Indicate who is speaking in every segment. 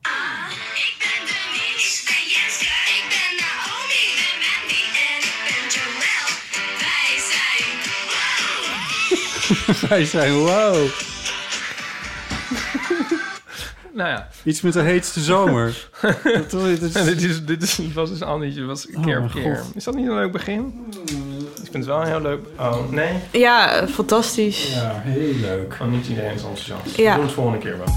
Speaker 1: Ik ben Denise. En Jenske. Ik ben Naomi. En Mandy. En ik ben Joël. Wij zijn... Wow!
Speaker 2: Wij zijn wow.
Speaker 3: Nou ja,
Speaker 2: Iets met de heetste zomer. Dat was-
Speaker 3: en
Speaker 2: dat is- Oh
Speaker 3: dit, is, dit is, was dus Annetje, was keer op
Speaker 2: mijn
Speaker 3: keer.
Speaker 2: God.
Speaker 3: Is dat niet een leuk begin? Ik vind het wel een heel leuk... Oh, nee?
Speaker 4: Ja, fantastisch.
Speaker 2: Ja, heel leuk.
Speaker 3: Oh, niet iedereen is enthousiast.
Speaker 4: Ja.
Speaker 3: We doen het volgende keer wel.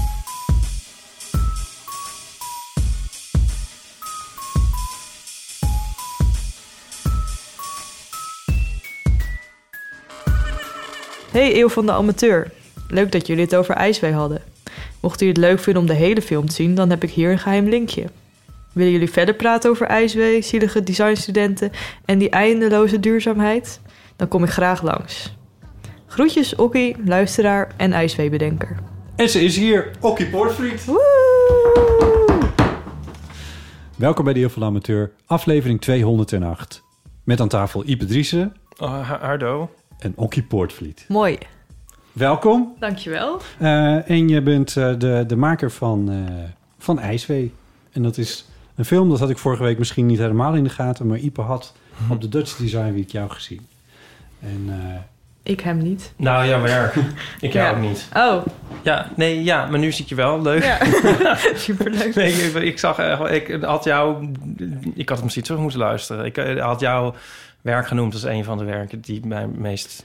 Speaker 4: Hey, Eeuw van de Amateur. Leuk dat jullie het over IJswee hadden. Mocht u het leuk vinden om de hele film te zien, dan heb ik hier een geheim linkje. Willen jullie verder praten over IJswee, zielige designstudenten en die eindeloze duurzaamheid? Dan kom ik graag langs. Groetjes, Okkie, luisteraar en IJswee-bedenker.
Speaker 2: En ze is hier, Okkie Poortvliet. Welkom bij de Heel van de Amateur, aflevering 208. Met aan tafel Ipe Driessen
Speaker 3: Oh, ha- hardo.
Speaker 2: en Okkie Poortvliet.
Speaker 4: Mooi.
Speaker 2: Welkom.
Speaker 4: Dankjewel.
Speaker 2: Eh, en je bent eh, de, de maker van, eh, van IJswee. En dat is een film, dat had ik vorige week misschien niet helemaal in de gaten... maar Ipe had op de Dutch Design Week jou gezien. En eh,
Speaker 4: Ik hem niet.
Speaker 3: Nou, jouw werk. Ik jou
Speaker 4: Ja.
Speaker 3: ook niet.
Speaker 4: Oh,
Speaker 3: Ja, nee, ja, maar nu zit je wel. Leuk.
Speaker 4: ja. Superleuk.
Speaker 3: Nee, ik, ik zag, eh, ik had jou, ik had hem misschien terug moeten luisteren. Ik eh, had jouw werk genoemd als een van de werken die mij het meest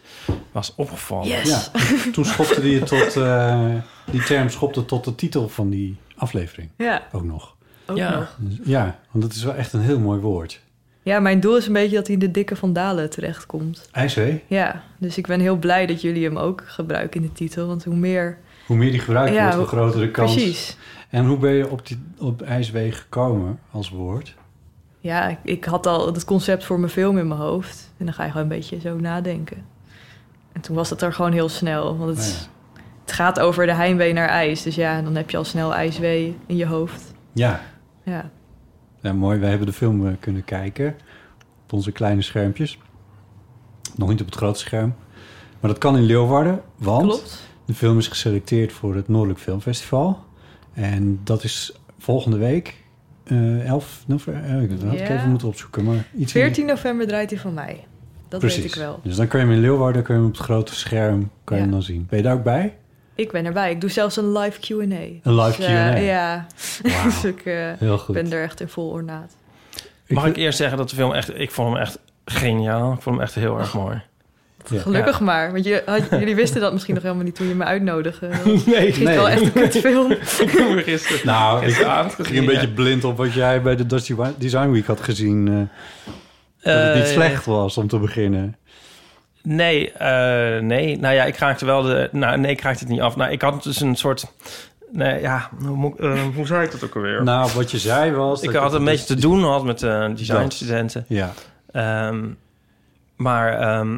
Speaker 3: was opgevallen.
Speaker 4: Yes.
Speaker 2: Ja, toen schopte die het tot, eh, die term schopte tot de titel van die aflevering
Speaker 4: Ja,
Speaker 2: ook nog.
Speaker 4: ook
Speaker 3: Ja.
Speaker 4: nog.
Speaker 2: Dus Ja, want dat is wel echt een heel mooi woord.
Speaker 4: Ja, mijn doel is een beetje dat hij in de dikke vandalen terechtkomt.
Speaker 2: IJswee,
Speaker 4: Ja, dus ik ben heel blij dat jullie hem ook gebruiken in de titel. Want hoe meer...
Speaker 2: hoe meer die gebruikt
Speaker 4: Ja,
Speaker 2: wordt, hoe
Speaker 4: hoe-
Speaker 2: groter de kans.
Speaker 4: Precies.
Speaker 2: En hoe ben je op, die, op IJswee gekomen als woord?
Speaker 4: Ja, ik, ik had al het concept voor mijn film in mijn hoofd. En dan ga je gewoon een beetje zo nadenken. En toen was dat er gewoon heel snel. Want het, is-
Speaker 2: Nou
Speaker 4: het gaat over de heimwee naar ijs. Dus ja, dan heb je al snel ijswee in je hoofd.
Speaker 2: Ja,
Speaker 4: Ja,
Speaker 2: ja, mooi. Wij hebben de film eh, kunnen kijken op onze kleine schermpjes. Nog niet op het grote scherm. Maar dat kan in Leeuwarden, want...
Speaker 4: klopt.
Speaker 2: De film is geselecteerd voor het Noordelijk Filmfestival. En dat is volgende week. eh 11 november. eh, dat had ik
Speaker 4: Ja.
Speaker 2: even moeten opzoeken. Maar iets in-
Speaker 4: 14 november draait hij van mij. Dat
Speaker 2: Precies.
Speaker 4: weet ik wel.
Speaker 2: Dus dan kun je hem in Leeuwarden kun je hem op het grote scherm kan je hem
Speaker 4: Ja.
Speaker 2: dan zien. Ben je daar ook bij?
Speaker 4: Ik ben erbij. Ik doe zelfs een live Q&A.
Speaker 2: Een live
Speaker 4: Dus, eh,
Speaker 2: Q&A.
Speaker 4: ja, dus ik eh,
Speaker 2: Heel goed.
Speaker 4: ben er echt in vol ornaat.
Speaker 3: Mag ik
Speaker 2: vind-
Speaker 3: eerst zeggen dat de film echt... Ik vond hem echt geniaal. Ik vond hem echt heel erg mooi.
Speaker 2: Ja.
Speaker 4: Gelukkig maar, want je, had- jullie wisten dat misschien nog helemaal niet toen je me uitnodigde. Het
Speaker 3: Nee,
Speaker 4: is wel echt een kutfilm.
Speaker 3: Ik heb hem gisteren.
Speaker 2: Nou, ik
Speaker 3: gisteravond
Speaker 2: ging een
Speaker 3: gezien,
Speaker 2: beetje blind op wat jij bij de Dutch Dewi- Design Week had gezien. eh,
Speaker 3: ja.
Speaker 2: dat het niet
Speaker 3: Eh,
Speaker 2: slecht was om te beginnen.
Speaker 3: Nee, eh, nee. Nou ja, ik raakte wel de... Nou, nee, ik raakte het niet af. Nou, ik had dus een soort... Nee, ja, hoe, moet ik- eh, hoe zei ik dat ook alweer?
Speaker 2: Nou, wat je zei was...
Speaker 3: ik
Speaker 2: dat
Speaker 3: had
Speaker 2: je-
Speaker 3: een beetje te doen had met de designstudenten.
Speaker 2: Ja,
Speaker 3: Ehm, maar ehm,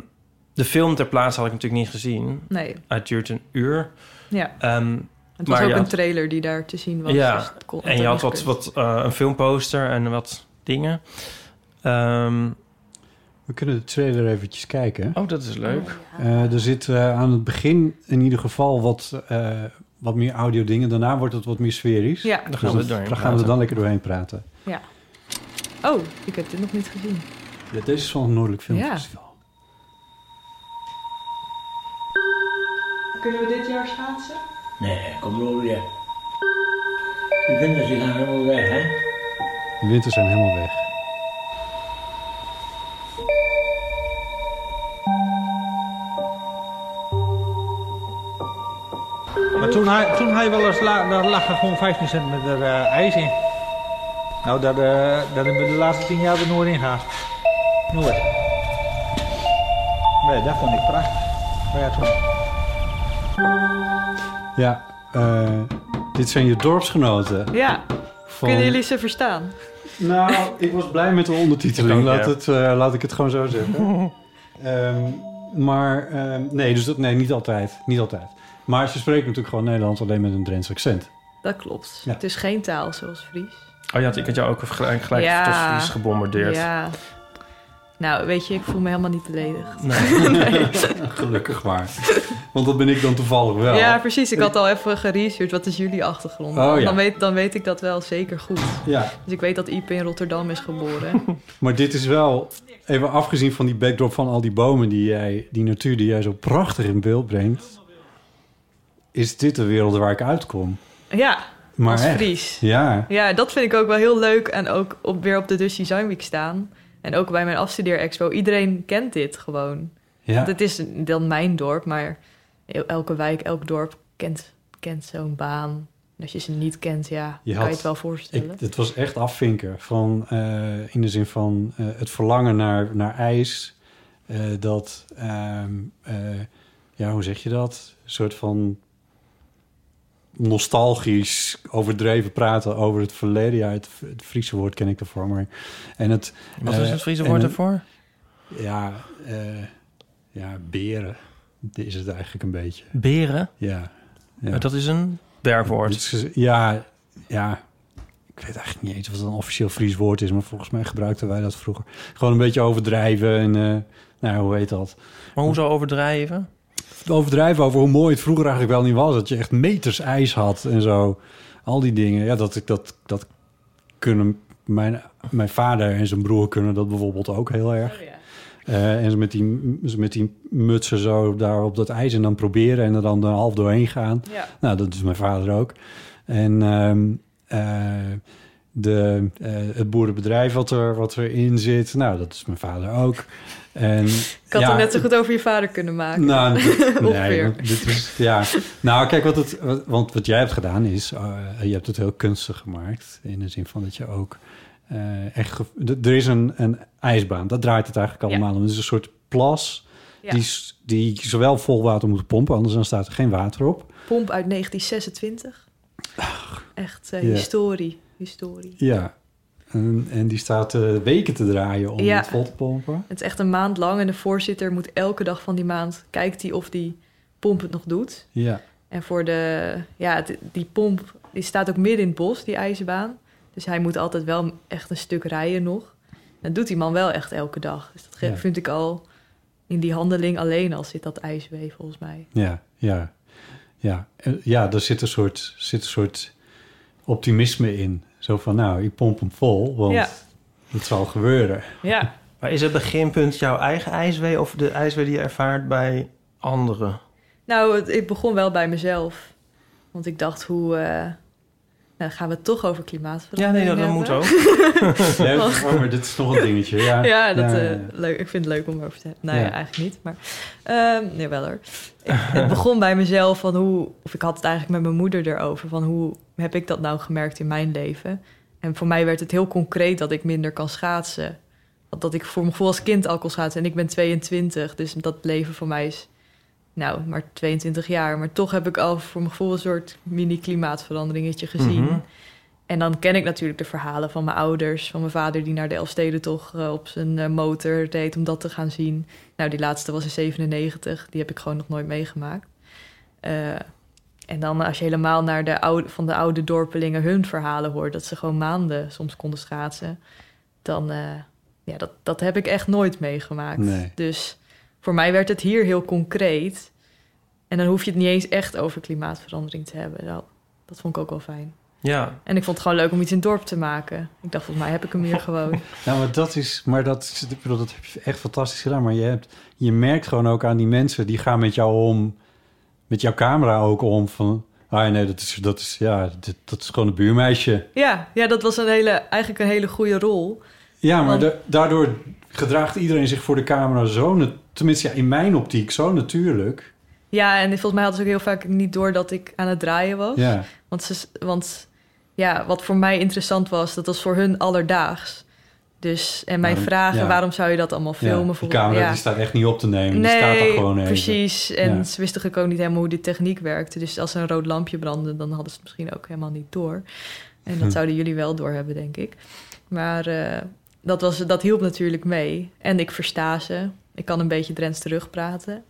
Speaker 3: de film ter plaatse had ik natuurlijk niet gezien.
Speaker 4: Nee,
Speaker 3: Het duurt een uur.
Speaker 4: ja.
Speaker 3: Ehm,
Speaker 4: Het was
Speaker 3: Maar
Speaker 4: ook
Speaker 3: ja.
Speaker 4: een trailer die daar te zien was.
Speaker 3: Ja,
Speaker 4: dus het kon-
Speaker 3: en je had wat,
Speaker 4: gekund.
Speaker 3: wat eh, een filmposter en wat dingen. Ehm,
Speaker 2: we kunnen de trailer eventjes kijken.
Speaker 3: oh, dat is leuk.
Speaker 2: Eh, er zit eh, aan het begin in ieder geval wat, eh, wat meer audio dingen. Daarna wordt het wat meer sferisch.
Speaker 4: Ja.
Speaker 3: Daar gaan Nou, we
Speaker 2: dat-
Speaker 3: doorheen
Speaker 2: daar gaan we er dan
Speaker 3: praten.
Speaker 2: lekker doorheen praten.
Speaker 4: Oh, ik heb dit nog niet gezien.
Speaker 2: Ja, deze is van het Noordelijk Filmfestival.
Speaker 4: Kunnen we dit jaar schaatsen?
Speaker 5: Nee, kom door weer. De winters die gaan helemaal weg, hè?
Speaker 2: De winters zijn helemaal weg.
Speaker 6: Maar toen hij, toen hij wel eens la, daar lag er gewoon 15 centimeter eh, ijs in. Nou, dat, eh, dat hebben we de laatste tien jaar er nooit in gehad. Nooit. Nee, dat vond ik prachtig. Maar ja, toen...
Speaker 2: Ja, eh, dit zijn je dorpsgenoten.
Speaker 4: Ja,
Speaker 2: Van...
Speaker 4: kunnen jullie ze verstaan?
Speaker 2: Nou, ik was blij met de ondertiteling.
Speaker 3: Ik ook, ja.
Speaker 2: laat, het, eh, laat ik het gewoon zo zeggen. Ehm, maar ehm, nee, dus dat, nee, niet altijd. Niet altijd. Maar ze spreken natuurlijk gewoon Nederlands alleen met een Drents accent.
Speaker 4: Dat klopt.
Speaker 2: Ja.
Speaker 4: Het is geen taal zoals Fries.
Speaker 3: Oh ja, ik had jou ook gelijk, gelijk
Speaker 4: Ja.
Speaker 3: tot Fries gebombardeerd.
Speaker 4: Ja. Nou, weet je, ik voel me helemaal niet beledigd.
Speaker 2: Gelukkig maar. Want dat ben ik dan toevallig
Speaker 3: Oh.
Speaker 2: wel.
Speaker 4: Ja, precies. Ik had al even geresearched. Wat is jullie achtergrond?
Speaker 2: Oh, ja.
Speaker 4: dan, weet, dan weet ik dat wel zeker goed.
Speaker 2: Ja,
Speaker 4: Dus ik weet dat Ipe in Rotterdam is geboren.
Speaker 2: Maar dit is wel, even afgezien van die backdrop van al die bomen die jij, die natuur die jij zo prachtig in beeld brengt, is dit de wereld waar ik uitkom.
Speaker 4: ja,
Speaker 2: Maar
Speaker 4: als
Speaker 2: echt.
Speaker 4: Fries.
Speaker 2: Ja,
Speaker 4: Ja, dat vind ik ook wel heel leuk. En ook op, weer op de Dus Design Week staan. En ook bij mijn afstudeerexpo. Iedereen kent dit gewoon.
Speaker 2: ja.
Speaker 4: Want het is dan mijn dorp, maar el- elke wijk, elk dorp kent, kent zo'n baan. En als je ze niet kent, ja,
Speaker 2: Je
Speaker 4: kan
Speaker 2: had-
Speaker 4: je het wel voorstellen.
Speaker 2: Ik, het was echt afvinken van, eh, in de zin van eh, het verlangen naar, naar ijs. eh, dat, ehm, eh, ja, hoe zeg je dat? Een soort van nostalgisch overdreven praten over het verleden. Ja, het, het Friese woord ken ik ervoor, maar... En het,
Speaker 3: Wat
Speaker 2: eh,
Speaker 3: is het Friese
Speaker 2: en
Speaker 3: woord
Speaker 2: een-
Speaker 3: daarvoor?
Speaker 2: Ja, eh, ja, beren Dit is het eigenlijk een beetje.
Speaker 3: Beren.
Speaker 2: Ja, Ja.
Speaker 3: Eh, Dat is een
Speaker 2: Dit
Speaker 3: werkwoord.
Speaker 2: is- Dus ja, ja. Ik weet eigenlijk niet eens of dat een officieel Fries woord is, maar volgens mij gebruikten wij dat vroeger. Gewoon een beetje overdrijven en, eh, nou, ja, hoe heet dat?
Speaker 3: Maar hoezo overdrijven?
Speaker 2: Overdrijven over hoe mooi het vroeger eigenlijk wel niet was. Dat je echt meters ijs had en zo. Al die dingen. Ja, dat, dat, dat kunnen mijn, mijn vader en zijn broer kunnen dat bijvoorbeeld ook heel erg.
Speaker 4: Oh,
Speaker 2: Eh, en ze met, die, ze met die mutsen zo daar op dat ijs en dan proberen en er dan er half doorheen gaan.
Speaker 4: Ja.
Speaker 2: Nou, dat is mijn vader ook. En ehm, eh, de, eh, het boerenbedrijf wat, er, wat erin zit, nou, dat is mijn vader ook. En,
Speaker 4: Ik had
Speaker 2: ja,
Speaker 4: hem net zo goed over je vader kunnen maken.
Speaker 2: nou, dit- nee,
Speaker 4: Ongeveer.
Speaker 2: want dit is, ja. nou, kijk, wat het, wat, want wat jij hebt gedaan is, eh, je hebt het heel kunstig gemaakt. In de zin van dat je ook eh, echt... ge- d- Er is een, een ijsbaan, dat draait het eigenlijk
Speaker 4: Ja.
Speaker 2: allemaal om. Het is een soort plas
Speaker 4: Ja.
Speaker 2: die, s- die zowel vol water moet pompen, anders dan staat er geen water op.
Speaker 4: Pomp uit 1926. Echt eh,
Speaker 2: Ja.
Speaker 4: historie. historie.
Speaker 2: Ja, en, en die staat eh, weken te draaien om
Speaker 4: Ja.
Speaker 2: het vol te pompen.
Speaker 4: Het is echt een maand lang en de voorzitter moet elke dag van die maand... kijkt hij of die pomp het nog doet.
Speaker 2: Ja,
Speaker 4: En voor de, ja, het- die pomp, die staat ook midden in het bos, die ijzerbaan. Dus hij moet altijd wel echt een stuk rijden nog. Dat doet die man wel echt elke dag. Dus dat ge-
Speaker 2: Ja.
Speaker 4: vind ik al in die handeling alleen al zit dat ijswee volgens mij.
Speaker 2: ja, ja. Ja, Eh, ja er zit een, soort, zit een soort optimisme in. Zo van, nou, ik pomp hem vol, want
Speaker 4: Ja.
Speaker 2: het zal gebeuren.
Speaker 4: Ja.
Speaker 3: Maar is het beginpunt jouw eigen ijswee of de ijswee die je ervaart bij anderen?
Speaker 4: Nou, het, ik begon wel bij mezelf. Want ik dacht, hoe eh, nou, gaan we het toch over
Speaker 3: Ja,
Speaker 4: klimaatverandering
Speaker 3: nee, dat, dat
Speaker 4: hebben?
Speaker 3: moet ook.
Speaker 2: Nee, oh, maar dit is nog een dingetje. Ja,
Speaker 4: Ja, dat,
Speaker 2: Ja,
Speaker 4: eh,
Speaker 2: ja, ja.
Speaker 4: Leuk, ik vind het leuk om over te hebben. Nou ja,
Speaker 2: Ja.
Speaker 4: eigenlijk niet. Maar ehm, nee, wel hoor. Ik, het begon bij mezelf van hoe... Of ik had het eigenlijk met mijn moeder erover. Van hoe heb ik dat nou gemerkt in mijn leven? En voor mij werd het heel concreet dat ik minder kan schaatsen. Want dat ik voor mijn gevoel als kind al kon schaatsen. En ik ben 22, dus dat leven voor mij is... Nou, maar 22 jaar. Maar toch heb ik al voor mijn gevoel een soort mini-klimaatveranderingetje gezien.
Speaker 3: Mhm.
Speaker 4: En dan ken ik natuurlijk de verhalen van mijn ouders, van mijn vader die naar de Elfstedentocht eh, op zijn eh, motor deed om dat te gaan zien. Nou, die laatste was in 97, die heb ik gewoon nog nooit meegemaakt. Eh, en dan als je helemaal naar de oude, van de oude dorpelingen hun verhalen hoort, dat ze gewoon maanden soms konden schaatsen, dan eh, ja, dat, dat heb ik echt nooit meegemaakt.
Speaker 2: Nee.
Speaker 4: Dus voor mij werd het hier heel concreet. En dan hoef je het niet eens echt over klimaatverandering te hebben. Nou, dat vond ik ook wel fijn.
Speaker 3: Ja,
Speaker 4: En ik vond het gewoon leuk om iets in het dorp te maken. Ik dacht, volgens mij heb ik hem hier gewoon.
Speaker 2: Nou, maar dat is, maar dat, is- ik bedoel, dat heb je echt fantastisch gedaan. Maar je, hebt, je merkt gewoon ook aan die mensen die gaan met jou om, met jouw camera ook om. Van, ah nee, dat is, dat is, ja, dit, dat is gewoon een buurmeisje.
Speaker 4: Ja, ja dat was een hele, eigenlijk een hele goede rol.
Speaker 2: Ja, maar
Speaker 4: Want-
Speaker 2: da- daardoor gedraagt iedereen zich voor de camera zo, nat- tenminste ja, in mijn optiek, zo natuurlijk.
Speaker 4: Ja, en volgens mij hadden ze ook heel vaak niet door dat ik aan het draaien was.
Speaker 2: Ja,
Speaker 4: Want, ze, want ja, wat voor mij interessant was, dat was voor hun alledaags. Dus, en mijn
Speaker 2: Ja,
Speaker 4: vragen,
Speaker 2: ja.
Speaker 4: waarom zou je dat allemaal filmen?
Speaker 2: die
Speaker 4: voor-
Speaker 2: camera
Speaker 4: ja.
Speaker 2: die staat echt niet op te nemen. die
Speaker 4: nee,
Speaker 2: staat er gewoon even.
Speaker 4: precies. En
Speaker 2: Ja.
Speaker 4: ze wisten natuurlijk ook niet helemaal hoe die techniek werkte. Dus als er een rood lampje brandde, dan hadden ze het misschien ook helemaal niet door. En dat
Speaker 2: Hm.
Speaker 4: zouden jullie wel door hebben, denk ik. Maar eh, dat, was, dat hielp natuurlijk mee. En ik versta ze. Ik kan een beetje Drents terugpraten.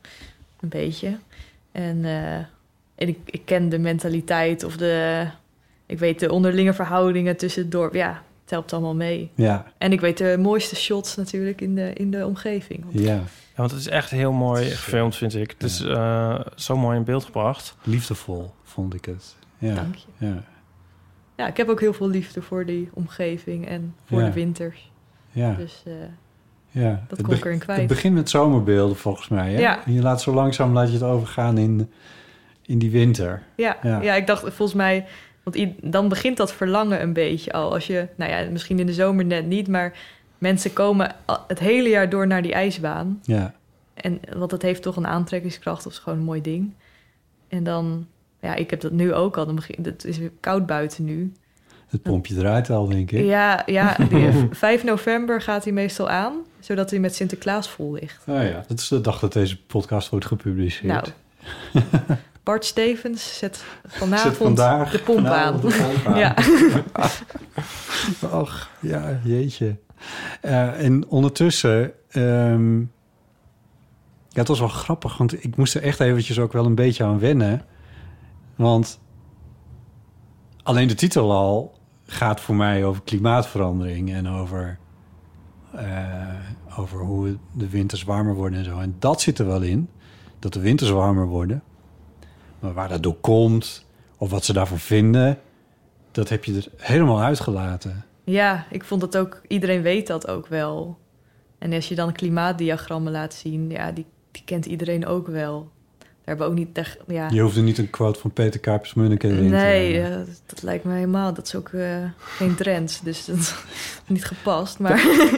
Speaker 4: Een beetje. En, eh, en ik, ik ken de mentaliteit of de... Ik weet de onderlinge verhoudingen tussen het dorp. Ja, het helpt allemaal mee.
Speaker 3: Ja.
Speaker 4: En ik weet de mooiste shots natuurlijk in de, in de omgeving.
Speaker 2: Ja.
Speaker 3: want het is echt heel mooi gefilmd, vind ik. Het is eh, zo mooi in beeld gebracht.
Speaker 2: Liefdevol, vond ik het. Ja.
Speaker 4: Dank
Speaker 2: Ja.
Speaker 4: Ja, ik heb ook heel veel liefde voor die omgeving en voor
Speaker 2: Ja.
Speaker 4: de winters.
Speaker 2: Ja.
Speaker 4: Dus eh,
Speaker 2: Ja,
Speaker 4: dat
Speaker 2: het
Speaker 4: kon ik
Speaker 2: beg-
Speaker 4: erin kwijt.
Speaker 2: Het begint met zomerbeelden volgens mij. Hè?
Speaker 4: Ja.
Speaker 2: En je laat zo langzaam laat je het overgaan in, in die winter.
Speaker 4: ja, ja. ik dacht volgens mij, want i- dan begint dat verlangen een beetje al. Als je, nou ja, misschien in de zomer net niet, maar mensen komen al- het hele jaar door naar die ijsbaan.
Speaker 2: Ja.
Speaker 4: En, want dat heeft toch een aantrekkingskracht, of is gewoon een mooi ding. En dan, ja, ik heb dat nu ook al. Dan begin, het is weer koud buiten nu.
Speaker 2: Het pomp je eruit al, denk ik.
Speaker 4: Ja, ja die- 5 november gaat hij meestal aan, zodat hij met Sinterklaas vol ligt.
Speaker 2: Oh ja, dat is de dag dat deze podcast wordt gepubliceerd.
Speaker 4: Nou, Bart Stevens zet vanavond
Speaker 2: Zet vandaag
Speaker 4: de pomp aan.
Speaker 2: vanavond de pomp aan.
Speaker 4: ja.
Speaker 2: Ach, ja, jeetje. Eh, en ondertussen... ehm, ja, het was wel grappig, want ik moest er echt eventjes ook wel een beetje aan wennen. Want alleen de titel al gaat voor mij over klimaatverandering... en over, eh, over hoe de winters warmer worden en zo. En dat zit er wel in, dat de winters warmer worden. Maar waar dat door komt, of wat ze daarvan vinden... dat heb je er helemaal uitgelaten.
Speaker 4: ja, ik vond dat ook, iedereen weet dat ook wel. En als je dan klimaatdiagrammen laat zien, ja, die, die kent iedereen ook wel. Daar hebben we ook niet echt, ja.
Speaker 2: Je hoeft er niet een quote van Peter Kuipers Munneke erin te
Speaker 4: Nee,
Speaker 2: hebben.
Speaker 4: eh, dat, dat lijkt me helemaal. Dat is ook eh, geen trends, dus dat is niet gepast. Maar eh.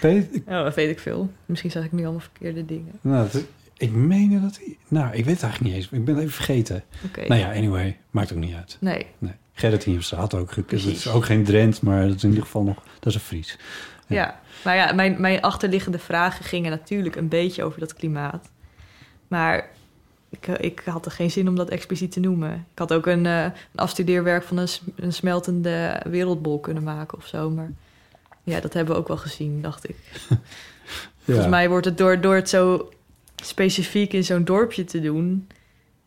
Speaker 2: Peter,
Speaker 4: ja, dat weet ik veel. Misschien zeg ik nu allemaal verkeerde dingen.
Speaker 2: nou, dat- ik meen dat hij... Nou, ik weet het eigenlijk niet eens. Ik ben het even vergeten.
Speaker 4: Oké.
Speaker 2: Nou ja, anyway. Maakt ook niet uit.
Speaker 4: Nee.
Speaker 2: nee. Gerrit Hiemstra had ook... gekund. Het is
Speaker 4: Precies.
Speaker 2: ook geen Drent, maar dat is in ieder geval nog... Dat is een Fries.
Speaker 4: Ja, maar ja, mijn, mijn achterliggende vragen gingen natuurlijk een beetje over dat klimaat. Maar ik, ik had er geen zin om dat expliciet te noemen. Ik had ook een, eh, een afstudeerwerk van een, s- een smeltende wereldbol kunnen maken of zo. Maar ja, dat hebben we ook wel gezien, dacht ik. Volgens mij wordt het door, door het zo specifiek in zo'n dorpje te doen...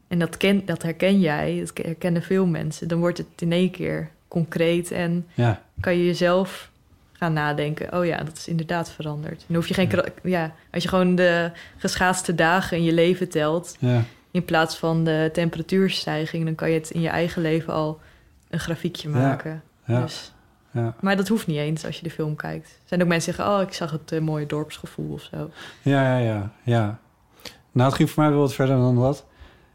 Speaker 4: en dat, ken, dat herken jij, dat herkennen veel mensen... dan wordt het in één keer concreet en
Speaker 2: Ja.
Speaker 4: kan je jezelf gaan nadenken. Oh ja, dat is inderdaad veranderd. Dan hoef je geen. kra- Ja, als je gewoon de geschaatste dagen in je leven telt.
Speaker 2: Ja.
Speaker 4: In plaats van de temperatuurstijging, dan kan je het in je eigen leven al een grafiekje
Speaker 2: Ja,
Speaker 4: maken.
Speaker 2: ja,
Speaker 4: Dus,
Speaker 2: ja.
Speaker 4: Maar dat hoeft niet eens als je de film kijkt. Er zijn ook mensen die zeggen, oh, ik zag het eh, mooie dorpsgevoel of zo.
Speaker 2: Ja, ja, ja, ja. Nou, het ging voor mij wel wat verder dan dat.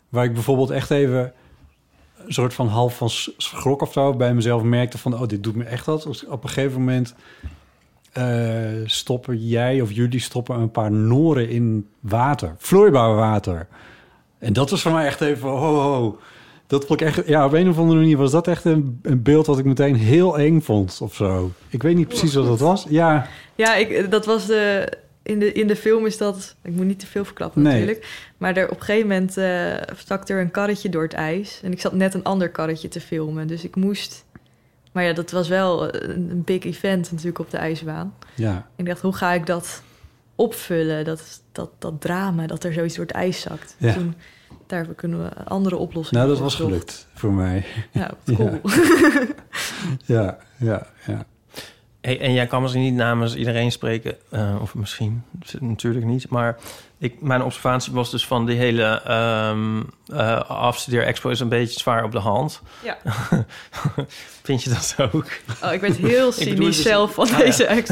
Speaker 2: Waar ik bijvoorbeeld echt even een soort van half van s- schrok of zo bij mezelf merkte van... oh, dit doet me echt wat. Als- Op een gegeven moment eh, stoppen jij of jullie stoppen een paar noren in water. Vloeibaar water. En dat was voor mij echt even van, ho, ho. Dat vond ik echt... Ja, op een of andere manier was dat echt een, een beeld wat ik meteen heel eng vond of zo. Ik weet niet precies wat dat was. Ja,
Speaker 4: Ja, ik, eh, dat was de. In de, in de film is dat. Ik moet niet te veel verklappen
Speaker 2: Nee.
Speaker 4: natuurlijk. Maar er, op een gegeven moment eh, stak er een karretje door het ijs. En ik zat net een ander karretje te filmen. Dus ik moest. Maar ja, dat was wel eh, een, een big event natuurlijk op de ijsbaan.
Speaker 2: ja.
Speaker 4: En ik dacht, hoe ga ik dat opvullen? Dat, dat, dat drama, dat er zoiets door het ijs zakt.
Speaker 2: Ja.
Speaker 4: Toen, daar kunnen we andere oplossingen
Speaker 2: Nou, dat
Speaker 4: voor
Speaker 2: was
Speaker 4: zoeken.
Speaker 2: gelukt voor mij.
Speaker 4: Ja, wat cool.
Speaker 2: Ja, ja, ja.
Speaker 3: Hey, en jij kan misschien niet namens iedereen spreken, eh, of misschien z- natuurlijk niet, maar ik, mijn observatie was dus van die hele ehm eh, afstudeer-expo is een beetje zwaar op de hand.
Speaker 4: Ja.
Speaker 3: Vind je dat ook?
Speaker 4: Oh, ik werd heel
Speaker 3: Ik bedoel
Speaker 4: cynisch
Speaker 3: dus-
Speaker 4: zelf van
Speaker 3: Ah, ja.
Speaker 4: deze ex.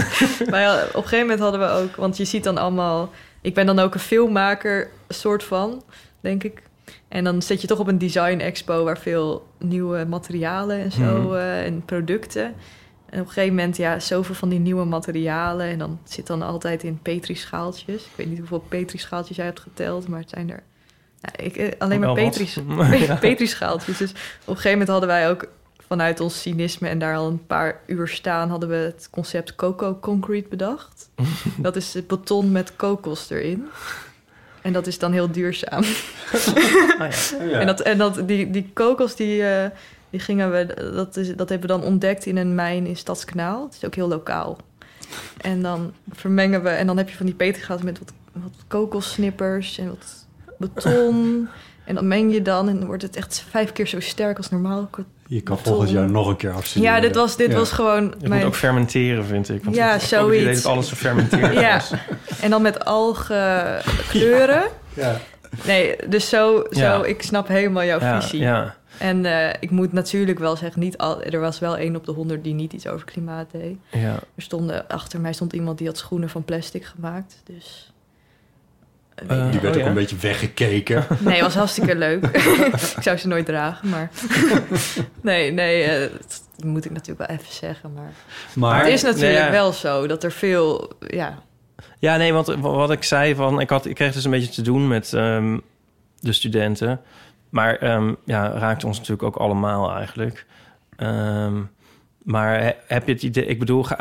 Speaker 4: Maar ja, op een gegeven moment hadden we ook... Want je ziet dan allemaal... Ik ben dan ook een filmmaker, soort van, denk ik. En dan zit je toch op een design expo... waar veel nieuwe materialen en zo
Speaker 7: Mhm.
Speaker 4: eh, en producten... En op een gegeven moment, ja, zoveel van die nieuwe materialen. En dan zit dan altijd in petrischaaltjes. Ik weet niet hoeveel petrischaaltjes jij hebt geteld, maar het zijn er... Nou, ik, eh, alleen maar
Speaker 7: Wel wat.
Speaker 4: petris,
Speaker 7: Ja.
Speaker 4: petrischaaltjes. Dus op een gegeven moment hadden wij ook vanuit ons cynisme en daar al een paar uur staan, hadden we het concept Coco Concrete bedacht. dat is het beton met kokos erin. En dat is dan heel duurzaam.
Speaker 7: Oh
Speaker 4: En, dat, en dat, die, die kokos, die, eh, die gingen we, dat, is, dat hebben we dan ontdekt in een mijn in Stadskanaal. Het is ook heel lokaal. En dan vermengen we, en dan heb je van die petergaten met wat, wat kokossnippers en wat beton. En dat meng je dan en dan wordt het echt vijf keer zo sterk als normaal. ko-
Speaker 2: Je kan
Speaker 4: beton.
Speaker 2: volgend jaar nog een keer afstuderen.
Speaker 4: Ja, dit was, dit
Speaker 2: Ja.
Speaker 4: was gewoon
Speaker 3: Je moet ook fermenteren, vind ik. Want
Speaker 4: Ja,
Speaker 3: ik heb ook het idee
Speaker 4: zoiets.
Speaker 3: dat alles gefermenteerd
Speaker 4: Ja,
Speaker 3: is.
Speaker 4: en dan met algen kleuren.
Speaker 2: Ja.
Speaker 4: Nee, dus zo, zo
Speaker 3: Ja.
Speaker 4: ik snap helemaal jouw
Speaker 3: Ja,
Speaker 4: visie.
Speaker 3: ja.
Speaker 4: En eh, ik moet natuurlijk wel zeggen, niet al, er was wel één op de honderd die niet iets over klimaat deed.
Speaker 3: Ja.
Speaker 4: Er stonden, achter mij stond iemand die had schoenen van plastic gemaakt. Dus
Speaker 3: Eh,
Speaker 2: Die werd
Speaker 3: oh
Speaker 2: ook
Speaker 3: ja.
Speaker 2: een beetje weggekeken.
Speaker 4: nee, het was hartstikke leuk. ik zou ze nooit dragen, maar nee, nee, eh, dat moet ik natuurlijk wel even zeggen. Maar,
Speaker 2: Maar
Speaker 4: het is natuurlijk
Speaker 3: nee, ja.
Speaker 4: wel zo dat er veel, ja,
Speaker 3: Ja, nee, want wa- wat ik zei van... Ik, had, ik kreeg dus een beetje te doen met ehm, de studenten. Maar ehm, ja, raakt ons natuurlijk ook allemaal eigenlijk. Ehm, maar he- heb je het idee... Ik bedoel, ga-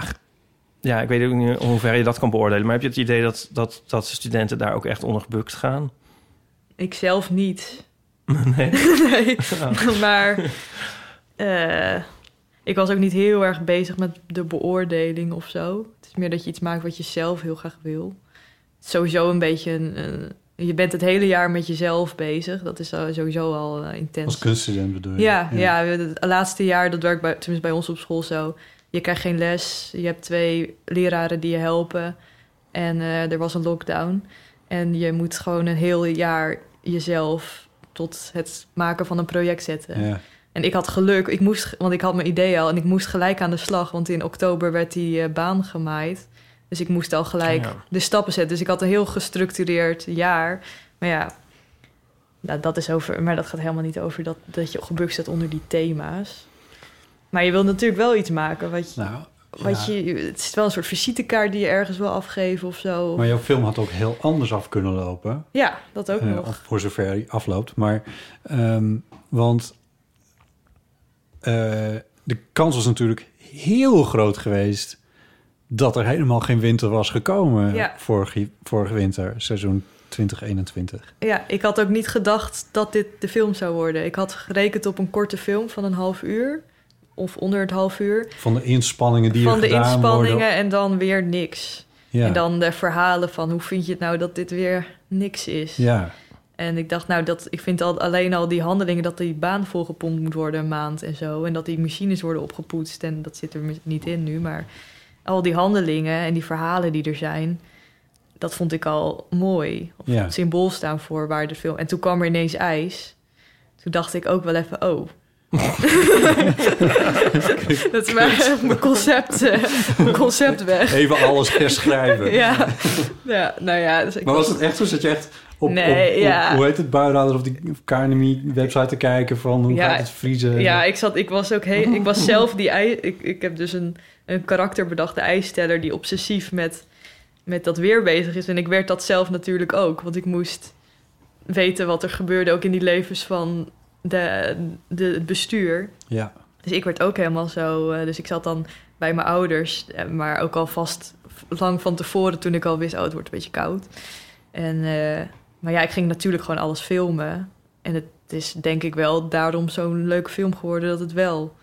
Speaker 3: ja, ik weet ook niet hoe ver je dat kan beoordelen. Maar heb je het idee dat, dat, dat de studenten daar ook echt onder gebukt gaan?
Speaker 4: ik zelf niet.
Speaker 3: Nee.
Speaker 4: nee, maar eh, ik was ook niet heel erg bezig met de beoordeling of zo. Het is meer dat je iets maakt wat je zelf heel graag wil. Het is Sowieso een beetje een, een- je bent het hele jaar met jezelf bezig. Dat is eh, sowieso al eh, intens.
Speaker 2: Als kunststudent bedoel je?
Speaker 4: Ja, ja. we- het laatste jaar, dat werkt bij, tenminste bij ons op school zo. Je krijgt geen les, je hebt twee leraren die je helpen. En eh, er was een lockdown. En je moet gewoon een heel jaar jezelf tot het maken van een project zetten.
Speaker 2: Ja.
Speaker 4: En ik had geluk, ik moest, ge- want ik had mijn idee al en ik moest gelijk aan de slag. Want in oktober werd die eh, baan gemaaid. Dus ik moest al gelijk
Speaker 3: Ja.
Speaker 4: de stappen zetten. Dus ik had een heel gestructureerd jaar. Maar ja, nou, dat is over, maar dat gaat helemaal niet over dat, dat je gebukt zit onder die thema's. Maar je wilt natuurlijk wel iets maken. Wat je,
Speaker 2: Nou,
Speaker 4: wat
Speaker 2: ja.
Speaker 4: je, het is wel een soort visitekaart die je ergens wil afgeven of zo.
Speaker 2: Maar jouw film had ook heel anders af kunnen lopen.
Speaker 4: ja, dat ook
Speaker 2: Eh,
Speaker 4: nog.
Speaker 2: of voor zover hij afloopt. Maar, ehm, want eh, de kans was natuurlijk heel groot geweest dat er helemaal geen winter was gekomen
Speaker 4: Ja.
Speaker 2: vorige, vorige winter, seizoen 2021.
Speaker 4: Ja, ik had ook niet gedacht dat dit de film zou worden. Ik had gerekend op een korte film van een half uur. Of onder het half uur.
Speaker 2: Van de inspanningen die
Speaker 4: van
Speaker 2: er
Speaker 4: de
Speaker 2: gedaan
Speaker 4: inspanningen
Speaker 2: worden.
Speaker 4: en dan weer niks.
Speaker 2: Ja.
Speaker 4: En dan de verhalen van hoe vind je het nou dat dit weer niks is.
Speaker 2: ja.
Speaker 4: En ik dacht, nou, dat, ik vind al, alleen al die handelingen dat die baan volgepompt moet worden een maand en zo. En dat die machines worden opgepoetst. En dat zit er mis- niet in nu. Maar al die handelingen en die verhalen die er zijn, dat vond ik al mooi. Of
Speaker 2: Ja.
Speaker 4: symbool staan voor waar de film. En toen kwam er ineens ijs. Toen dacht ik ook wel even, oh. dat is mijn, mijn concept, eh, mijn concept weg.
Speaker 2: Even alles herschrijven.
Speaker 4: Ja. ja, nou ja. Dus ik
Speaker 2: Maar was het echt zo dat je echt op,
Speaker 4: Nee,
Speaker 2: op- op-
Speaker 4: ja.
Speaker 2: hoe heet het, buitenlader of die KNMI website te kijken van hoe
Speaker 4: Ja,
Speaker 2: gaat het vriezen?
Speaker 4: Ja, ik, zat, ik was ook heel. Ik was zelf die ij, ik, ik heb dus een, een karakter bedacht, de ijsteller, die obsessief met, met dat weer bezig is. En ik werd dat zelf natuurlijk ook, want ik moest weten wat er gebeurde ook in die levens van de, de, het bestuur.
Speaker 2: ja.
Speaker 4: Dus ik werd ook helemaal zo. eh, dus ik zat dan bij mijn ouders, eh, maar ook al vast lang van tevoren toen ik al wist, oh, het wordt een beetje koud. En, eh, maar ja, ik ging natuurlijk gewoon alles filmen. En het is denk ik wel daarom zo'n leuke film geworden dat het wel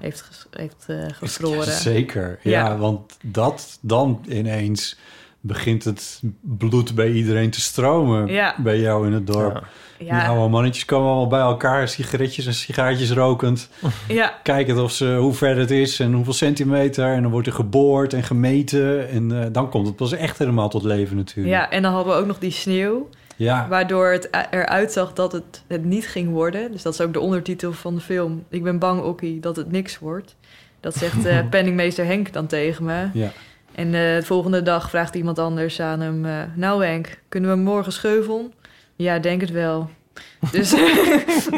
Speaker 4: heeft, ges- heeft eh,
Speaker 2: Ja,
Speaker 4: gevroren.
Speaker 2: Zeker, ja,
Speaker 4: Ja.
Speaker 2: Want dat dan ineens begint het bloed bij iedereen te stromen.
Speaker 4: Ja.
Speaker 2: Bij jou in het dorp.
Speaker 3: Ja.
Speaker 2: Die
Speaker 4: Ja,
Speaker 2: oude mannetjes komen allemaal bij elkaar, sigaretjes en sigaartjes rokend.
Speaker 4: ja,
Speaker 2: Kijken of ze, hoe ver het is en hoeveel centimeter. En dan wordt er geboord en gemeten. En eh, dan komt het pas echt helemaal tot leven natuurlijk.
Speaker 4: ja, en dan hadden we ook nog die sneeuw,
Speaker 2: ja.
Speaker 4: waardoor het eh, eruit zag dat het, het niet ging worden. Dus dat is ook de ondertitel van de film. Ik ben bang, Okkie, dat het niks wordt. Dat zegt eh, penningmeester Henk dan tegen me.
Speaker 2: ja.
Speaker 4: En eh, de volgende dag vraagt iemand anders aan hem... eh, nou Henk, kunnen we morgen schuiven? Ja, denk het wel. Dus,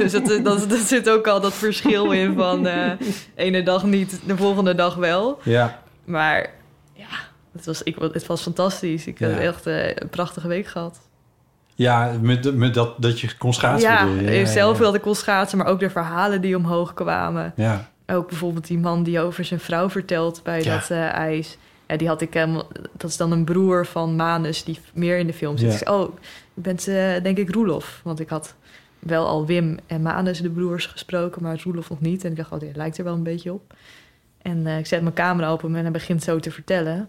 Speaker 4: dus dat, dat, dat zit ook al dat verschil in van... eh ene dag niet, de volgende dag wel.
Speaker 2: ja.
Speaker 4: Maar ja, het was, ik, het was fantastisch. Ik
Speaker 2: Ja.
Speaker 4: heb echt eh, een prachtige week gehad.
Speaker 2: Ja, met, met dat, dat je kon schaatsen.
Speaker 4: ja,
Speaker 2: bedoel je. ja,
Speaker 4: zelf
Speaker 2: ja.
Speaker 4: wilde ik wel schaatsen... maar ook de verhalen die omhoog kwamen.
Speaker 2: Ja,
Speaker 4: Ook bijvoorbeeld die man die over zijn vrouw vertelt bij
Speaker 3: Ja.
Speaker 4: dat eh, ijs. Ja, die had ik helemaal... Dat is dan een broer van Manus die meer in de film zit.
Speaker 2: Ja.
Speaker 4: Ik zei, oh, je bent eh, denk ik Roelof. Want ik had wel al Wim en Manus, de broers, gesproken... maar Roelof nog niet. En ik dacht, oh, dit lijkt er wel een beetje op. En eh, ik zet mijn camera op hem en hij begint zo te vertellen.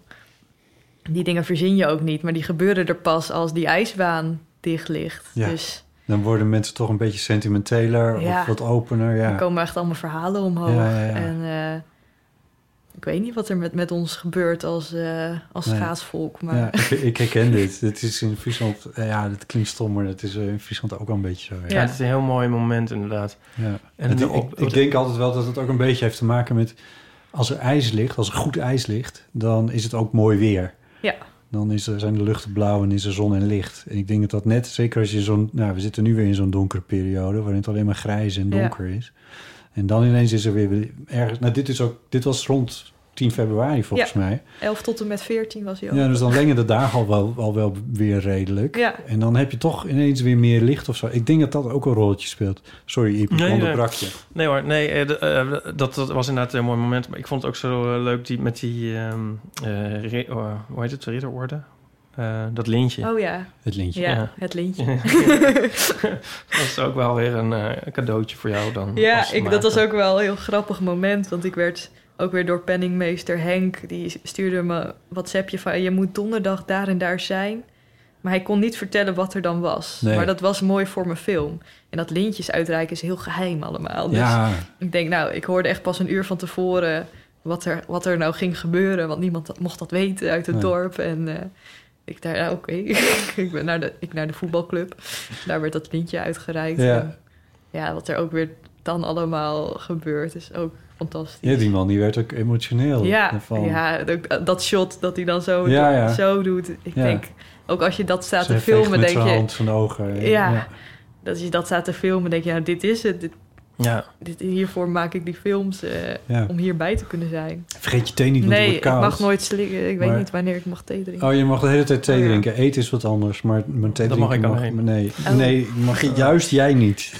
Speaker 4: Die dingen verzin je ook niet. Maar die gebeuren er pas als die ijsbaan dicht ligt.
Speaker 2: Ja.
Speaker 4: Dus
Speaker 2: Dan worden mensen toch een beetje sentimenteler
Speaker 4: Ja.
Speaker 2: of wat opener. Ja.
Speaker 4: er komen echt allemaal verhalen omhoog.
Speaker 2: Ja, ja, ja.
Speaker 4: En eh, ik weet niet wat er met, met ons gebeurt als, eh als
Speaker 2: Nee.
Speaker 4: schaatsvolk. Maar
Speaker 2: Ja, ik, ik herken dit. Dit is in Friesland, eh, ja, dat klinkt stom, maar dat is eh, in Friesland ook wel een beetje zo.
Speaker 3: Ja, het is een heel mooi moment inderdaad.
Speaker 2: Ja.
Speaker 3: En
Speaker 2: Het-
Speaker 3: dan
Speaker 2: ik,
Speaker 3: op-
Speaker 2: ik denk altijd wel dat het ook een beetje heeft te maken met... als er ijs ligt, als er goed ijs ligt... dan is het ook mooi weer.
Speaker 4: Ja.
Speaker 2: Dan is er, zijn de luchten blauw en is er zon en licht. En ik denk dat dat net, zeker als je zo'n... Nou, we zitten nu weer in zo'n donkere periode... waarin het alleen maar grijs en
Speaker 4: Ja.
Speaker 2: donker is. En dan ineens is er weer ergens... Nou, dit, is ook, dit was rond 10 februari volgens
Speaker 4: Ja.
Speaker 2: mij.
Speaker 4: 11 tot en met 14 was hij ook.
Speaker 2: Ja, dus dan lengen de dagen al wel, al wel weer redelijk.
Speaker 4: Ja.
Speaker 2: En dan heb je toch ineens weer meer licht of zo. Ik denk dat dat ook een rolletje speelt. Sorry, Iep, ik
Speaker 3: Nee,
Speaker 2: onderbrak
Speaker 3: nee.
Speaker 2: je.
Speaker 3: Nee hoor, nee, eh, de- eh, dat, dat was inderdaad een mooi moment. Maar ik vond het ook zo eh, leuk die, met die, ehm eh, ri- oh, hoe heet het, ridderorde? Eh, dat lintje.
Speaker 4: Oh ja.
Speaker 3: Het lintje.
Speaker 4: Ja,
Speaker 3: Ja.
Speaker 4: het lintje.
Speaker 3: dat is ook wel weer een eh, cadeautje voor jou dan.
Speaker 4: ja,
Speaker 3: als
Speaker 4: ik, dat was
Speaker 3: maker.
Speaker 4: ook wel een heel grappig moment. Want ik werd ook weer door penningmeester Henk... die stuurde me een WhatsAppje van... je moet donderdag daar en daar zijn. Maar hij kon niet vertellen wat er dan was.
Speaker 2: Nee.
Speaker 4: Maar dat was mooi voor mijn film. En dat lintjes uitreiken is heel geheim allemaal. Dus
Speaker 2: Ja.
Speaker 4: ik denk, nou, ik hoorde echt pas een uur van tevoren... wat er, wat er nou ging gebeuren. Want niemand dat- mocht dat weten uit het
Speaker 2: Nee.
Speaker 4: dorp. En eh, ik daar, nou, oké. ik ben naar de, ik naar de voetbalclub. Daar werd dat lintje uitgereikt.
Speaker 2: Ja.
Speaker 4: En ja, wat er ook weer dan allemaal gebeurt, is ook fantastisch.
Speaker 2: Ja, die man die werd ook emotioneel.
Speaker 4: Ja,
Speaker 2: ervan.
Speaker 4: ja, dat- dat shot dat hij dan zo,
Speaker 2: Ja, ja.
Speaker 4: zo doet. Ik
Speaker 2: Ja.
Speaker 4: denk, ook als je dat staat
Speaker 2: Zij
Speaker 4: te
Speaker 2: veegt
Speaker 4: filmen,
Speaker 2: met
Speaker 4: denk
Speaker 2: zijn
Speaker 4: je...
Speaker 2: hand van de ogen.
Speaker 4: Ja, dat als je dat staat te filmen, denk je, nou, dit is het. Dit,
Speaker 3: Ja.
Speaker 4: dit, hiervoor maak ik die films eh,
Speaker 2: Ja.
Speaker 4: om hierbij te kunnen zijn.
Speaker 2: Vergeet je thee niet, want het
Speaker 4: Nee,
Speaker 2: wordt koud.
Speaker 4: ik mag nooit slikken. Ik
Speaker 2: Maar-
Speaker 4: weet niet wanneer ik mag thee drinken.
Speaker 2: Oh, je mag de hele tijd thee
Speaker 4: Oh, ja.
Speaker 2: drinken. Eten is wat anders, maar mijn thee
Speaker 3: Dat mag
Speaker 2: drinken
Speaker 3: ik alleen.
Speaker 2: maar Nee,
Speaker 4: Oh.
Speaker 2: nee mag je, juist jij niet.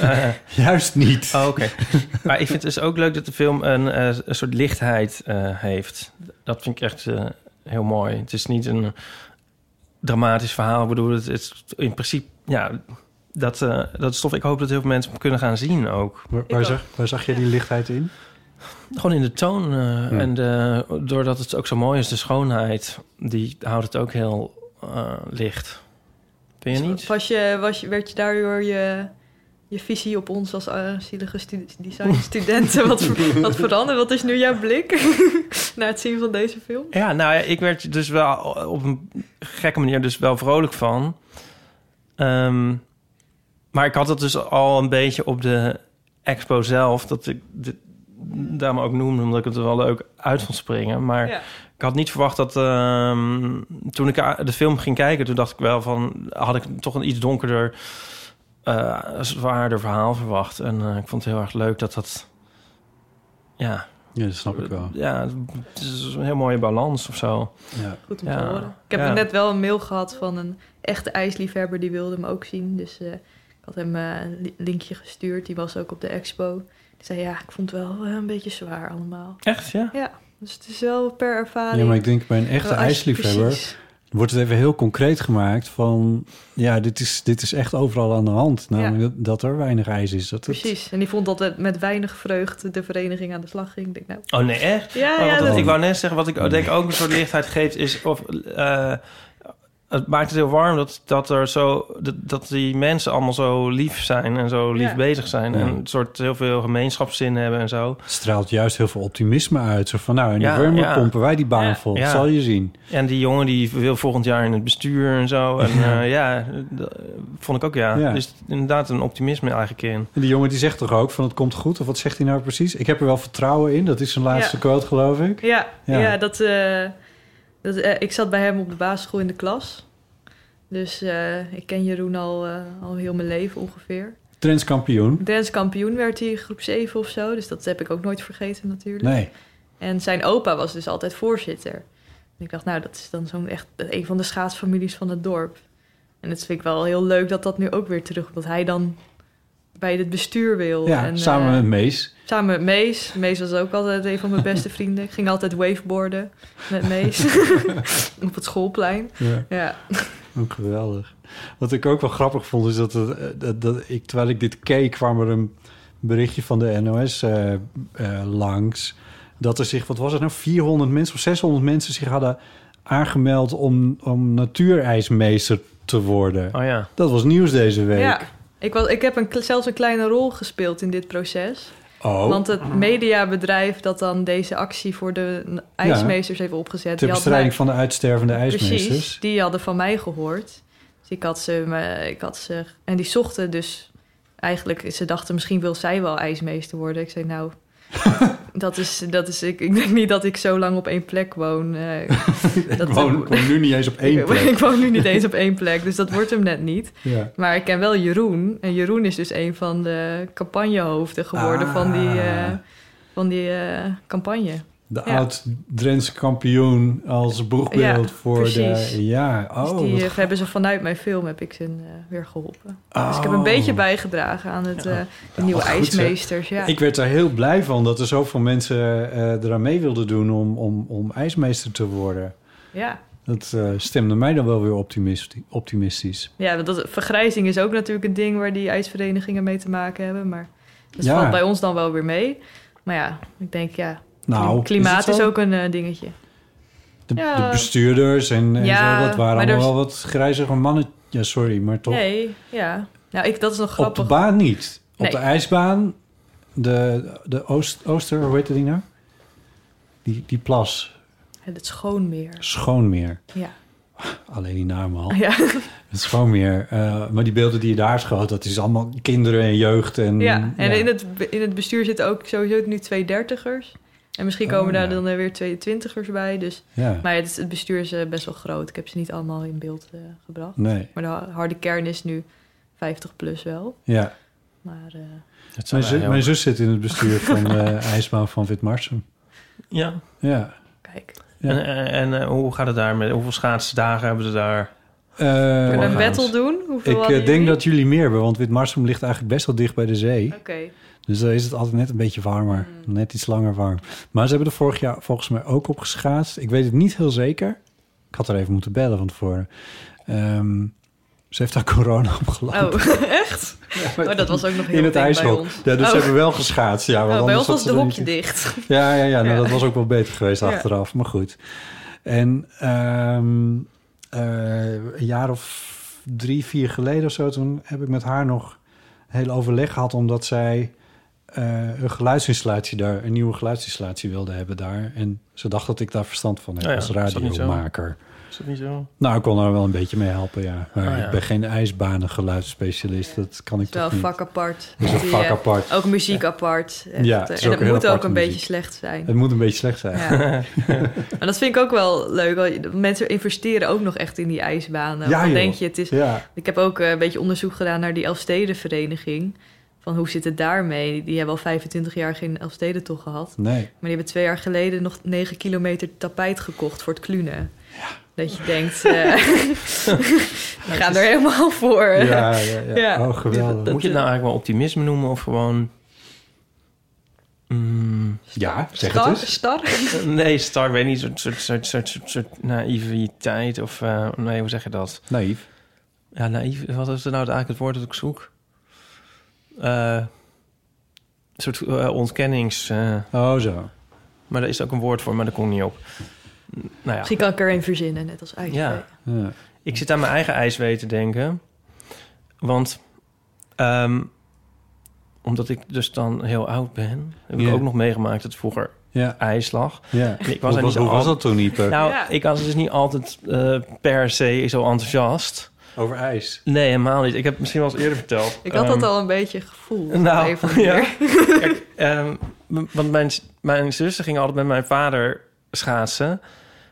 Speaker 3: Eh.
Speaker 2: juist niet.
Speaker 3: Oh, Oké. maar ik vind het dus ook leuk dat de film een, eh, een soort lichtheid eh, heeft. Dat vind ik echt eh, heel mooi. Het is niet een dramatisch verhaal. Ik bedoel, het is in principe... Ja, dat, eh, dat is tof. Ik hoop dat heel veel mensen hem kunnen gaan zien ook.
Speaker 2: Waar, waar zag, waar zag jij die lichtheid in?
Speaker 3: Gewoon in de toon. eh, En de- doordat het ook zo mooi is, de schoonheid... die houdt het ook heel eh, licht. Vind je
Speaker 2: Oh.
Speaker 3: niet?
Speaker 4: Was je, was je, werd je daardoor je, je visie op ons als eh, zielige stu- designstudenten wat, ver- wat veranderd? Wat is nu jouw blik na het zien van deze film?
Speaker 3: Ja, nou ja, ik werd er dus wel op een gekke manier dus wel vrolijk van. Ehm, maar ik had het dus al een beetje op de expo zelf, dat ik dit daarom ook noemde, omdat ik het er wel leuk uit vond springen. Maar
Speaker 4: Ja.
Speaker 3: ik had niet verwacht dat ehm, toen ik a- de film ging kijken, toen dacht ik wel van, had ik toch een iets donkerder, eh, zwaarder verhaal verwacht. En eh, ik vond het heel erg leuk dat dat, ja,
Speaker 2: Ja, dat snap ik wel.
Speaker 3: ja, het is een heel mooie balans of zo.
Speaker 2: Ja.
Speaker 4: Goed om
Speaker 3: Ja.
Speaker 4: te horen. Ik heb
Speaker 3: Ja.
Speaker 4: net wel een mail gehad van een echte ijsliefhebber, die wilde hem ook zien. Dus eh, ik had hem eh, een li- linkje gestuurd, die was ook op de expo. Die zei, ja, ik vond het wel eh, een beetje zwaar allemaal.
Speaker 3: Echt, ja?
Speaker 4: Ja, dus het is wel per ervaring.
Speaker 2: Ja, maar ik denk bij een echte
Speaker 4: Wel, Oh, als je-
Speaker 2: ijsliefhebber...
Speaker 4: precies.
Speaker 2: wordt het even heel concreet gemaakt van... ja, dit is, dit is echt overal aan de hand. Namelijk dat, dat er weinig ijs is. Dat het-
Speaker 4: Precies. En die vond dat het met weinig vreugde de vereniging aan de slag ging. Ik denk, nou,
Speaker 3: Oh nee, echt?
Speaker 4: Ja,
Speaker 3: Oh, want
Speaker 4: ja,
Speaker 3: dat-
Speaker 2: dat-
Speaker 3: Ik wou net zeggen, wat ik denk ook een soort lichtheid geeft, is of eh, het maakt het heel warm dat, dat er zo dat, dat die mensen allemaal zo lief zijn en zo lief
Speaker 4: Ja.
Speaker 3: bezig zijn.
Speaker 2: Ja.
Speaker 3: En een soort heel veel gemeenschapszin hebben en zo.
Speaker 2: straalt juist heel veel optimisme uit. Zo van, nou, in
Speaker 3: Ja,
Speaker 2: de warmer
Speaker 3: ja.
Speaker 2: pompen wij die baan
Speaker 4: Ja.
Speaker 2: vol.
Speaker 3: Ja.
Speaker 2: Zal je zien.
Speaker 3: En die jongen die wil volgend jaar in het bestuur en zo. En eh, ja, dat vond ik ook ja.
Speaker 2: Ja.
Speaker 3: Dus inderdaad een optimisme eigenlijk in.
Speaker 2: En die jongen die zegt toch ook van, het komt goed. Of wat zegt hij nou precies? Ik heb er wel vertrouwen in. Dat is zijn laatste
Speaker 4: Ja.
Speaker 2: quote, geloof ik.
Speaker 4: Ja,
Speaker 2: Ja.
Speaker 4: ja. dat, eh, dat, eh, ik zat bij hem op de basisschool in de klas. Dus eh, ik ken Jeroen al, eh, al heel mijn leven ongeveer.
Speaker 2: Trends kampioen.
Speaker 4: Dance kampioen werd hij groep 7 of zo. Dus dat heb ik ook nooit vergeten natuurlijk.
Speaker 2: Nee.
Speaker 4: En zijn opa was dus altijd voorzitter. En ik dacht, nou, dat is dan zo'n echt een van de schaatsfamilies van het dorp. En dat vind ik wel heel leuk dat dat nu ook weer terug... Dat hij dan bij het bestuur wil.
Speaker 2: Ja,
Speaker 4: en,
Speaker 2: samen
Speaker 4: eh,
Speaker 2: met Mees.
Speaker 4: Samen met Mees. Mees was ook altijd een van mijn beste vrienden. Ik ging altijd wakeboarden met Mees. Op het schoolplein.
Speaker 2: Ja.
Speaker 4: Ja.
Speaker 2: Ook geweldig. Wat ik ook wel grappig vond, is dat, het, eh, dat, dat ik, terwijl ik dit keek, kwam er een berichtje van de NOS eh, eh, langs. Dat er zich, wat was het nou, 400 mensen of 600 mensen zich hadden aangemeld om, om natuurijsmeester te worden.
Speaker 3: Oh ja.
Speaker 2: Dat was nieuws deze week.
Speaker 4: Ja, ik, was, ik heb een, kle- zelfs een kleine rol gespeeld in dit proces.
Speaker 2: Oh.
Speaker 4: Want het mediabedrijf dat dan deze actie voor de n- ijsmeesters heeft opgezet...
Speaker 2: Ter
Speaker 4: die had
Speaker 2: bestrijding
Speaker 4: mij-
Speaker 2: van de uitstervende ijsmeesters.
Speaker 4: Precies, die hadden van mij gehoord. Dus ik had ze... me- Ik had ze en die zochten dus... Eigenlijk, ze dachten misschien wil zij wel ijsmeester worden. Ik zei nou... Dat is, dat is, ik, ik denk niet dat ik zo lang op één plek woon. eh, dat-
Speaker 2: Ik woon, ik woon nu niet eens op één
Speaker 4: ik,
Speaker 2: plek.
Speaker 4: ik woon nu niet eens op één plek, dus dat wordt hem net niet.
Speaker 2: Ja.
Speaker 4: Maar ik ken wel Jeroen. En Jeroen is dus een van de campagnehoofden geworden
Speaker 2: Ah.
Speaker 4: van die, eh, van die eh, campagne.
Speaker 2: De
Speaker 4: Ja.
Speaker 2: oud-Drentse kampioen als boegbeeld
Speaker 4: Ja,
Speaker 2: voor
Speaker 4: precies.
Speaker 2: de... Ja,
Speaker 4: Dus
Speaker 2: oh,
Speaker 4: die
Speaker 2: wat
Speaker 4: eh, hebben ze vanuit mijn film heb ik ze eh, weer geholpen. Dus ik heb
Speaker 2: Oh.
Speaker 4: een beetje bijgedragen aan het, eh, de nieuwe
Speaker 2: wat goed, zeg.
Speaker 4: ijsmeesters. ja.
Speaker 2: Ik werd daar heel blij van dat er zoveel mensen eh, eraan mee wilden doen om, om, om ijsmeester te worden.
Speaker 4: ja.
Speaker 2: Dat eh, stemde mij dan wel weer optimisti- optimistisch.
Speaker 4: Ja, want dat, vergrijzing is ook natuurlijk een ding waar die ijsverenigingen mee te maken hebben. Maar dat
Speaker 2: Ja.
Speaker 4: valt bij ons dan wel weer mee. Maar ja, ik denk ja,
Speaker 2: Nou, is
Speaker 4: klimaat
Speaker 2: het
Speaker 4: is,
Speaker 2: zo?
Speaker 4: ook een eh, dingetje.
Speaker 2: De,
Speaker 4: Ja.
Speaker 2: de bestuurders en, en
Speaker 4: Ja,
Speaker 2: zo, dat
Speaker 4: maar
Speaker 2: waren
Speaker 4: er
Speaker 2: allemaal
Speaker 4: is-
Speaker 2: wel wat grijzige mannen. Ja, sorry, maar toch.
Speaker 4: Nee, ja. Nou, ik, dat is nog
Speaker 2: Oh. op de
Speaker 4: grappig.
Speaker 2: baan niet.
Speaker 4: Nee.
Speaker 2: Op de ijsbaan, de, de Oost, Ooster, hoe heette die nou? Die, die plas,
Speaker 4: Het schoonmeer.
Speaker 2: Schoonmeer.
Speaker 4: Ja.
Speaker 2: Alleen die naam al.
Speaker 4: Ja.
Speaker 2: Het is gewoon meer. eh, maar die beelden die je daar schoot, dat is allemaal kinderen en jeugd. En,
Speaker 4: ja. En In, het, be- in het bestuur zitten ook sowieso nu twee dertigers. En misschien komen
Speaker 2: Oh,
Speaker 4: daar
Speaker 2: ja.
Speaker 4: dan eh, weer twee twintigers bij. Dus.
Speaker 2: Ja.
Speaker 4: Maar het, is- het bestuur is eh, best wel groot. Ik heb ze niet allemaal in beeld eh, gebracht.
Speaker 2: Nee.
Speaker 4: Maar de ha- harde kern is nu 50 plus wel.
Speaker 2: Ja.
Speaker 4: Maar eh,
Speaker 2: Mijn,
Speaker 3: wij
Speaker 2: zu-
Speaker 3: ook.
Speaker 2: mijn zus zit in het bestuur van de ijsbaan van Witmarsum.
Speaker 3: Ja.
Speaker 2: Ja.
Speaker 4: Kijk.
Speaker 2: Ja.
Speaker 3: En, eh, en, eh, hoe gaat het daar? Met, hoeveel schaatsdagen hebben ze daar?
Speaker 4: kunnen we een
Speaker 3: Orgaans.
Speaker 4: battle doen? Hoeveel
Speaker 2: Eh, ik eh,
Speaker 4: hadden
Speaker 2: denk
Speaker 4: jullie?
Speaker 2: dat jullie meer hebben, want Witmarsum ligt eigenlijk best wel dicht bij de zee.
Speaker 4: Oké.
Speaker 2: Dus daar is het altijd net een beetje warmer.
Speaker 4: Mm.
Speaker 2: Net iets langer warm. Maar ze hebben er vorig jaar volgens mij ook op geschaatst. Ik weet het niet heel zeker. Ik had er even moeten bellen van tevoren. Ehm, ze heeft daar corona opgelopen.
Speaker 4: Oh, echt? Oh, dat was ook nog heel
Speaker 2: in het
Speaker 4: eng bij
Speaker 2: ijshok.
Speaker 4: ons.
Speaker 2: Ja, dus
Speaker 4: Oh.
Speaker 2: ze hebben wel geschaatst. Ja, want
Speaker 4: Oh, bij
Speaker 2: anders
Speaker 4: ons
Speaker 2: had
Speaker 4: was
Speaker 2: ze
Speaker 4: de
Speaker 2: er
Speaker 4: hokje
Speaker 2: niet-
Speaker 4: dicht.
Speaker 2: Ja, ja, ja, nou,
Speaker 4: Ja.
Speaker 2: dat was ook wel beter geweest
Speaker 4: Ja.
Speaker 2: achteraf. Maar goed. En ehm, eh, een jaar of drie, vier geleden of zo... toen heb ik met haar nog heel overleg gehad... omdat zij eh, een geluidsinstallatie daar... een nieuwe geluidsinstallatie wilde hebben daar. En ze dacht dat ik daar verstand van heb
Speaker 3: Ja, ja,
Speaker 2: als
Speaker 3: is dat niet zo?
Speaker 2: radiomaker.
Speaker 3: Is dat niet zo?
Speaker 2: Nou, ik kon haar wel een beetje mee helpen, ja. Maar
Speaker 3: Ah, ja.
Speaker 2: ik ben geen ijsbanengeluidsspecialist. Dat kan ik
Speaker 4: Het is wel
Speaker 2: toch
Speaker 4: een
Speaker 2: niet.
Speaker 4: vak apart.
Speaker 2: Hmm. Het is een
Speaker 4: Die,
Speaker 2: vak
Speaker 4: eh,
Speaker 2: apart.
Speaker 4: Ook muziek apart. Echt,
Speaker 2: Ja,
Speaker 4: eh,
Speaker 2: het is
Speaker 4: en
Speaker 2: ook
Speaker 4: het
Speaker 2: een heel
Speaker 4: moet ook
Speaker 2: aparte
Speaker 4: een beetje
Speaker 2: muziek.
Speaker 4: slecht zijn.
Speaker 2: Het moet een beetje slecht zijn.
Speaker 4: Ja. maar dat vind ik ook wel leuk. want Mensen investeren ook nog echt in die ijsbanen.
Speaker 2: Ja,
Speaker 4: Dan
Speaker 2: joh.
Speaker 4: denk je, het is...
Speaker 2: Ja.
Speaker 4: Ik heb ook eh, een beetje onderzoek gedaan naar die Elfstedenvereniging. Van hoe zit het daarmee? Die hebben al 25 jaar geen Elfstedentocht gehad.
Speaker 2: Nee.
Speaker 4: Maar die hebben twee jaar geleden nog 9 kilometer tapijt gekocht voor het klunen. Dat je denkt, eh we gaan er helemaal voor.
Speaker 2: Ja, ja, ja. Oh, geweldig.
Speaker 3: Moet je het nou eigenlijk wel optimisme noemen of gewoon... Mm,
Speaker 2: Ja, zeg het
Speaker 4: Star?
Speaker 2: eens.
Speaker 4: Star?
Speaker 3: nee, Star, ik weet niet, soort, soort, soort, soort, soort, soort naïviteit of... eh, nee, hoe zeg je dat?
Speaker 2: Naïef.
Speaker 3: Ja, naïef. Wat is er nou eigenlijk het woord dat ik zoek? Eh, een soort eh, ontkennings... eh,
Speaker 2: Oh, zo.
Speaker 3: maar daar is ook een woord voor, maar daar kom ik niet op. Mm, Nou ja.
Speaker 4: Misschien kan ik er een verzinnen, net als ijs.
Speaker 3: Ja.
Speaker 2: Ja.
Speaker 3: Ik zit aan mijn eigen ijswee te denken. Want ehm, omdat ik dus dan heel oud ben, heb ik
Speaker 2: Ja.
Speaker 3: ook nog meegemaakt dat vroeger
Speaker 2: Ja.
Speaker 3: ijs lag.
Speaker 2: ja.
Speaker 3: En ik
Speaker 2: Hoe,
Speaker 3: was er niet
Speaker 2: was,
Speaker 3: zo
Speaker 2: hoe was
Speaker 3: al-
Speaker 2: dat toen, Ieper?
Speaker 3: Nou,
Speaker 4: Ja.
Speaker 3: ik was dus niet altijd eh, per se zo enthousiast.
Speaker 2: Over ijs.
Speaker 3: Nee, helemaal niet. Ik heb het misschien wel eens eerder verteld.
Speaker 4: Ik had dat
Speaker 3: Ehm,
Speaker 4: al een beetje gevoeld.
Speaker 3: nou,
Speaker 4: op een of andere
Speaker 3: ja.
Speaker 4: manier.
Speaker 3: Kijk, ehm, m- want mijn, mijn zussen gingen altijd met mijn vader schaatsen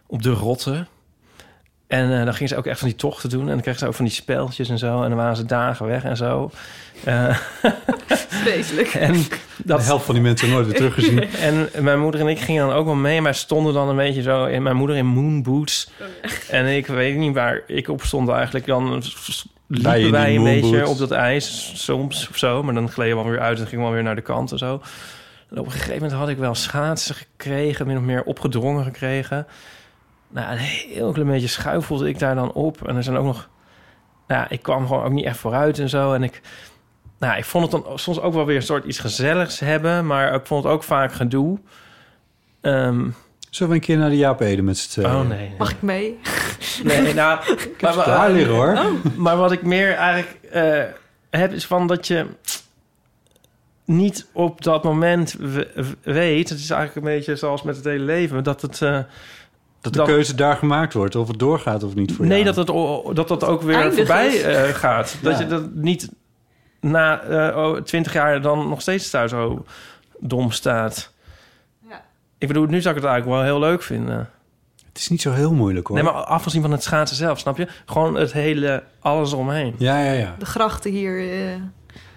Speaker 3: op de rotten. En eh, dan gingen ze ook echt van die tochten doen. En dan kregen ze ook van die speltjes en zo. En dan waren ze dagen weg en zo. Eh,
Speaker 4: Vreselijk.
Speaker 3: en,
Speaker 2: De
Speaker 3: dat,
Speaker 2: helft van die mensen nooit weer teruggezien.
Speaker 3: en mijn moeder en ik gingen dan ook wel mee. Maar stonden dan een beetje zo... In, mijn moeder in moonboots. En ik weet niet waar ik op stond eigenlijk. Dan liepen
Speaker 7: in die
Speaker 3: wij een beetje
Speaker 7: moonboots.
Speaker 3: op dat ijs soms of zo. Maar dan gleden we alweer uit en gingen we alweer naar de kant en zo. En op een gegeven moment had ik wel schaatsen gekregen, min of meer opgedrongen gekregen. Nou, een heel klein beetje schuif voelde ik daar dan op. En er zijn ook nog... Nou, ja, ik kwam gewoon ook niet echt vooruit en zo. En ik... Nou, ik vond het dan soms ook wel weer een soort iets gezelligs hebben. Maar ik vond het ook vaak gedoe. Ehm,
Speaker 2: Zullen we een keer naar de Jaap Ede met z'n tweeën?
Speaker 3: Oh, nee, nee.
Speaker 4: Mag ik mee?
Speaker 3: Nee, nou,
Speaker 2: heb ze daar liggen, hoor.
Speaker 3: Oh. Maar wat ik meer eigenlijk eh, heb is van dat je niet op dat moment we- we- weet. Het is eigenlijk een beetje zoals met het hele leven dat het. eh,
Speaker 2: Dat de keuze daar gemaakt wordt, of het doorgaat of niet voor
Speaker 3: nee,
Speaker 2: jou.
Speaker 3: dat, het, o- dat dat ook weer
Speaker 2: eindig
Speaker 3: voorbij
Speaker 2: is.
Speaker 3: eh, gaat. Dat
Speaker 2: Ja.
Speaker 3: je dat niet na eh, oh, twintig jaar dan nog steeds daar zo dom staat. Ik bedoel, nu zou ik het eigenlijk wel heel leuk vinden.
Speaker 2: Het is niet zo heel moeilijk hoor.
Speaker 3: Nee, maar afgezien van het schaatsen zelf, snap je? Gewoon het hele alles omheen.
Speaker 2: Ja, ja, ja.
Speaker 4: De grachten hier. eh,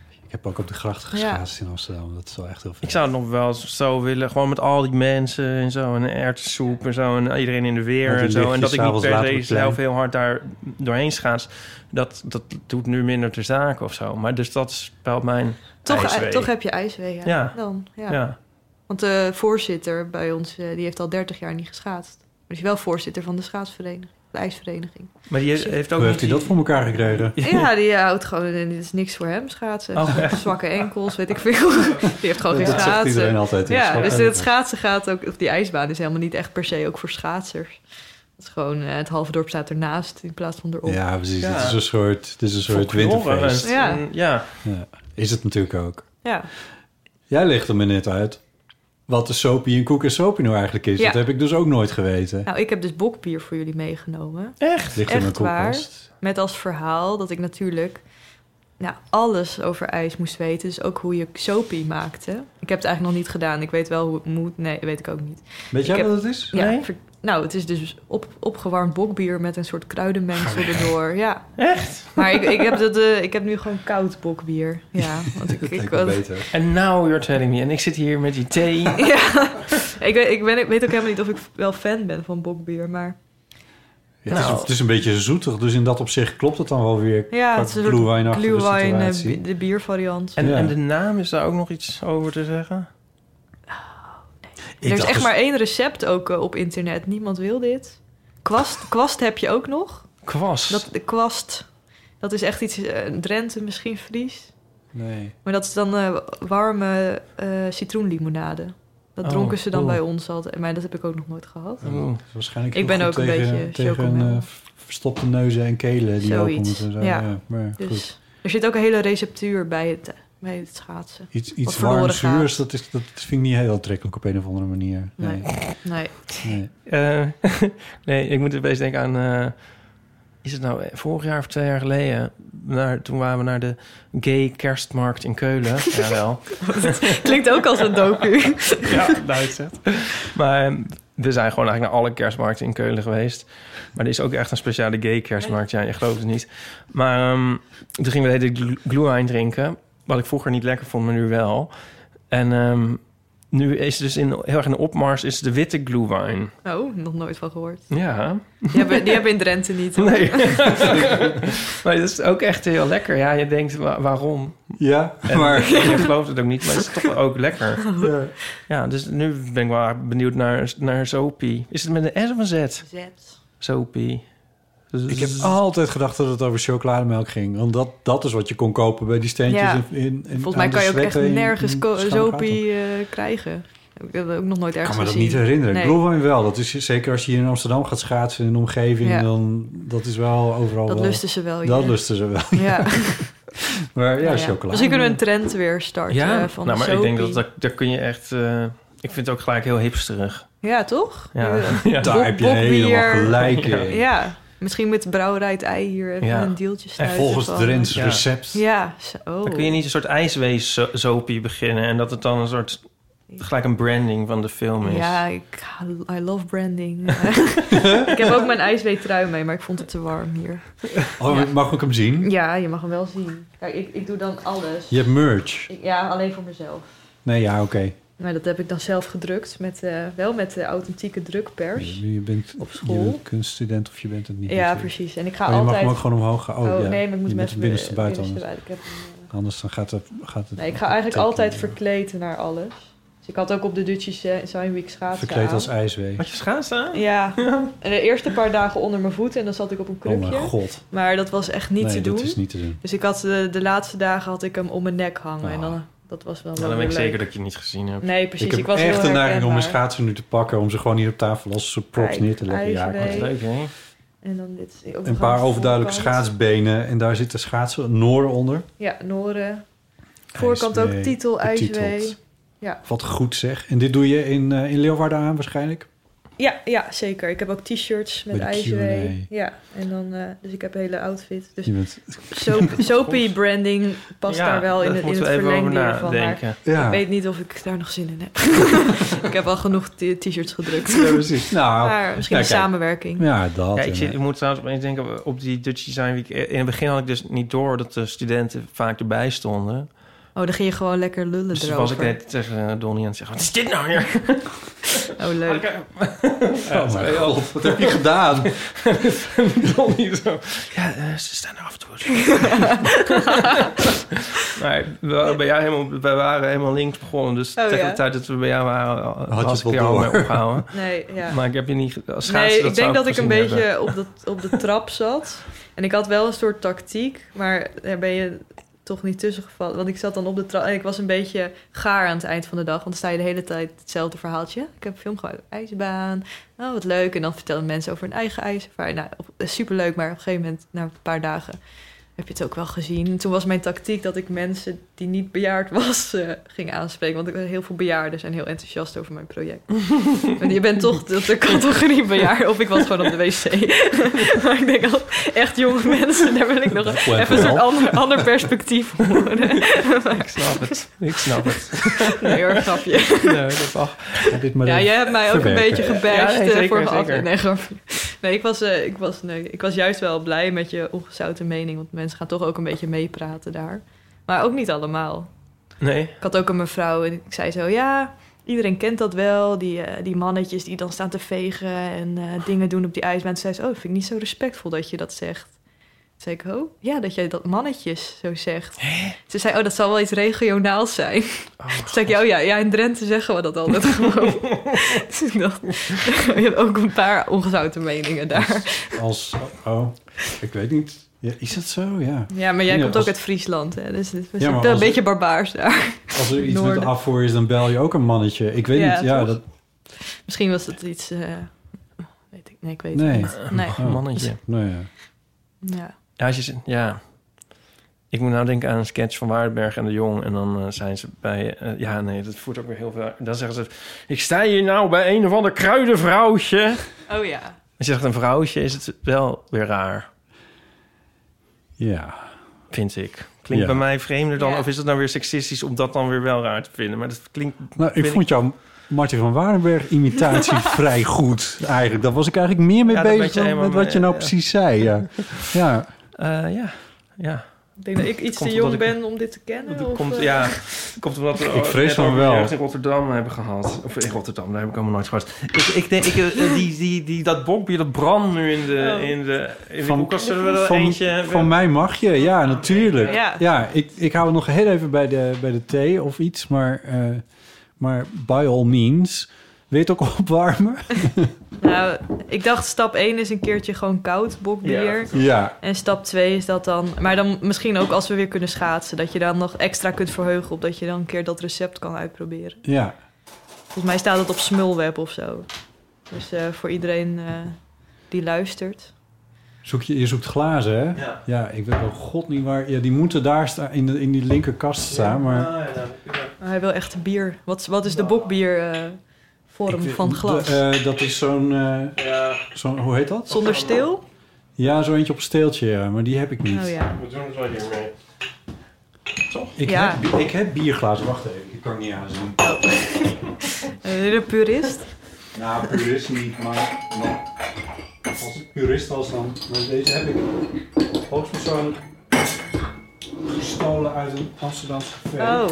Speaker 2: Ik heb ook op de grachten geschaatst in Amsterdam. Dat is wel echt heel
Speaker 3: Ik zou het nog wel zo willen, gewoon met al die mensen en zo, en erwtensoep en zo, en iedereen in de
Speaker 2: Met
Speaker 3: weer
Speaker 2: die
Speaker 3: en zo. En dat
Speaker 2: lichtjes
Speaker 3: ik niet
Speaker 2: s'avonds
Speaker 3: per
Speaker 2: later op
Speaker 3: se
Speaker 2: het plein.
Speaker 3: zelf heel hard daar doorheen schaats, dat, dat doet nu minder ter zake of zo. Maar dus dat is wel mijn
Speaker 4: Toch,
Speaker 3: ijswee.
Speaker 4: toch heb je ijswee, ja.
Speaker 3: Ja.
Speaker 4: Dan, ja.
Speaker 3: Ja.
Speaker 4: Want de voorzitter bij ons, eh, die heeft al 30 jaar niet geschaatst. Maar die is wel voorzitter van de schaatsvereniging, de ijsvereniging.
Speaker 3: Maar die heeft ook
Speaker 2: Hoe
Speaker 3: niet
Speaker 2: heeft hij dat voor elkaar gekregen?
Speaker 4: Ja, die eh, houdt gewoon, en dit is niks voor hem, schaatsen.
Speaker 2: Oh, ja.
Speaker 4: Zwakke enkels, weet ik veel. Die heeft gewoon geen
Speaker 2: Dat zegt
Speaker 4: schaatsen.
Speaker 2: iedereen altijd, die
Speaker 4: Ja,
Speaker 2: zwakke
Speaker 4: dus het
Speaker 2: enkels.
Speaker 4: schaatsen gaat ook, of die ijsbaan is helemaal niet echt per se ook voor schaatsers. Het is gewoon, eh, het halve dorp staat ernaast in plaats van erop.
Speaker 2: Ja, precies.
Speaker 4: Ja.
Speaker 2: Dit is een soort, dit is een soort
Speaker 3: Folklore,
Speaker 2: winterfeest.
Speaker 4: en- Ja.
Speaker 3: ja.
Speaker 2: Is het natuurlijk ook.
Speaker 4: Ja.
Speaker 2: Jij legt er me net uit wat de soapie en koek en soapie nou eigenlijk is.
Speaker 4: Ja.
Speaker 2: Dat heb ik dus ook nooit geweten.
Speaker 4: Nou, ik heb dus bokbier voor jullie meegenomen.
Speaker 3: Echt?
Speaker 2: Ligt in mijn
Speaker 4: Echt waar.
Speaker 2: koelkast.
Speaker 4: Met als verhaal dat ik natuurlijk nou, alles over ijs moest weten. Dus ook hoe je sopie maakte. Ik heb het eigenlijk nog niet gedaan. Ik weet wel hoe het moet. Nee, weet ik ook niet.
Speaker 2: Weet jij
Speaker 4: Ik heb-
Speaker 2: wat het is?
Speaker 4: Ja,
Speaker 2: Nee?
Speaker 4: ver- nou, het is dus op, opgewarmd bokbier met een soort kruidenmengsel erdoor. Ja.
Speaker 3: Echt?
Speaker 4: Maar ik, ik, heb dat, eh, ik heb nu gewoon koud bokbier. Ja, want ik, ik, was-
Speaker 3: En now you're telling me. En ik zit hier met die thee.
Speaker 4: ja, ik, weet, ik, ben, ik weet ook helemaal niet of ik wel fan ben van bokbier, maar...
Speaker 2: Ja, het,
Speaker 4: Nou.
Speaker 2: is, het is een beetje zoetig, dus in dat opzicht klopt het dan wel weer.
Speaker 4: Ja,
Speaker 2: qua
Speaker 4: het is een soort
Speaker 2: glühweinachtige
Speaker 4: glühwein, eh,
Speaker 2: situatie.
Speaker 4: bi- de biervariant.
Speaker 3: En, en de naam, is daar ook nog iets over te zeggen?
Speaker 4: er is
Speaker 2: dus-
Speaker 4: echt maar één recept ook eh, op internet. Niemand wil dit.
Speaker 2: Ah.
Speaker 4: Kwast, kwast heb je ook nog.
Speaker 3: Kwast?
Speaker 4: Dat, de kwast, dat is echt iets... eh, Drenthe, misschien Fries.
Speaker 2: Nee.
Speaker 4: Maar dat is dan eh, warme eh, citroenlimonade. Dat
Speaker 2: Oh,
Speaker 4: dronken ze dan
Speaker 2: oeh.
Speaker 4: bij ons altijd. Maar dat heb ik ook nog nooit gehad.
Speaker 2: Oeh, dat is waarschijnlijk
Speaker 4: ik ben
Speaker 2: heel
Speaker 4: ook
Speaker 2: goed
Speaker 4: een
Speaker 2: tegen,
Speaker 4: beetje
Speaker 2: tegen
Speaker 4: chocomel.
Speaker 2: eh, verstopte neuzen en kelen die open
Speaker 4: Zoiets.
Speaker 2: moeten. Zo,
Speaker 4: ja.
Speaker 2: ja, maar goed.
Speaker 4: dus er zit ook een hele receptuur bij het, eh, bij het schaatsen.
Speaker 2: Iets,
Speaker 4: Wat
Speaker 2: iets
Speaker 4: verloren
Speaker 2: warm
Speaker 4: gaat.
Speaker 2: zuurs, dat, is, dat vind ik niet heel aantrekkelijk op een of andere manier. Nee.
Speaker 4: Nee.
Speaker 2: Nee.
Speaker 3: Eh, nee, ik moet opeens denken aan... eh, is het nou vorig jaar of twee jaar geleden? Naar, toen waren we naar de gay kerstmarkt in Keulen. Jawel.
Speaker 4: Klinkt ook als een docu.
Speaker 3: ja, Duits het. Maar eh, we zijn gewoon eigenlijk naar alle kerstmarkten in Keulen geweest. Maar er is ook echt een speciale gay kerstmarkt. Ja, je gelooft het niet. Maar ehm, toen gingen we de hele tijd gl- glühwein drinken. Wat ik vroeger niet lekker vond, maar nu wel. En ehm, nu is dus in, heel erg in de opmars is de witte glühwein.
Speaker 4: Oh, nog nooit van gehoord.
Speaker 3: Ja.
Speaker 4: Die hebben, die hebben in Drenthe niet. hoor.
Speaker 3: Nee. maar dat is ook echt heel lekker. Ja, je denkt, wa- waarom?
Speaker 2: Ja,
Speaker 3: En
Speaker 2: maar-
Speaker 3: Je gelooft het ook niet, maar het is toch ook lekker.
Speaker 2: Ja.
Speaker 3: Ja, dus nu ben ik wel benieuwd naar, naar Zopie. Is het met een S of een Z? Dus-
Speaker 4: Z.
Speaker 3: Zopie.
Speaker 2: Ik heb altijd gedacht dat het over chocolademelk ging. Want dat, dat is wat je kon kopen bij die steentjes.
Speaker 4: Ja.
Speaker 2: in, in, in-
Speaker 4: Volgens mij
Speaker 2: aan de
Speaker 4: kan je ook echt
Speaker 2: Sweater in-
Speaker 4: nergens
Speaker 2: in
Speaker 4: ko-
Speaker 2: Schaangaten.
Speaker 4: zopie eh, krijgen. Ik heb dat ook nog nooit
Speaker 2: Ik
Speaker 4: ergens
Speaker 2: kan me dat
Speaker 4: gezien.
Speaker 2: niet herinneren.
Speaker 4: Nee.
Speaker 2: Ik bedoel wel. Dat is, zeker als je hier in Amsterdam gaat schaatsen in de omgeving...
Speaker 4: Ja.
Speaker 2: dan dat is wel overal
Speaker 4: Dat
Speaker 2: wel-
Speaker 4: lusten ze wel,
Speaker 2: Dat
Speaker 4: ja.
Speaker 2: lusten ze wel.
Speaker 4: Ja.
Speaker 2: maar ja,
Speaker 4: Nou ja.
Speaker 2: chocolade.
Speaker 4: Misschien kunnen we een trend weer starten
Speaker 3: Ja,
Speaker 4: eh, van
Speaker 3: nou, maar ik denk dat,
Speaker 4: Zopie.
Speaker 3: dat daar kun je echt... eh, ik vind het ook gelijk heel hipsterig.
Speaker 4: Ja, toch?
Speaker 3: Ja.
Speaker 4: Eh,
Speaker 3: Ja. Daar
Speaker 4: bok-
Speaker 3: heb je helemaal
Speaker 4: bokbier.
Speaker 3: gelijk in.
Speaker 4: Ja. Misschien met brouwerij het ei hier even
Speaker 3: Ja.
Speaker 4: een deeltje
Speaker 3: En
Speaker 4: snuiten.
Speaker 3: volgens
Speaker 4: van-
Speaker 3: het Drents Ja. recept.
Speaker 4: Ja, zo.
Speaker 3: Dan kun je niet een soort ijswees-zopie beginnen... en dat het dan een soort... gelijk een branding van de film is.
Speaker 4: Ja, ik, I love branding. ik heb ook mijn ijsweetrui mee, maar ik vond het te warm hier.
Speaker 2: Oh, Mag ik hem zien?
Speaker 4: Ja, je mag hem wel zien. Kijk, ik, ik doe dan alles.
Speaker 2: Je hebt merch.
Speaker 4: Ik- Ja, alleen voor mezelf.
Speaker 2: Nee, ja, oké.
Speaker 4: Maar Nou, dat heb ik dan zelf gedrukt, met, eh, wel met de authentieke drukpers.
Speaker 2: Je bent,
Speaker 4: Op school.
Speaker 2: je bent kunststudent of je bent het niet.
Speaker 4: Ja, precies. En ik ga
Speaker 2: Oh, je mag
Speaker 4: altijd...
Speaker 2: hem ook gewoon omhoog gaan. Oh, ja.
Speaker 4: nee, maar ik moet
Speaker 2: Je
Speaker 4: hem
Speaker 2: moet
Speaker 4: even
Speaker 2: het binnenste buiten
Speaker 4: binnenste buiten. Ik, heb hem, eh,
Speaker 2: Anders dan gaat het... Gaat het
Speaker 4: nee, ik ga eigenlijk altijd verkleed naar alles. Dus ik had ook op de Dutchie eh, Zijn Week schaatsen
Speaker 2: Verkleed
Speaker 4: aan.
Speaker 2: als ijswee.
Speaker 3: Had je schaatsen Nou, aan?
Speaker 4: Ja. En de eerste paar dagen onder mijn voeten en dan zat ik op een
Speaker 2: Oh
Speaker 4: krukje.
Speaker 2: mijn god.
Speaker 4: Maar dat was echt niet
Speaker 2: nee,
Speaker 4: te doen.
Speaker 2: dat is niet te doen.
Speaker 4: Dus ik had de, de laatste dagen had ik hem om mijn nek hangen. En
Speaker 2: Ah.
Speaker 4: dan, dat was wel
Speaker 3: Ja, Nou, dan ben
Speaker 4: weer
Speaker 3: ik
Speaker 4: leuk.
Speaker 3: zeker dat je het niet gezien hebt.
Speaker 4: Nee, precies.
Speaker 2: ik
Speaker 4: Ik,
Speaker 2: heb
Speaker 4: was
Speaker 2: echt
Speaker 4: heel
Speaker 2: de neiging om mijn
Speaker 4: herkenbaar.
Speaker 2: schaatsen nu te pakken... om ze gewoon hier op tafel als soort props
Speaker 4: Kijk,
Speaker 2: neer te leggen. Ja, ik-
Speaker 4: ijswee.
Speaker 3: Wat leuk, hè?
Speaker 4: En dan dit. ook nog aan
Speaker 2: een
Speaker 4: de
Speaker 2: paar overduidelijke
Speaker 4: voorkant.
Speaker 2: schaatsbenen... en daar zitten schaatsen, Noorden onder.
Speaker 4: Ja, Noren. Voorkant ook
Speaker 2: IJswee,
Speaker 4: titel,
Speaker 2: betiteld.
Speaker 4: IJswee. Ja.
Speaker 2: Wat goed zeg. En dit doe je in, eh, in Leeuwarden aan waarschijnlijk?
Speaker 4: Ja, ja, zeker. Ik heb ook t-shirts met
Speaker 2: Bij de
Speaker 4: IJswee. Ja, en dan, eh, dus ik heb een hele outfit. Dus
Speaker 2: Je bent,
Speaker 4: soap, soapy branding past
Speaker 3: Ja,
Speaker 4: daar wel in,
Speaker 3: daar
Speaker 4: het- in
Speaker 3: moeten
Speaker 4: het
Speaker 3: we even over
Speaker 4: verlengde hiervan. Maar
Speaker 3: nadenken.
Speaker 2: ja.
Speaker 4: ik weet niet of ik daar nog zin in heb. ik heb al genoeg t- t-shirts gedrukt.
Speaker 2: Ja, precies. Nou,
Speaker 4: Maar misschien
Speaker 2: ja,
Speaker 4: een
Speaker 2: kijk.
Speaker 4: samenwerking.
Speaker 2: Ja, dat.
Speaker 3: Ja, ik,
Speaker 2: en,
Speaker 3: zit,
Speaker 2: eh,
Speaker 3: ik moet trouwens opeens denken op die Dutch Design Week. In het begin had ik dus niet door dat de studenten vaak erbij stonden.
Speaker 4: Oh, dan ging je gewoon lekker lullen
Speaker 3: Dus toen
Speaker 4: erover.
Speaker 3: was ik net tegen eh, Donnie aan het zeggen... Wat is dit nou weer?
Speaker 4: Oh, leuk.
Speaker 2: oh mijn god, wat heb je gedaan?
Speaker 3: Donnie zo... Ja, eh, ze staan er af en toe. maar we waren, bij jou helemaal, wij waren helemaal links begonnen. Dus
Speaker 4: Oh,
Speaker 3: tegen
Speaker 4: ja.
Speaker 3: de tijd dat we bij jou waren... al-
Speaker 2: je
Speaker 3: was
Speaker 2: het
Speaker 3: ik
Speaker 2: wel
Speaker 3: er al
Speaker 2: door.
Speaker 3: mee opgehouden.
Speaker 4: Nee, ja.
Speaker 3: Maar ik heb je niet... ge- als schaatsen,
Speaker 4: Nee, ik
Speaker 3: zou
Speaker 4: denk dat ik een
Speaker 3: gezien hebben.
Speaker 4: beetje op de, op de trap zat. En ik had wel een soort tactiek, maar daar ben je toch niet tussen gevallen. Want ik zat dan op de trap en ik was een beetje gaar aan het eind van de dag. Want dan sta je de hele tijd hetzelfde verhaaltje. Ik heb een film gemaakt op de ijsbaan. Oh, wat leuk. En dan vertellen mensen over hun eigen ijservaring. Nou, op, superleuk, maar op een gegeven moment, na een paar dagen... Heb je het ook wel gezien? En Toen was mijn tactiek dat ik mensen die niet bejaard was, eh, ging aanspreken. Want ik, heel veel bejaarden zijn heel enthousiast over mijn project. Want je bent toch de, de categorie bejaard. Of ik was gewoon op de wc. maar ik denk, al, echt jonge mensen, daar wil ik nog
Speaker 2: went
Speaker 4: even een soort
Speaker 2: well.
Speaker 4: ander, ander perspectief op horen.
Speaker 3: Ik snap het. Ik snap het.
Speaker 4: nee hoor, grapje.
Speaker 3: Nee, dat mag.
Speaker 2: Heb dit maar
Speaker 4: Ja,
Speaker 2: even-
Speaker 4: jij hebt mij ook
Speaker 2: verwerken.
Speaker 4: een beetje gebashed
Speaker 3: Ja, nee,
Speaker 4: eh,
Speaker 3: zeker,
Speaker 4: vorige
Speaker 3: zeker.
Speaker 4: aflevering. Nee, grapje. Nee, ik was, eh, ik, was, nee, ik was juist wel blij met je ongezouten mening. Want mensen gaan toch ook een beetje meepraten daar. Maar ook niet allemaal.
Speaker 3: Nee.
Speaker 4: Ik had ook een mevrouw en ik zei zo, ja, iedereen kent dat wel. Die, eh, die mannetjes die dan staan te vegen en eh, dingen doen op die ijsbaan. Toen zei ze, oh, dat vind ik niet zo respectvol dat je dat zegt. Toen zei ik, oh, ja, dat jij dat mannetjes zo zegt. Ze zei, oh, dat zal wel iets regionaals zijn. Toen zei ik, oh ja, ja, in Drenthe zeggen we dat altijd gewoon. dus ik dacht, je hebt ook een paar ongezouten meningen daar.
Speaker 2: Als, oh, ik weet niet. Ja, is dat zo? Ja.
Speaker 4: Ja, maar jij
Speaker 2: Ja,
Speaker 4: komt
Speaker 2: als-
Speaker 4: ook uit Friesland, hè, dus we
Speaker 2: Ja,
Speaker 4: zitten
Speaker 2: maar
Speaker 4: wel een
Speaker 2: als-
Speaker 4: beetje barbaars daar.
Speaker 2: Als er iets
Speaker 4: Noorden.
Speaker 2: met afvoer is, dan bel je ook een mannetje. Ik weet
Speaker 4: Ja,
Speaker 2: niet. Ja,
Speaker 4: toch?
Speaker 2: dat,
Speaker 4: Misschien was dat iets... eh, weet ik, nee, ik weet
Speaker 2: Nee.
Speaker 4: het niet. Nee.
Speaker 2: Oh.
Speaker 3: Mannetje.
Speaker 2: nou ja.
Speaker 4: Ja.
Speaker 3: Ja, als je, ze- ja. Ik moet nou denken aan een sketch van Waardenberg en de Jong. En dan eh, zijn ze bij... eh, ja, nee, dat voert ook weer heel veel... Dan zeggen ze... Ik sta hier nou bij een of ander kruidenvrouwtje.
Speaker 4: Oh ja.
Speaker 3: Als je zegt een vrouwtje, is het wel weer raar.
Speaker 2: Ja.
Speaker 3: Vind ik. Klinkt
Speaker 2: Ja.
Speaker 3: bij mij vreemder dan...
Speaker 4: Ja.
Speaker 3: Of is het nou weer seksistisch om dat dan weer wel raar te vinden? Maar dat klinkt...
Speaker 2: Nou, ik
Speaker 3: vind
Speaker 2: vond jouw Martin van Warenberg imitatie vrij goed eigenlijk. Daar was ik eigenlijk meer mee
Speaker 3: Ja, daar ben
Speaker 2: bezig
Speaker 3: je
Speaker 2: dan
Speaker 3: helemaal
Speaker 2: met wat je
Speaker 3: mee,
Speaker 2: nou
Speaker 3: ja.
Speaker 2: precies zei. Ja. ja.
Speaker 3: eh, ja, ja.
Speaker 4: Ik denk dat ik iets
Speaker 3: Komt
Speaker 4: te jong
Speaker 3: omdat ik-
Speaker 4: ben om dit te kennen.
Speaker 3: Dat
Speaker 4: of,
Speaker 3: komt,
Speaker 4: eh,
Speaker 3: ja, komt omdat we
Speaker 2: Ik vrees
Speaker 3: net
Speaker 2: van
Speaker 3: ook
Speaker 2: wel.
Speaker 3: ergens in Rotterdam hebben gehad. Of in Rotterdam, daar heb ik allemaal nooit gehoord. Ik, ik denk, ik, eh, die, die, die, dat bokbier, dat brandt nu in de,
Speaker 4: Oh.
Speaker 3: in de, in de koelkast. Zullen we er
Speaker 2: van,
Speaker 3: eentje...
Speaker 2: van mij mag je, ja, natuurlijk.
Speaker 4: Ja.
Speaker 2: Ja, ik, ik hou nog heel even bij de, bij de thee of iets, maar, eh, maar by all means. Wil je het ook opwarmen?
Speaker 4: Nou, ik dacht stap 1 is een keertje gewoon koud bokbier.
Speaker 2: Ja.
Speaker 4: En stap 2 is dat dan... Maar dan misschien ook als we weer kunnen schaatsen... dat je dan nog extra kunt verheugen... op dat je dan een keer dat recept kan uitproberen.
Speaker 2: Ja.
Speaker 4: Volgens mij staat het op Smulweb of zo. Dus eh, voor iedereen eh, die luistert.
Speaker 2: Zoek je, je zoekt glazen, hè?
Speaker 3: Ja.
Speaker 2: ik weet wel god niet waar... Ja, die moeten daar staan, in, de, in die linkerkast staan, maar...
Speaker 4: Maar hij wil echt bier. Wat, wat is de bokbiervorm eh, vorm
Speaker 2: Ik-
Speaker 4: van glas?
Speaker 2: de- eh, dat is zo'n... eh, zo'n hoe heet dat?
Speaker 4: Zonder steel?
Speaker 2: Ja, zo eentje op steeltje, ja, maar die heb ik niet.
Speaker 4: Oh ja.
Speaker 3: We doen het wel hiermee.
Speaker 2: ik,
Speaker 4: Ja.
Speaker 2: heb, bi- ik heb bierglazen, wacht even, ik kan het niet aanzien.
Speaker 4: Eh, de purist?
Speaker 2: Nou, purist niet, maar, maar als ik purist was dan... Maar deze heb ik hoogstpersoonlijk gestolen uit een Amsterdamse café.
Speaker 4: Oh.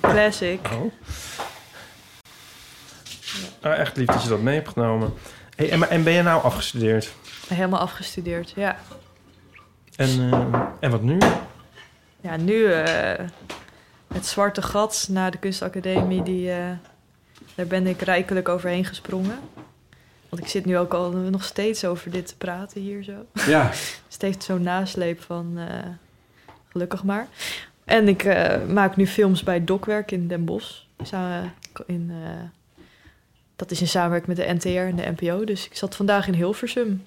Speaker 4: Classic.
Speaker 3: Oh. Ah, echt lief dat je dat mee hebt genomen. Hey, en, maar- en ben je nou afgestudeerd?
Speaker 4: Helemaal afgestudeerd, ja.
Speaker 3: En, eh, en wat nu?
Speaker 4: Ja, nu eh, het zwarte gat na de kunstacademie, die, eh, daar ben ik rijkelijk overheen gesprongen. Want ik zit nu ook al nog steeds over dit te praten hier zo.
Speaker 2: Ja.
Speaker 4: dus het heeft zo'n nasleep van eh, gelukkig maar. En ik eh, maak nu films bij Dokwerk in Den Bosch. Samen in, eh, dat is in samenwerking met de NTR en de NPO. Dus ik zat vandaag in Hilversum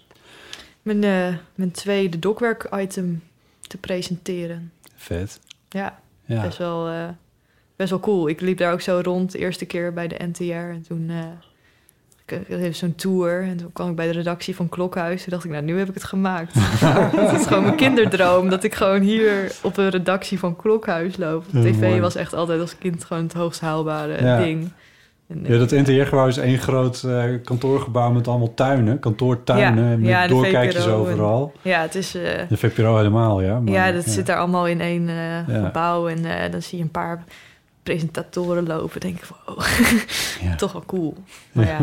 Speaker 4: mijn, eh, mijn tweede Dokwerk-item te presenteren.
Speaker 2: Vet.
Speaker 4: Ja,
Speaker 2: Ja.
Speaker 4: Best, wel, eh, best wel cool. Ik liep daar ook zo rond, de eerste keer bij de NTR. En toen eh ik, ik had even zo'n tour. En toen kwam ik bij de redactie van Klokhuis. Toen dacht ik, nou, nu heb ik het gemaakt. Het is gewoon mijn kinderdroom. Dat ik gewoon hier op een redactie van Klokhuis loop.
Speaker 2: Ja,
Speaker 4: TV
Speaker 2: mooi.
Speaker 4: was echt altijd als kind gewoon het hoogst haalbare
Speaker 2: Ja.
Speaker 4: ding. En,
Speaker 2: Ja, dat NTR-gebouw is één groot eh, kantoorgebouw met allemaal tuinen. Kantoortuinen
Speaker 4: Ja,
Speaker 2: met
Speaker 4: ja, de
Speaker 2: doorkijkjes
Speaker 4: VPRO en-
Speaker 2: overal.
Speaker 4: ja, het is... eh,
Speaker 2: De VPRO helemaal, ja. maar-
Speaker 4: ja, dat zit daar allemaal in één eh,
Speaker 2: Ja.
Speaker 4: gebouw. En eh, dan zie je een paar presentatoren lopen. denk ik, wow, toch wel cool. Maar ja,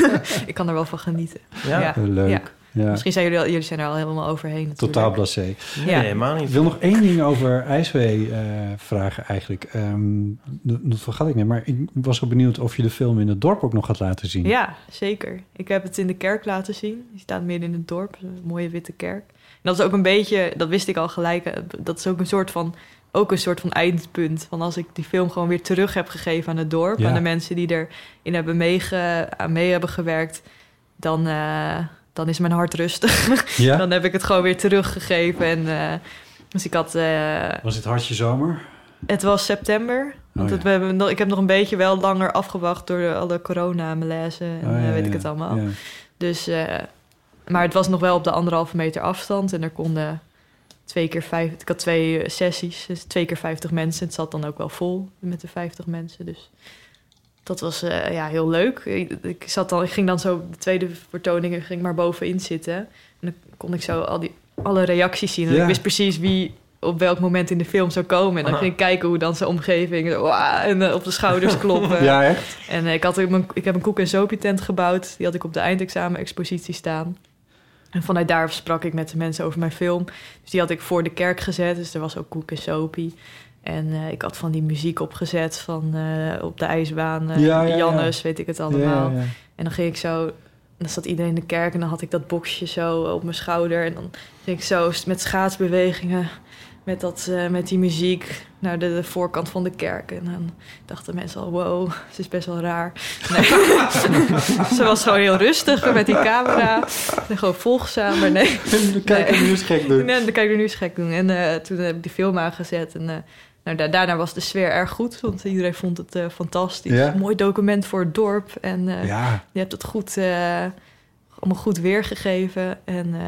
Speaker 4: ik kan er wel van genieten.
Speaker 2: Ja, leuk. Ja.
Speaker 4: Misschien zijn jullie, al, jullie zijn er al helemaal overheen. natuurlijk.
Speaker 2: Totaal blasé. Nee,
Speaker 4: Ja.
Speaker 2: Ik wil nog één ding over ijswee eh, vragen eigenlijk. Ehm, dat, dat vergat ik net, maar ik was wel benieuwd of je de film in het dorp ook nog gaat laten zien.
Speaker 4: Ja, zeker. Ik heb het in de kerk laten zien. Die staat midden in het dorp, een mooie witte kerk. En dat is ook een beetje, dat wist ik al gelijk, eh, dat is ook een soort van, ook een soort van eindpunt. Van als ik die film gewoon weer terug heb gegeven aan het dorp,
Speaker 7: Ja.
Speaker 4: aan de mensen die erin hebben meege, aan mee hebben gewerkt, dan, eh, dan is mijn hart rustig.
Speaker 2: Ja.
Speaker 4: dan heb ik het gewoon weer teruggegeven. En, eh, dus ik had... eh,
Speaker 2: Was het hartje zomer?
Speaker 4: het was september. Want
Speaker 2: Oh,
Speaker 4: het- we hebben, nog- ik heb nog een beetje wel langer afgewacht door alle corona-malaise en
Speaker 2: Oh, ja,
Speaker 4: eh, weet
Speaker 2: ja,
Speaker 4: ik het allemaal.
Speaker 2: ja.
Speaker 4: Dus, eh, maar het was nog wel op de anderhalve meter afstand en er konden twee keer vijf. Ik had twee eh, sessies, dus twee keer vijftig mensen. Het zat dan ook wel vol met de vijftig mensen. Dus dat was eh, ja, heel leuk. Ik, ik zat dan, ik ging dan zo de tweede vertoning ik ging maar bovenin zitten. En dan kon ik zo al die, alle reacties zien. En
Speaker 7: Ja. Ah.
Speaker 4: ik wist precies wie op welk moment in de film zou komen. En dan
Speaker 7: Aha.
Speaker 4: ging ik kijken hoe dan zijn omgeving... zo, "Wah," en eh, op de schouders kloppen.
Speaker 7: Ja, echt?
Speaker 4: En eh, ik, had ook mijn, ik heb een koek- en zoopie tent gebouwd. Die had ik op de eindexamen-expositie staan. En vanuit daar sprak ik met de mensen over mijn film. Dus die had ik voor de kerk gezet. Dus er was ook koek en sopie. En eh, ik had van die muziek opgezet van eh, op de ijsbaan. eh,
Speaker 7: Ja, ja, ja.
Speaker 4: Jannes, weet ik het allemaal.
Speaker 7: Ja, ja, ja.
Speaker 4: En dan ging ik zo... Dan zat iedereen in de kerk en dan had ik dat boxje zo eh, op mijn schouder. En dan ging ik zo met schaatsbewegingen, met, dat, eh, met die muziek, naar de, de voorkant van de kerk. En dan dachten mensen al, wow, ze is best wel raar. Nee. ze was gewoon heel rustig met die camera. En gewoon volgzaam, maar nee.
Speaker 2: De kijker nu eens gek doen.
Speaker 4: Nee, de kijker nu eens gek doen. En eh, toen heb ik die film aangezet en... eh, nou, da- daarna was de sfeer erg goed, want iedereen vond het eh, fantastisch.
Speaker 7: Ja.
Speaker 4: Mooi document voor het dorp. En eh,
Speaker 7: Ja.
Speaker 4: je hebt het goed, eh, allemaal goed weergegeven. En eh,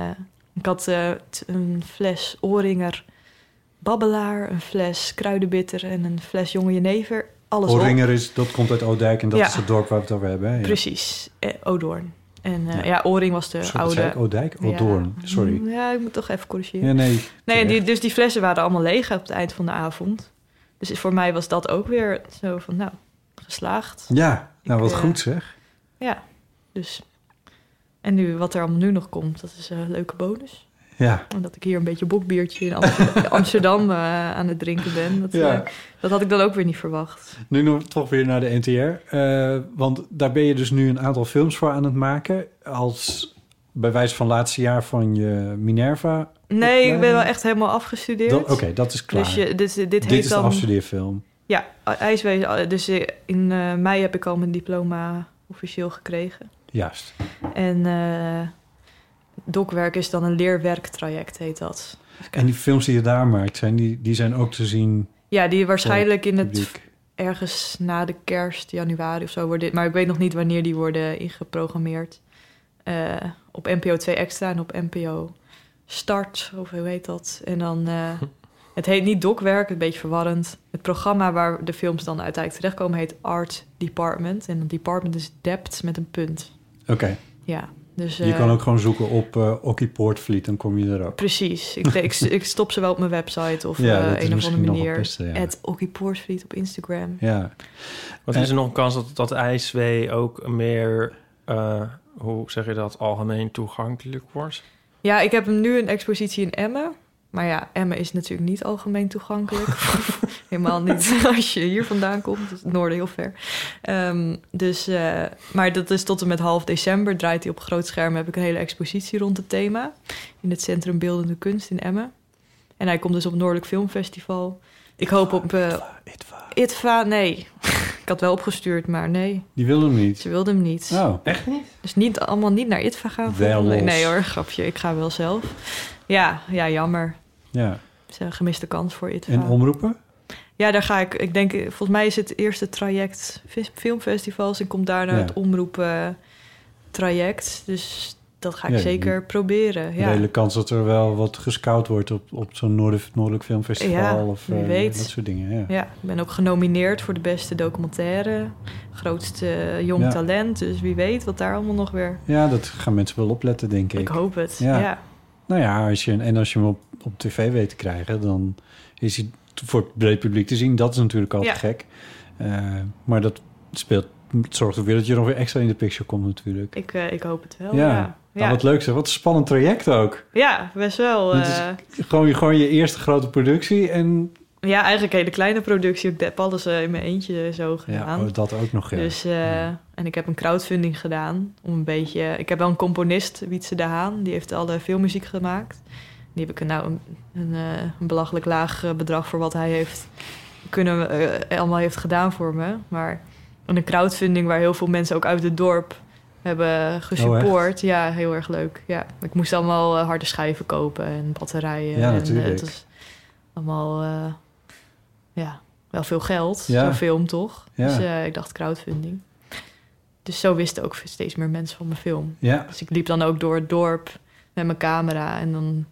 Speaker 4: ik had eh, t- een fles Oringer Babbelaar, een fles Kruidenbitter en een fles Jonge Jenever. Alles op.
Speaker 2: Oringer is, dat komt uit Oudijk en dat
Speaker 4: Ja.
Speaker 2: is het dorp waar we het over hebben. hè? Ja.
Speaker 4: Precies, eh, Odoorn. En eh,
Speaker 2: Ja.
Speaker 4: ja. Oring was de
Speaker 2: Sorry, wat
Speaker 4: oude... Mm,
Speaker 2: zei ik? Oudijk? Odoorn, sorry.
Speaker 4: Ja, ik moet toch even corrigeren.
Speaker 2: Ja, nee,
Speaker 4: nee en die, dus die flessen waren allemaal leeg op het eind van de avond. Dus voor mij was dat ook weer zo van, nou, geslaagd.
Speaker 2: Ja, nou wat
Speaker 4: eh,
Speaker 2: goed zeg.
Speaker 4: Ja, dus. En nu, wat er allemaal nu nog komt, dat is een leuke bonus.
Speaker 2: Ja.
Speaker 4: Omdat ik hier een beetje bokbiertje in Amsterdam, Amsterdam, eh, aan het drinken ben. Dat,
Speaker 2: Ja.
Speaker 4: eh, dat had ik dan ook weer niet verwacht.
Speaker 2: Nu nog toch weer naar de NTR. eh, want daar ben je dus nu een aantal films voor aan het maken. Als bij wijze van laatste jaar van je Minerva.
Speaker 4: Nee, ik ben wel
Speaker 2: opleiding.
Speaker 4: echt helemaal afgestudeerd.
Speaker 2: Dat- Oké, dat is klaar.
Speaker 4: Dus je, dus, eh, dit, heet
Speaker 2: is
Speaker 4: dan...
Speaker 2: de afstudeerfilm.
Speaker 4: Ja, ijswezen. Dus eh, in eh, mei heb ik al mijn diploma officieel gekregen.
Speaker 2: Juist.
Speaker 4: En eh dokwerk is dan een leerwerktraject, heet dat.
Speaker 2: En die films die je daar maakt, zijn die, die zijn ook te zien.
Speaker 4: Ja, die waarschijnlijk
Speaker 2: voor
Speaker 4: in het
Speaker 2: publiek.
Speaker 4: ergens na de kerst, januari of zo worden. Maar ik weet nog niet wanneer die worden ingeprogrammeerd. Eh, op NPO 2 extra en op NPO Start, of hoe heet dat? En dan. eh, het heet niet dokwerk, een beetje verwarrend. Het programma waar de films dan uiteindelijk terechtkomen heet Art Department. En department is dept met een punt.
Speaker 2: Oké.
Speaker 4: Ja, Dus,
Speaker 2: je
Speaker 4: eh,
Speaker 2: kan ook gewoon zoeken op eh Ocky Poortvliet, dan kom je er ook.
Speaker 4: Precies. Ik, ik, ik stop ze wel op mijn website of
Speaker 2: Ja,
Speaker 4: eh,
Speaker 2: dat is
Speaker 4: een of
Speaker 2: misschien
Speaker 4: andere
Speaker 2: nog het
Speaker 4: manier.
Speaker 2: beste, ja.
Speaker 4: At Okkie Poortvliet op Instagram.
Speaker 2: Ja.
Speaker 3: Want is er nog een kans dat, dat IJswee ook meer, eh, hoe zeg je dat, algemeen toegankelijk wordt?
Speaker 4: Ja, ik heb nu een expositie in Emmen. Maar ja, Emmen is natuurlijk niet algemeen toegankelijk. Helemaal niet als je hier vandaan komt. Dus het noorden heel ver. Ehm, dus, eh, maar dat is tot en met half december. Draait hij op groot scherm. Heb ik een hele expositie rond het thema. In het Centrum Beeldende Kunst in Emmen. En hij komt dus op het Noordelijk Filmfestival. Ik hoop op... eh, Itva, nee. ik had wel opgestuurd, maar nee.
Speaker 2: Die wilde hem niet.
Speaker 4: Ze wilde hem niet.
Speaker 2: Oh, echt
Speaker 3: niet?
Speaker 4: Dus niet, allemaal niet naar Itva gaan?
Speaker 2: Wel
Speaker 4: volgens mij.
Speaker 2: los.
Speaker 4: Nee hoor, grapje. Ik ga wel zelf. Ja, ja jammer.
Speaker 2: Ja.
Speaker 4: Het is een gemiste kans voor Itva.
Speaker 2: En omroepen?
Speaker 4: Ja, daar ga ik. Ik denk, eh, volgens mij is het eerste traject vis- filmfestivals en komt daarna
Speaker 2: Ja.
Speaker 4: het omroepen traject. Dus dat ga ik
Speaker 2: Ja,
Speaker 4: zeker
Speaker 2: die-
Speaker 4: proberen. Ja.
Speaker 2: Redelijke kans dat er wel wat gescout wordt op, op zo'n Noord Noordelijk Filmfestival
Speaker 4: Ja,
Speaker 2: of
Speaker 4: wie
Speaker 2: eh,
Speaker 4: weet.
Speaker 2: dat soort dingen. Ja.
Speaker 4: Ja, ik ben ook genomineerd voor de beste documentaire, grootste jong
Speaker 2: Ja.
Speaker 4: talent. Dus wie weet wat daar allemaal nog weer.
Speaker 2: Ja, dat gaan mensen wel opletten, denk ik.
Speaker 4: Ik hoop het. ja.
Speaker 2: Nou ja, als je, en als je hem op, op tv weet te krijgen, dan is hij t- voor het breed publiek te zien. Dat is natuurlijk altijd
Speaker 4: Ja.
Speaker 2: gek. Eh, maar dat speelt, het zorgt er weer dat je nog weer extra in de picture komt natuurlijk.
Speaker 4: Ik, eh, ik hoop het wel.
Speaker 2: ja,
Speaker 4: Ja,
Speaker 2: Nou, wat leuk zeg. Wat een spannend traject ook.
Speaker 4: Ja, best wel.
Speaker 2: Het is-
Speaker 4: eh,
Speaker 2: Gewoon, je- gewoon je eerste grote productie en
Speaker 4: ja, eigenlijk hele kleine productie. Ik heb alles eh, in mijn eentje zo gedaan.
Speaker 2: Ja, oh, dat ook nog, ja.
Speaker 4: Dus, eh, En ik heb een crowdfunding gedaan. Om een beetje... Ik heb wel een componist, Wietse de Haan. Die heeft alle filmmuziek gemaakt. Die heb ik nou een, een, eh, een belachelijk laag eh, bedrag voor wat hij heeft kunnen, eh, allemaal heeft gedaan voor me. Maar een crowdfunding waar heel veel mensen ook uit het dorp hebben
Speaker 2: Oh,
Speaker 4: gesupport. ja, heel erg leuk. Ja. Ik moest allemaal eh, harde schijven kopen en batterijen.
Speaker 2: Ja,
Speaker 4: en, eh,
Speaker 2: natuurlijk.
Speaker 4: het was allemaal eh, ja, wel veel geld.
Speaker 2: Ja.
Speaker 4: Zo'n film toch?
Speaker 2: Ja.
Speaker 4: Dus eh, ik dacht crowdfunding. Dus zo wisten ook steeds meer mensen van mijn film.
Speaker 2: Ja.
Speaker 4: Dus ik liep dan ook door het dorp met mijn camera. En dan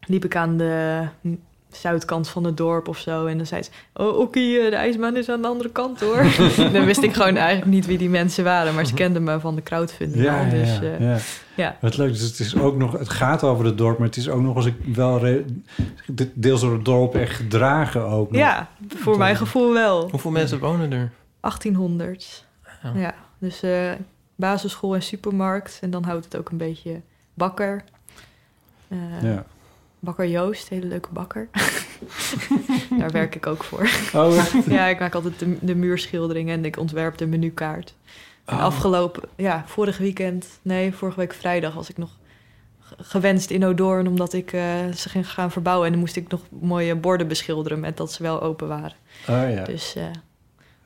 Speaker 4: liep ik aan de mm, zuidkant van het dorp of zo. En dan zei ze, oh oké, eh, de ijsman is aan de andere kant hoor. dan wist ik gewoon eigenlijk niet wie die mensen waren. Maar ze kenden me van de crowdfunding.
Speaker 2: Ja,
Speaker 4: al,
Speaker 2: ja,
Speaker 4: dus,
Speaker 2: ja,
Speaker 4: eh,
Speaker 2: ja.
Speaker 4: ja.
Speaker 2: Wat leuk, dus het, is ook nog, het gaat over het dorp, maar het is ook nog als ik wel re- de- deels door het dorp echt gedragen ook. nog.
Speaker 4: Ja, voor mijn gevoel wel.
Speaker 3: Hoeveel mensen wonen er?
Speaker 4: 1800.
Speaker 3: Ja.
Speaker 4: Ja, dus eh, basisschool en supermarkt. En dan houdt het ook een beetje bakker. Eh,
Speaker 2: Ja.
Speaker 4: Bakker Joost, hele leuke bakker. Daar werk ik ook voor.
Speaker 2: Oh, echt?
Speaker 4: ja, ik maak altijd de, de muurschilderingen en ik ontwerp de menukaart. En
Speaker 2: Oh.
Speaker 4: afgelopen, ja, vorig weekend, nee, vorige week vrijdag was ik nog ge- gewenst in Odoorn omdat ik eh, ze ging gaan verbouwen en dan moest ik nog mooie borden beschilderen met dat ze wel open waren.
Speaker 2: Oh ja.
Speaker 4: Dus eh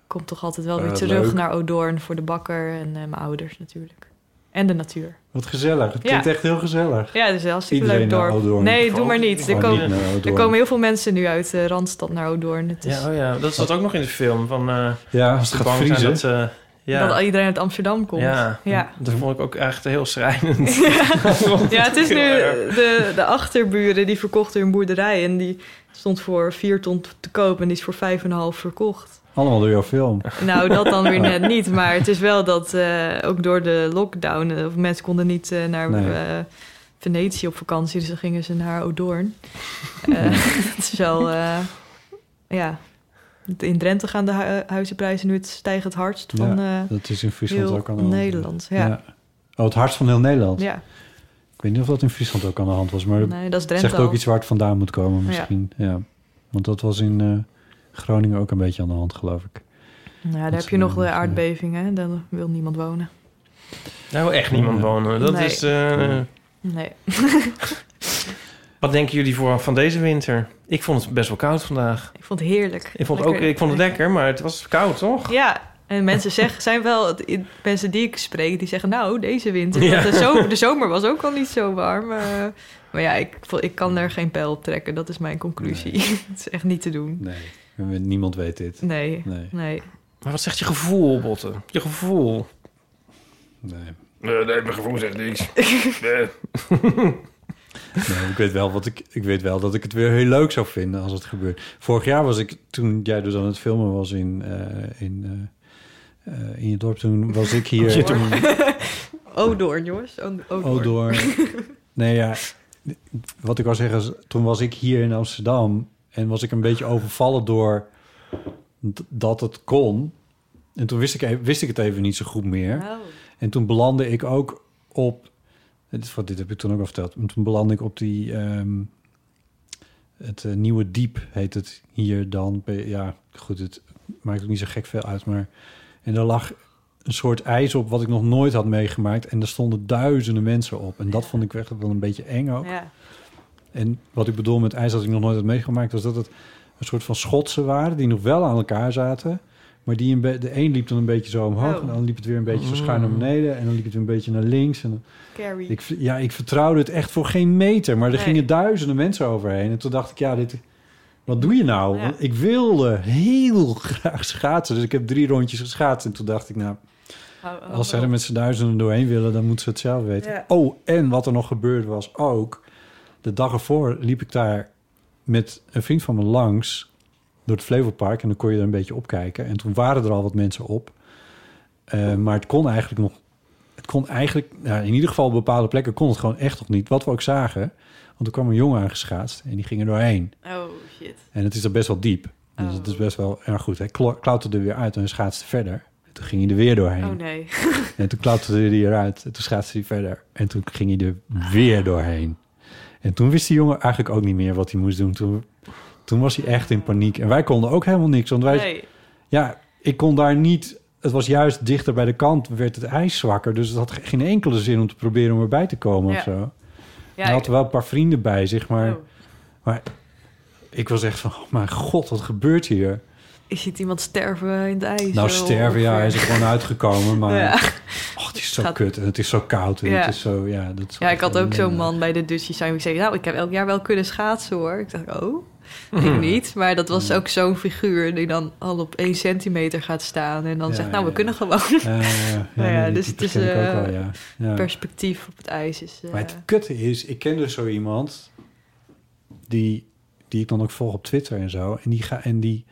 Speaker 4: kom toch altijd wel
Speaker 2: Eh,
Speaker 4: weer terug
Speaker 2: leuk.
Speaker 4: naar Odoorn voor de bakker en eh, mijn ouders natuurlijk. En de natuur.
Speaker 2: Wat gezellig. Het
Speaker 4: Ja.
Speaker 2: klinkt echt heel gezellig.
Speaker 4: Ja, het is een hartstikke
Speaker 2: Iedereen
Speaker 4: leuk
Speaker 2: naar
Speaker 4: dorp.
Speaker 2: Oudoorn.
Speaker 4: Nee, doe maar niet. Dus Er,
Speaker 2: Oh,
Speaker 4: komen,
Speaker 2: niet naar
Speaker 4: er
Speaker 2: Oudoorn.
Speaker 4: komen heel veel mensen nu uit eh, Randstad naar Oudoorn. Het is,
Speaker 3: Ja, oh ja, dat zat ook nog in de film. Van, eh,
Speaker 2: Ja, als
Speaker 3: als ze
Speaker 2: het gaat
Speaker 3: bang zijn
Speaker 2: vriezen.
Speaker 3: dat ze... ja.
Speaker 4: Dat iedereen uit Amsterdam komt.
Speaker 3: Ja,
Speaker 4: ja.
Speaker 3: dat vond ik ook echt heel schrijnend.
Speaker 4: Ja, het is nu
Speaker 3: Heel erg.
Speaker 4: de, de achterburen die verkochten hun boerderij. En die stond voor 4 ton te koop en die is voor 5,5 verkocht.
Speaker 2: Allemaal door jouw film.
Speaker 4: Nou, dat dan weer net niet. Maar het is wel dat eh, ook door de lockdown... eh, mensen konden niet eh, naar
Speaker 2: Nee.
Speaker 4: eh, Venetië op vakantie. Dus dan gingen ze naar Odoorn. Eh, Het is wel... eh, ja, in Drenthe gaan de hu- huizenprijzen nu het stijgen het hardst. Van,
Speaker 2: ja,
Speaker 4: eh,
Speaker 2: dat is in Friesland
Speaker 4: heel
Speaker 2: ook aan de hand.
Speaker 4: Nederland, ja.
Speaker 2: Oh, het hart van heel Nederland.
Speaker 4: ja.
Speaker 2: Ik weet niet of dat in Friesland ook aan de hand was, maar
Speaker 4: Nee, dat is
Speaker 2: het
Speaker 4: Drenthe
Speaker 2: zegt ook
Speaker 4: al.
Speaker 2: iets waar het vandaan moet komen misschien. Ja. Want dat was in eh, Groningen ook een beetje aan de hand, geloof ik.
Speaker 4: Nou, ja,
Speaker 2: Dat
Speaker 4: daar heb
Speaker 2: is
Speaker 4: je nog
Speaker 2: wel-
Speaker 4: de aardbeving, hè? Daar wil niemand wonen.
Speaker 3: Nou, echt niemand wonen. Dat
Speaker 4: Nee.
Speaker 3: is... eh,
Speaker 4: Nee.
Speaker 3: wat denken jullie voor, van deze winter? Ik vond het best wel koud vandaag.
Speaker 4: Ik vond het heerlijk.
Speaker 3: Ik vond, het ook, ik vond het lekker, maar het was koud, toch?
Speaker 4: Ja, en mensen zeggen, zijn wel het- i- mensen die ik spreek, die zeggen, nou, deze winter. want
Speaker 3: Ja.
Speaker 4: De, zomer, de zomer was ook al niet zo warm. eh. maar ja, ik, vo- ik kan er geen pijl op trekken. Dat is mijn conclusie. het is echt niet te doen.
Speaker 2: Nee, we- niemand weet dit.
Speaker 4: Nee.
Speaker 2: Nee.
Speaker 4: Nee.
Speaker 3: Maar wat zegt je gevoel, Botten? Je gevoel.
Speaker 2: Nee.
Speaker 3: Nee, mijn gevoel zegt niks.
Speaker 2: Nee, ik, weet wel wat ik, ik weet wel dat ik het weer heel leuk zou vinden als het gebeurt. Vorig jaar was ik, toen jij dus aan het filmen was in, eh, in, eh, eh, in je dorp, toen was ik hier...
Speaker 3: Zit hem.
Speaker 4: Odoorn, Oh, jongens. oh. O- Odoorn.
Speaker 2: Odor. nee, ja. Wat ik al zeg is, toen was ik hier in Amsterdam en was ik een beetje overvallen door d- dat het kon. En toen wist ik, e- wist ik het even niet zo goed meer. En toen belandde ik ook op, dit, is wat- dit heb ik toen ook al verteld, maar toen belandde ik op die, ehm, het eh, Nieuwe Diep heet het hier dan. Bij- Ja, goed, het maakt ook niet zo gek veel uit, maar... En daar lag een soort ijs op wat ik nog nooit had meegemaakt. En er stonden duizenden mensen op. En dat vond ik echt wel een beetje eng ook.
Speaker 4: Ja.
Speaker 2: En wat ik bedoel met ijs dat ik nog nooit had meegemaakt... was dat het een soort van schotsen waren die nog wel aan elkaar zaten... maar die een be- de een liep dan een beetje zo omhoog...
Speaker 4: Oh.
Speaker 2: en dan liep het weer een beetje zo schuin naar
Speaker 4: Mm.
Speaker 2: beneden... en dan liep het weer een beetje naar links. En dan-
Speaker 4: Carrie.
Speaker 2: ik, v- ja, ik vertrouwde het echt voor geen meter... maar er
Speaker 4: Nee.
Speaker 2: gingen duizenden mensen overheen. En toen dacht ik, ja, dit, wat doe je nou? Want ik wilde heel graag schaatsen. Dus ik heb drie rondjes geschaatst en toen dacht ik... nou,
Speaker 4: Hou- hou
Speaker 2: als zij
Speaker 4: op.
Speaker 2: er met z'n duizenden doorheen willen, dan moeten ze het zelf weten.
Speaker 4: Ja.
Speaker 2: Oh, en wat er nog gebeurd was ook. De dag ervoor liep ik daar met een vriend van me langs door het Flevopark. En dan kon je er een beetje opkijken. En toen waren er al wat mensen op. Eh, maar het kon eigenlijk nog... Het kon eigenlijk... Nou, in ieder geval op bepaalde plekken kon het gewoon echt nog niet. Wat we ook zagen. Want er kwam een jongen aangeschaatst en die ging er doorheen.
Speaker 4: Oh, shit.
Speaker 2: En het is er best wel diep. Dus het
Speaker 4: Oh.
Speaker 2: is best wel erg goed. Hij klo- klauterde er weer uit en schaatste verder. En toen ging hij er weer doorheen.
Speaker 4: Oh, nee.
Speaker 2: En toen klauterde hij eruit. En toen schaatste hij verder. En toen ging hij er weer doorheen. En toen wist die jongen eigenlijk ook niet meer wat hij moest doen. Toen, toen was hij echt in paniek. En wij konden ook helemaal niks. Want wij,
Speaker 4: Nee.
Speaker 2: ja, ik kon daar niet. Het was juist dichter bij de kant, werd het ijs zwakker. Dus het had ge- geen enkele zin om te proberen om erbij te komen
Speaker 4: Ja.
Speaker 2: of zo.
Speaker 4: Ja,
Speaker 2: hij had
Speaker 4: ik- Oh.
Speaker 2: wel een paar vrienden bij zich, maar, maar ik was echt van: oh mijn god, wat gebeurt hier?
Speaker 4: Je ziet iemand sterven in het ijs. Oh,
Speaker 2: nou,
Speaker 4: zo
Speaker 2: sterven, ja,
Speaker 4: ongeveer.
Speaker 2: hij is er gewoon uitgekomen. Maar
Speaker 4: Ja.
Speaker 2: oh, het is zo
Speaker 4: Gaat-
Speaker 2: kut en het is zo koud. En
Speaker 4: Ja.
Speaker 2: het is zo, ja, dat is
Speaker 4: Ja, ik
Speaker 2: echt
Speaker 4: had
Speaker 2: een-
Speaker 4: ook zo'n man bij de Dutchie zijn. Ik zei, nou, ik heb elk jaar wel kunnen schaatsen hoor. Ik dacht, oh, ik niet. Maar dat
Speaker 2: Hmm.
Speaker 4: was ook zo'n figuur die dan al op één centimeter gaat staan. En dan
Speaker 2: Ja,
Speaker 4: zegt, nou,
Speaker 2: ja,
Speaker 4: we
Speaker 2: ja.
Speaker 4: kunnen gewoon.
Speaker 2: Ja, ja, ja. Ja,
Speaker 4: Nou ja,
Speaker 2: die
Speaker 4: dus het
Speaker 2: types
Speaker 4: is
Speaker 2: ken ik ook
Speaker 4: eh,
Speaker 2: wel, ja. Ja.
Speaker 4: perspectief op het ijs. Is, eh,
Speaker 2: Maar het kutte is, ik ken dus zo iemand die, die ik dan ook volg op Twitter en zo. En die, ga, en die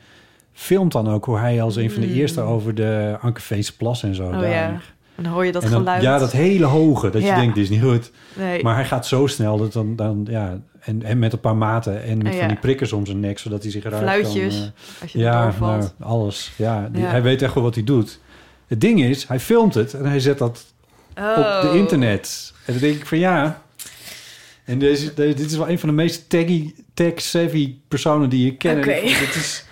Speaker 2: filmt dan ook hoe hij als een van de
Speaker 4: Mm.
Speaker 2: eerste over de Ankerveese plas en zo.
Speaker 4: oh
Speaker 2: daar-
Speaker 4: ja, en dan hoor je dat
Speaker 2: En dan-
Speaker 4: geluid.
Speaker 2: Ja, dat hele hoge. Dat
Speaker 4: Ja.
Speaker 2: je denkt, dit is niet goed.
Speaker 4: Nee.
Speaker 2: Maar hij gaat zo snel dat dan, dan ja. En, en met een paar maten en met
Speaker 4: Oh Ja.
Speaker 2: van die prikkers om zijn nek, zodat hij zich eruit
Speaker 4: Fluitjes,
Speaker 2: kan... eh,
Speaker 4: als je
Speaker 2: ja,
Speaker 4: erdoor valt.
Speaker 2: nou, alles. Ja, die-
Speaker 4: Ja.
Speaker 2: hij weet echt wel wat hij doet. Het ding is, hij filmt het en hij zet dat op de
Speaker 4: Oh.
Speaker 2: internet. En dan denk ik van ja. En deze, deze- dit is wel een van de meest taggy, tag-savvy personen die je kent.
Speaker 4: Oké.
Speaker 2: En ik vond, dit is,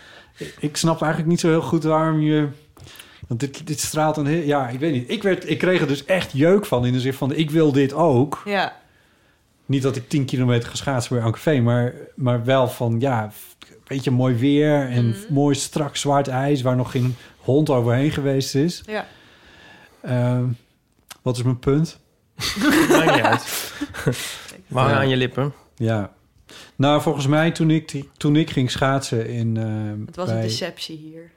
Speaker 2: ik snap eigenlijk niet zo heel goed waarom je... Want dit, dit straalt een heel... Ja, ik weet niet. Ik, werd, ik kreeg er dus echt jeuk van in de zin van... ik wil dit ook.
Speaker 4: Oh. Ja,
Speaker 2: Niet dat ik 10 kilometer geschaatst ben aan café, maar, maar wel van ja, f- weet je, mooi weer en
Speaker 4: Mhm.
Speaker 2: mooi strak zwart ijs waar nog geen hond overheen geweest is.
Speaker 4: ja.
Speaker 2: Ehm, wat is mijn punt?
Speaker 3: Maakt niet uit. Maar hang
Speaker 2: Ja.
Speaker 3: aan je lippen.
Speaker 2: Ja. Nou, volgens mij toen ik, die- toen ik ging schaatsen in... ehm,
Speaker 4: het was
Speaker 2: bij-
Speaker 4: een deceptie hier.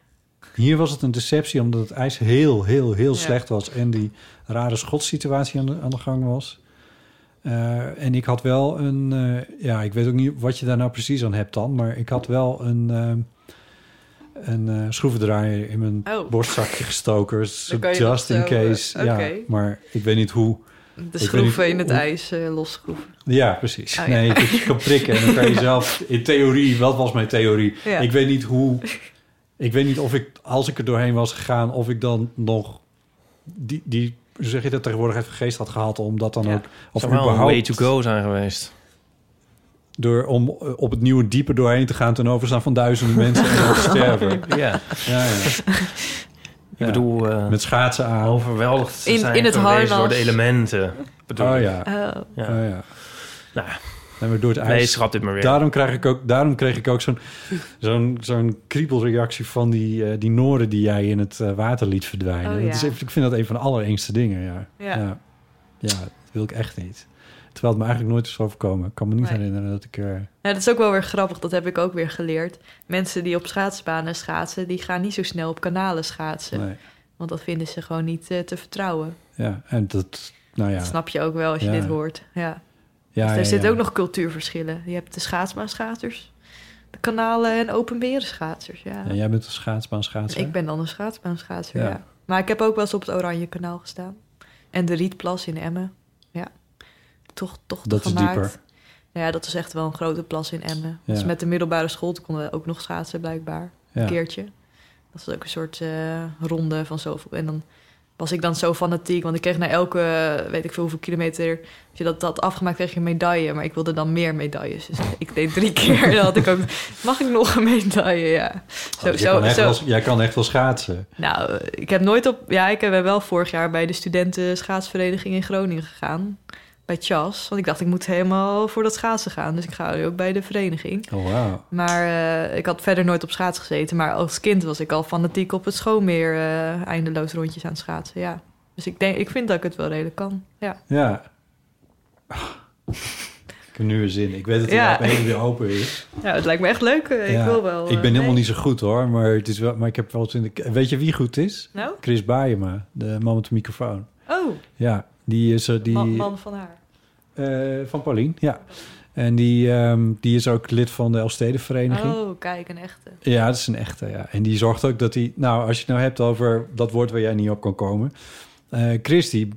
Speaker 2: Hier was het een deceptie omdat het ijs heel, heel, heel slecht was... en die rare schotssituatie aan de, aan de gang was. Eh, en ik had wel een... eh, ja, ik weet ook niet wat je daar nou precies aan hebt dan... maar ik had wel een, ehm, een eh, schroevendraaier in mijn
Speaker 4: Oh.
Speaker 2: borstzakje gestoken. so
Speaker 4: kan je
Speaker 2: just
Speaker 4: dat
Speaker 2: in
Speaker 4: zo, eh,
Speaker 2: case.
Speaker 4: oké.
Speaker 2: Ja, maar ik weet niet hoe... ik weet
Speaker 4: De
Speaker 2: niet
Speaker 4: schroeven in het
Speaker 2: hoe-
Speaker 4: ijs eh, losschroeven.
Speaker 2: ja, precies.
Speaker 4: Oh, ja.
Speaker 2: nee, je, je kan prikken en dan kan je zelf... In theorie, wat was mijn theorie?
Speaker 4: Ja.
Speaker 2: Ik weet niet hoe... Ik weet niet of ik, als ik er doorheen was gegaan... of ik dan nog die, die hoe zeg je dat tegenwoordig, even geest had gehad... om dat dan ook... Of
Speaker 3: Zou wel een
Speaker 2: überhaupt
Speaker 3: way to go zijn geweest.
Speaker 2: Door, om eh, op het nieuwe diepe doorheen te gaan... ten overstaan van duizenden mensen en dan te sterven.
Speaker 3: Ja.
Speaker 2: ja, ja.
Speaker 3: Ik bedoel... eh, Oh,
Speaker 2: Met schaatsen aan.
Speaker 3: Overweldigd te
Speaker 4: In-
Speaker 3: zijn
Speaker 4: in het
Speaker 3: geweest
Speaker 4: harnas.
Speaker 3: door de elementen. Bedoel
Speaker 2: Oh
Speaker 3: ik.
Speaker 2: ja.
Speaker 4: Oh.
Speaker 3: Ja.
Speaker 2: Oh ja.
Speaker 3: Nou,
Speaker 2: Nee, maar door het
Speaker 3: Nee,
Speaker 2: ijs.
Speaker 3: schrap dit maar weer.
Speaker 2: Daarom, krijg ik ook, daarom kreeg ik ook zo'n zo'n zo'n kriebelreactie van die, eh die Noorden die jij in het eh, water liet verdwijnen.
Speaker 4: Oh,
Speaker 2: Dat
Speaker 4: ja.
Speaker 2: is even- ik vind dat een van de allerengste dingen. Ja.
Speaker 4: Ja.
Speaker 2: ja. Ja, dat wil ik echt niet. Terwijl het me eigenlijk nooit is overkomen. Ik kan me niet
Speaker 4: Nee.
Speaker 2: herinneren dat ik eh, er.
Speaker 4: Nou, dat is ook wel weer grappig, dat heb ik ook weer geleerd. Mensen die op schaatsbanen schaatsen, die gaan niet zo snel op kanalen schaatsen.
Speaker 2: Nee.
Speaker 4: Want dat vinden ze gewoon niet eh, te vertrouwen.
Speaker 2: Ja, en dat. Nou ja.
Speaker 4: Dat snap je ook wel als je
Speaker 2: Ja.
Speaker 4: dit hoort. Ja.
Speaker 2: Ja,
Speaker 4: dus er
Speaker 2: ja,
Speaker 4: zitten
Speaker 2: ja.
Speaker 4: ook nog cultuurverschillen. Je hebt de schaatsbaanschaatsers, de kanalen en openbare schaatsers. Ja.
Speaker 2: Ja, jij bent een schaatsbaan schaatsen.
Speaker 4: ik ben dan een schaatsbaanschaatser,
Speaker 2: Ja.
Speaker 4: ja. Maar ik heb ook wel eens op het Oranje Kanaal gestaan. En de Rietplas in Emmen. Ja, toch, toch
Speaker 2: Dat is
Speaker 4: gemaakt.
Speaker 2: dieper.
Speaker 4: Nou ja, dat is echt wel een grote plas in Emmen.
Speaker 2: Ja.
Speaker 4: Dus met de middelbare school toen konden we ook nog schaatsen blijkbaar.
Speaker 2: Ja.
Speaker 4: Een keertje. Dat was ook een soort eh, ronde van zoveel. En dan was ik dan zo fanatiek. Want ik kreeg na elke, eh, weet ik veel hoeveel kilometer... Als je dat had afgemaakt, kreeg je een medaille. Maar ik wilde dan meer medailles. Dus ik deed drie keer. En dan had ik ook, mag ik nog een medaille? Ja. Zo,
Speaker 2: Oh, dus jij, kan echt Wel, jij kan echt wel schaatsen.
Speaker 4: nou, eh, ik heb nooit op. Ja, ik ben wel vorig jaar bij de studenten schaatsvereniging in Groningen gegaan. Bij Chas. Want ik dacht, ik moet helemaal voor dat schaatsen gaan. Dus ik ga nu ook bij de vereniging.
Speaker 2: Oh, wauw.
Speaker 4: Maar eh, ik had verder nooit op schaats gezeten. Maar als kind was ik al fanatiek op het schoonmeer eh, eindeloos rondjes aan het schaatsen. Ja. Dus ik, denk, ik vind dat ik het wel redelijk kan. Ja.
Speaker 2: Ja. Ah. Ik heb nu weer zin. Ik weet dat
Speaker 4: Ja.
Speaker 2: hij op helemaal weer open is.
Speaker 4: ja, het lijkt me echt leuk. eh,
Speaker 2: Ja.
Speaker 4: Ik wil wel.
Speaker 2: Ik ben
Speaker 4: eh,
Speaker 2: helemaal
Speaker 4: mee.
Speaker 2: niet zo goed hoor, maar, het is wel, maar ik heb wel zin. Weet je wie goed is?
Speaker 4: Nou?
Speaker 2: Chris Baeyema, de man met de microfoon.
Speaker 4: Oh,
Speaker 2: Ja, die is er. Die,
Speaker 4: man, man van haar.
Speaker 2: eh, van Paulien, ja. En die, ehm, die is ook lid van de Elfstedenvereniging.
Speaker 4: Oh, kijk, een echte.
Speaker 2: Ja, dat is een echte, ja. En die zorgt ook dat hij... Nou, als je het nou hebt over dat woord waar jij niet op kan komen... eh Chris, die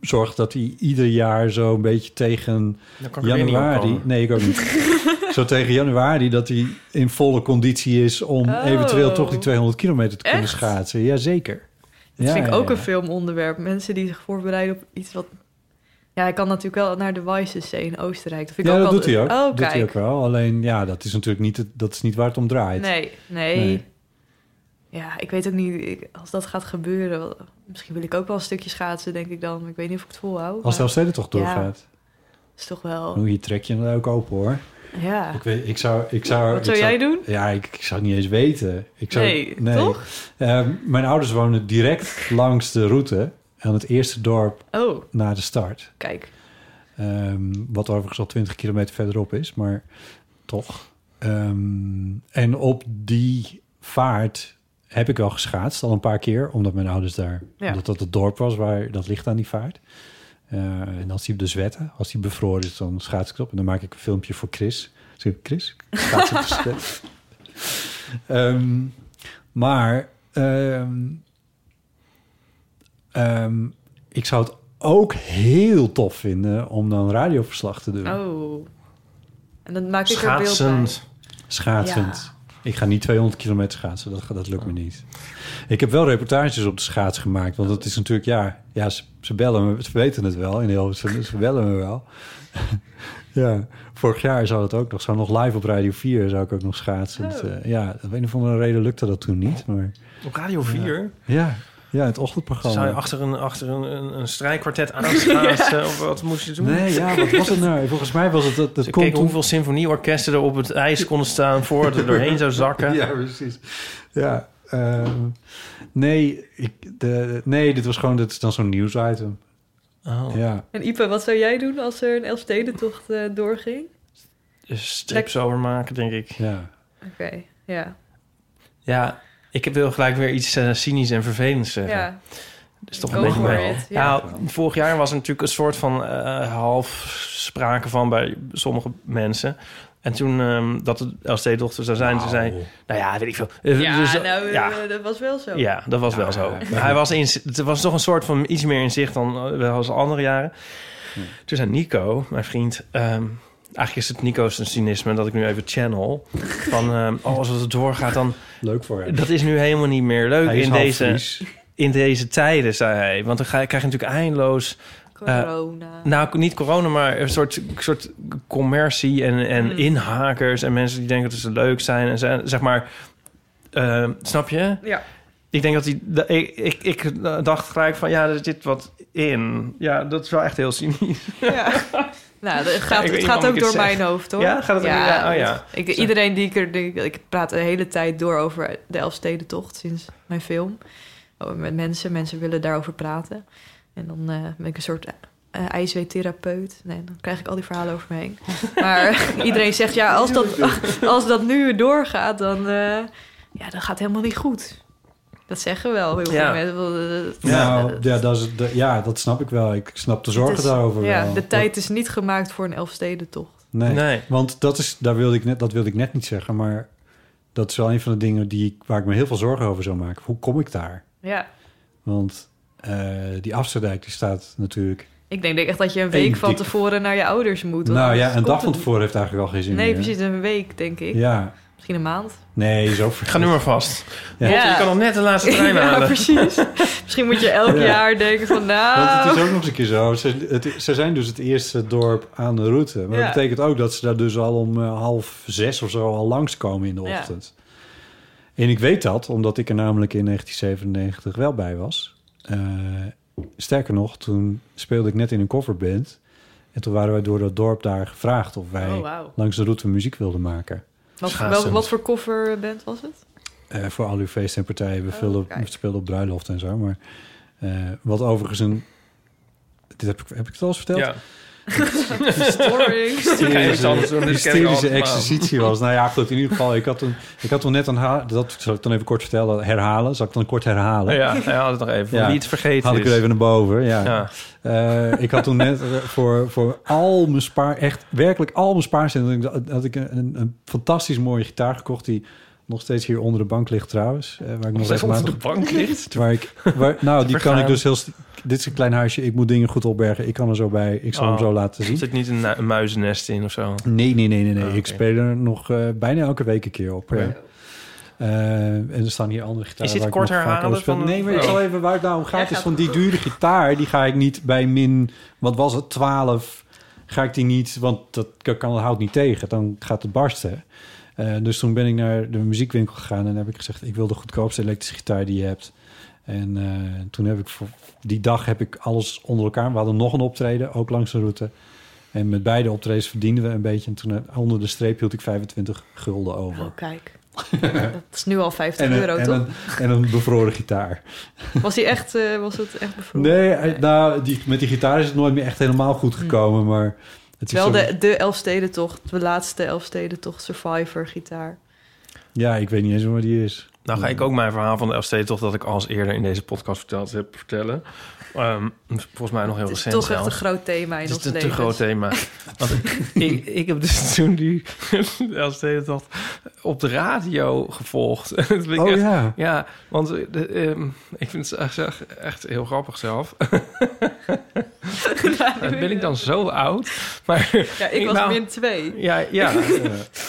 Speaker 2: zorgt dat hij ieder jaar zo'n beetje tegen
Speaker 3: Daar kan ik weer niet op
Speaker 2: januari...
Speaker 3: komen.
Speaker 2: Nee, ik ook niet. zo tegen januari dat hij in volle conditie is... om
Speaker 4: Oh.
Speaker 2: eventueel toch die 200 kilometer te kunnen
Speaker 4: Echt?
Speaker 2: schaatsen. Jazeker.
Speaker 4: Dat
Speaker 2: Ja,
Speaker 4: vind ik
Speaker 2: ja,
Speaker 4: ook
Speaker 2: ja.
Speaker 4: een filmonderwerp. Mensen die zich voorbereiden op iets wat... Ja, ik kan natuurlijk wel naar de Weissensee in Oostenrijk. Dat vind ik
Speaker 2: Ja,
Speaker 4: ook
Speaker 2: dat doet
Speaker 4: altijd...
Speaker 2: hij ook.
Speaker 4: Oh,
Speaker 2: doet hij
Speaker 4: kijk.
Speaker 2: ook wel. Alleen, ja, dat is natuurlijk niet, het- dat is niet waar het om draait.
Speaker 4: Nee, nee,
Speaker 2: Nee.
Speaker 4: Ja, ik weet ook niet... ik- Als dat gaat gebeuren... wel- Misschien wil ik ook wel een stukje schaatsen, denk ik dan. Ik weet niet of ik het volhoud.
Speaker 2: Als de
Speaker 4: maar
Speaker 2: Elfsteden toch
Speaker 4: Ja.
Speaker 2: doorgaat.
Speaker 4: dat is toch wel...
Speaker 2: Hoe je trek je hem ook open, hoor.
Speaker 4: Ja.
Speaker 2: Ik, weet, ik zou... Ik zou
Speaker 4: Wat zou
Speaker 2: ik
Speaker 4: jij doen?
Speaker 2: Ja, ik, ik zou het niet eens weten. Ik zou,
Speaker 4: Nee, toch?
Speaker 2: Ehm, mijn ouders wonen direct langs de route... aan het eerste dorp
Speaker 4: Oh,
Speaker 2: na de start.
Speaker 4: kijk.
Speaker 2: Ehm, wat overigens al 20 kilometer verderop is, maar toch. Ehm, en op die vaart heb ik wel geschaatst al een paar keer, omdat mijn ouders daar,
Speaker 4: Ja.
Speaker 2: omdat dat het dorp was waar dat ligt aan die vaart. Eh, en als die dus wetten, als die bevroren is, dan schaats ik het op en dan maak ik een filmpje voor Chris. Zeg ik, Chris, ik schaats op de zwet. Ehm, maar ehm, ehm, ik zou het ook heel tof vinden om dan radioverslag te doen.
Speaker 4: Oh. En dan maak ik er beeld bij.
Speaker 3: Schaatsend.
Speaker 2: Schaatsend. Ik ga niet 200 kilometer schaatsen, dat, ga- dat lukt me
Speaker 3: Oh.
Speaker 2: niet. Ik heb wel reportages op de schaats gemaakt, want dat is natuurlijk, ja, ja ze, ze bellen me, ze weten het wel, in heel, ze, ze bellen me wel. ja, vorig jaar zou dat ook nog, zou nog live op Radio 4 zou ik ook nog schaatsen.
Speaker 3: Oh.
Speaker 2: Dat, eh, ja, op een of andere reden lukte dat toen niet, maar
Speaker 3: Op Radio 4
Speaker 2: ja, ja het ochtendprogramma.
Speaker 3: zou je achter een, achter een, een, een strijkkwartet aanschaatsen. Of wat moest je doen?
Speaker 2: Nee, ja, wat was het nou? Volgens mij was het dat, dat
Speaker 3: Dus ik
Speaker 2: komt
Speaker 3: keek
Speaker 2: toen-
Speaker 3: hoeveel symfonieorkesten er op het ijs konden staan... voordat het er doorheen zou zakken.
Speaker 2: Ja, precies. Ja. ehm, nee, ik, de, nee, dit was gewoon dit is dan zo'n nieuwsitem.
Speaker 3: Oh,
Speaker 2: Ja.
Speaker 4: En Ipe, wat zou jij doen als er een Elfstedentocht eh doorging?
Speaker 3: dus strips over maken, denk ik.
Speaker 2: ja.
Speaker 4: Oké, ja.
Speaker 3: Ja, ik heb wil gelijk weer iets eh, cynisch en vervelends zeggen.
Speaker 4: Ja,
Speaker 3: Dat is toch
Speaker 4: Go
Speaker 3: een beetje
Speaker 4: for
Speaker 3: mijn-
Speaker 4: it, ja.
Speaker 3: Nou, vorig jaar was er natuurlijk een soort van eh, half sprake van bij sommige mensen. En toen ehm, dat de LSD-dochter zou zijn, ze zei... Nou ja, weet ik veel. Eh,
Speaker 4: ja
Speaker 3: dus-
Speaker 4: nou, eh,
Speaker 3: ja.
Speaker 4: dat was wel zo.
Speaker 3: Ja, dat was wel zo. Hij was in, het was toch een soort van iets meer in zicht dan eh, wel als andere jaren. Toen zei Nico, mijn vriend... ehm, eigenlijk is het Nico's cynisme dat ik nu even channel. Van, ehm, oh, als het doorgaat, dan...
Speaker 2: Leuk voor hem.
Speaker 3: Dat is nu helemaal niet meer leuk
Speaker 2: Hij is
Speaker 3: in
Speaker 2: half
Speaker 3: deze,
Speaker 2: Fries.
Speaker 3: in deze tijden, zei hij. Want dan ga, krijg je natuurlijk eindeloos...
Speaker 4: Corona.
Speaker 3: Nou, niet corona, maar een soort, soort commercie en, en
Speaker 4: Mm.
Speaker 3: inhakers... en mensen die denken dat ze leuk zijn. En ze- zeg maar, eh, snap je?
Speaker 4: ja.
Speaker 3: Ik denk dat die... dat- Ik, ik, ik dacht gelijk van, ja, er zit wat in. Ja, dat is wel echt heel cynisch.
Speaker 4: Ja. nou,
Speaker 3: Ik weet
Speaker 4: het gaat, het
Speaker 3: niet
Speaker 4: gaat
Speaker 3: waarom
Speaker 4: ook
Speaker 3: ik
Speaker 4: door
Speaker 3: het zeg.
Speaker 4: mijn hoofd, hoor.
Speaker 3: Ja, gaat het ook- ja, oh ja.
Speaker 4: Ik,
Speaker 3: Zo.
Speaker 4: iedereen die ik er... die- ik praat de hele tijd door over de Elfstedentocht sinds mijn film. Oh, Met mensen. Mensen willen daarover praten. En dan eh, ben ik een soort eh ijsweetherapeut. Nee, dan krijg ik al die verhalen over me heen. Maar iedereen zegt, ja, als dat, als dat nu doorgaat, dan... eh, ja, dat gaat helemaal niet goed. Dat zeggen wel heel veel
Speaker 3: Ja.
Speaker 4: mensen. eh,
Speaker 2: Nou, ja, dat is, dat- ja, dat snap ik wel. Ik snap de zorgen
Speaker 4: Het is-
Speaker 2: daarover
Speaker 4: ja,
Speaker 2: wel.
Speaker 4: De tijd is niet gemaakt voor een Elfstedentocht.
Speaker 2: Dat- nee.
Speaker 3: Nee.
Speaker 2: Want dat, is, daar wilde ik net, dat wilde ik net niet zeggen, maar dat is wel een van de dingen die, ik- waar ik me heel veel zorgen over zou maken. Hoe kom ik daar?
Speaker 4: Ja,
Speaker 2: Want eh, eh, die Afsterdijk die staat natuurlijk...
Speaker 4: Ik denk echt dat je een week
Speaker 2: Eén
Speaker 4: van
Speaker 2: dik-
Speaker 4: tevoren naar je ouders moet. want
Speaker 2: nou
Speaker 4: anders
Speaker 2: ja, een
Speaker 4: komt
Speaker 2: dag van
Speaker 4: het-
Speaker 2: tevoren heeft eigenlijk al geen zin
Speaker 4: Nee,
Speaker 2: meer.
Speaker 4: precies een week, denk ik.
Speaker 2: Ja.
Speaker 4: Misschien een maand.
Speaker 2: Nee, zo
Speaker 3: Ga nu maar vast.
Speaker 2: Ja.
Speaker 3: Want Je kan nog net de laatste trein
Speaker 4: ja,
Speaker 3: halen.
Speaker 4: precies. Misschien moet je elk
Speaker 2: Ja.
Speaker 4: jaar denken van,
Speaker 2: Want
Speaker 4: nou...
Speaker 2: het is ook nog eens een keer zo. Ze, het, ze zijn dus het eerste dorp aan de route. Maar
Speaker 4: Ja.
Speaker 2: dat betekent ook dat ze daar dus al om eh, half zes of zo al langskomen in de
Speaker 4: Ja.
Speaker 2: ochtend. En ik weet dat, omdat ik er namelijk in 1997 wel bij was. Eh, sterker nog, toen speelde ik net in een coverband. En toen waren wij door dat dorp daar gevraagd of wij
Speaker 4: Oh, wauw.
Speaker 2: langs de route muziek wilden maken.
Speaker 4: Wat, wel, wat voor kofferband was het?
Speaker 2: Eh, voor al uw feesten en partijen.
Speaker 4: Oh,
Speaker 2: We vulden, we speelden op bruiloft en zo. Maar eh, wat overigens een... Dit heb, ik, heb ik het al eens verteld?
Speaker 3: Ja.
Speaker 4: Storing.
Speaker 3: Ik kan niks anders doen,
Speaker 2: Een
Speaker 3: dit ken ik
Speaker 2: hysterische
Speaker 3: allemaal.
Speaker 2: exercitie was. Nou ja, goed, in ieder geval. Ik had toen, ik had toen net een... ha- Dat zal ik dan even kort vertellen. Herhalen. Zal ik dan kort herhalen?
Speaker 3: Ja, hij had het nog even.
Speaker 2: Ja.
Speaker 3: Wie het vergeten
Speaker 2: Had ik
Speaker 3: is.
Speaker 2: er even naar boven, ja.
Speaker 3: Ja.
Speaker 2: Eh, ik had toen net eh, voor, voor al mijn spaar... Echt werkelijk al mijn spaarcenten... had ik- had ik een, een, een fantastisch mooie gitaar gekocht... die nog steeds hier onder de bank ligt trouwens. eh, waar ik nog
Speaker 3: Zeg onder
Speaker 2: regelmatig
Speaker 3: de bank ligt.
Speaker 2: Waar ik, waar, nou, die kan ik
Speaker 3: Vergaan.
Speaker 2: dus heel... st- Dit is een klein huisje. Ik moet dingen goed opbergen. Ik kan er zo bij. Ik zal hem
Speaker 3: Oh.
Speaker 2: zo laten zien.
Speaker 3: Er zit niet een, nu- een muizennest in of zo.
Speaker 2: Nee, nee, nee, nee. nee.
Speaker 3: Ah, oké.
Speaker 2: Ik speel er nog eh, bijna elke week een keer op. ja. Eh, en er staan hier andere gitaren.
Speaker 3: Is dit
Speaker 2: waar ik
Speaker 3: kort
Speaker 2: nog vaker
Speaker 3: herhalen
Speaker 2: over speel.
Speaker 3: van-
Speaker 2: Nee, maar ik
Speaker 3: Oh.
Speaker 2: zal even waar het nou om gaat. Is van die dure gitaar, die ga ik niet bij min, wat was het, 12, ga ik die niet, want dat kan, kan- houdt niet tegen. Dan gaat het barsten. Eh, dus toen ben ik naar de muziekwinkel gegaan en heb ik gezegd: Ik wil de goedkoopste elektrische gitaar die je hebt. En eh, toen heb ik voor die dag heb ik alles onder elkaar. We hadden nog een optreden, ook langs de route. En met beide optredens verdienden we een beetje. En toen eh, onder de streep hield ik 25 gulden over.
Speaker 4: Oh, kijk. Dat is nu al 50
Speaker 2: En een,
Speaker 4: euro,
Speaker 2: en,
Speaker 4: toch?
Speaker 2: een, en een bevroren gitaar.
Speaker 4: Was, die echt, eh, was het echt bevroren?
Speaker 2: Nee, eh, nou, die, met die gitaar is het nooit meer echt helemaal goed gekomen. Maar het is
Speaker 4: Hm. Wel
Speaker 2: zo-
Speaker 4: de, de Elfstedentocht, de laatste Elfstedentocht Survivor gitaar.
Speaker 2: Ja, ik weet niet eens waar die is.
Speaker 3: Nou ga ik ook mijn verhaal van de LST toch dat ik al eens eerder in deze podcast verteld heb vertellen. Ehm, volgens mij nog heel
Speaker 4: Het is
Speaker 3: recent
Speaker 4: toch echt
Speaker 3: zelfs.
Speaker 4: een groot thema in
Speaker 3: Het
Speaker 4: ons
Speaker 3: is een
Speaker 4: leven.
Speaker 3: te groot thema. Want ik, ik heb dus toen die LSD-tocht op de radio gevolgd. Dat vind ik
Speaker 2: Oh,
Speaker 3: echt-
Speaker 2: ja.
Speaker 3: Ja, want eh, de, ehm, ik vind het echt- echt- echt heel grappig zelf. ben ik dan zo oud? Maar
Speaker 4: Ja, ik was
Speaker 3: Nou,
Speaker 4: min twee.
Speaker 3: ja, ja.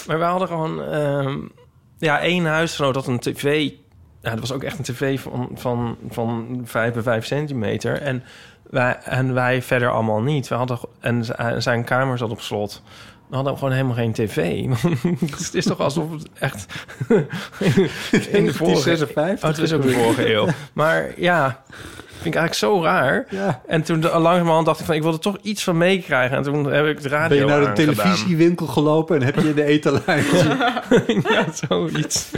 Speaker 3: maar we hadden gewoon... ehm, ja, één huisgenoot had een tv... Ja, dat was ook echt een tv van, van, van 5 bij 5 centimeter. En wij, en wij verder allemaal niet. We hadden, go- en z- en zijn kamer zat op slot. We hadden gewoon helemaal geen tv. Dus het is toch alsof het echt... in de vorige...
Speaker 2: 56.
Speaker 3: Oh, het is ook de vorige eeuw. Maar ja, vind ik eigenlijk zo raar.
Speaker 2: Ja.
Speaker 3: En toen de- langzamerhand dacht ik van... ik wil er toch iets van meekrijgen. En toen heb ik de radio
Speaker 2: Ben je naar de
Speaker 3: aangedaan.
Speaker 2: televisiewinkel gelopen en heb je in de etalage
Speaker 3: ja, zoiets.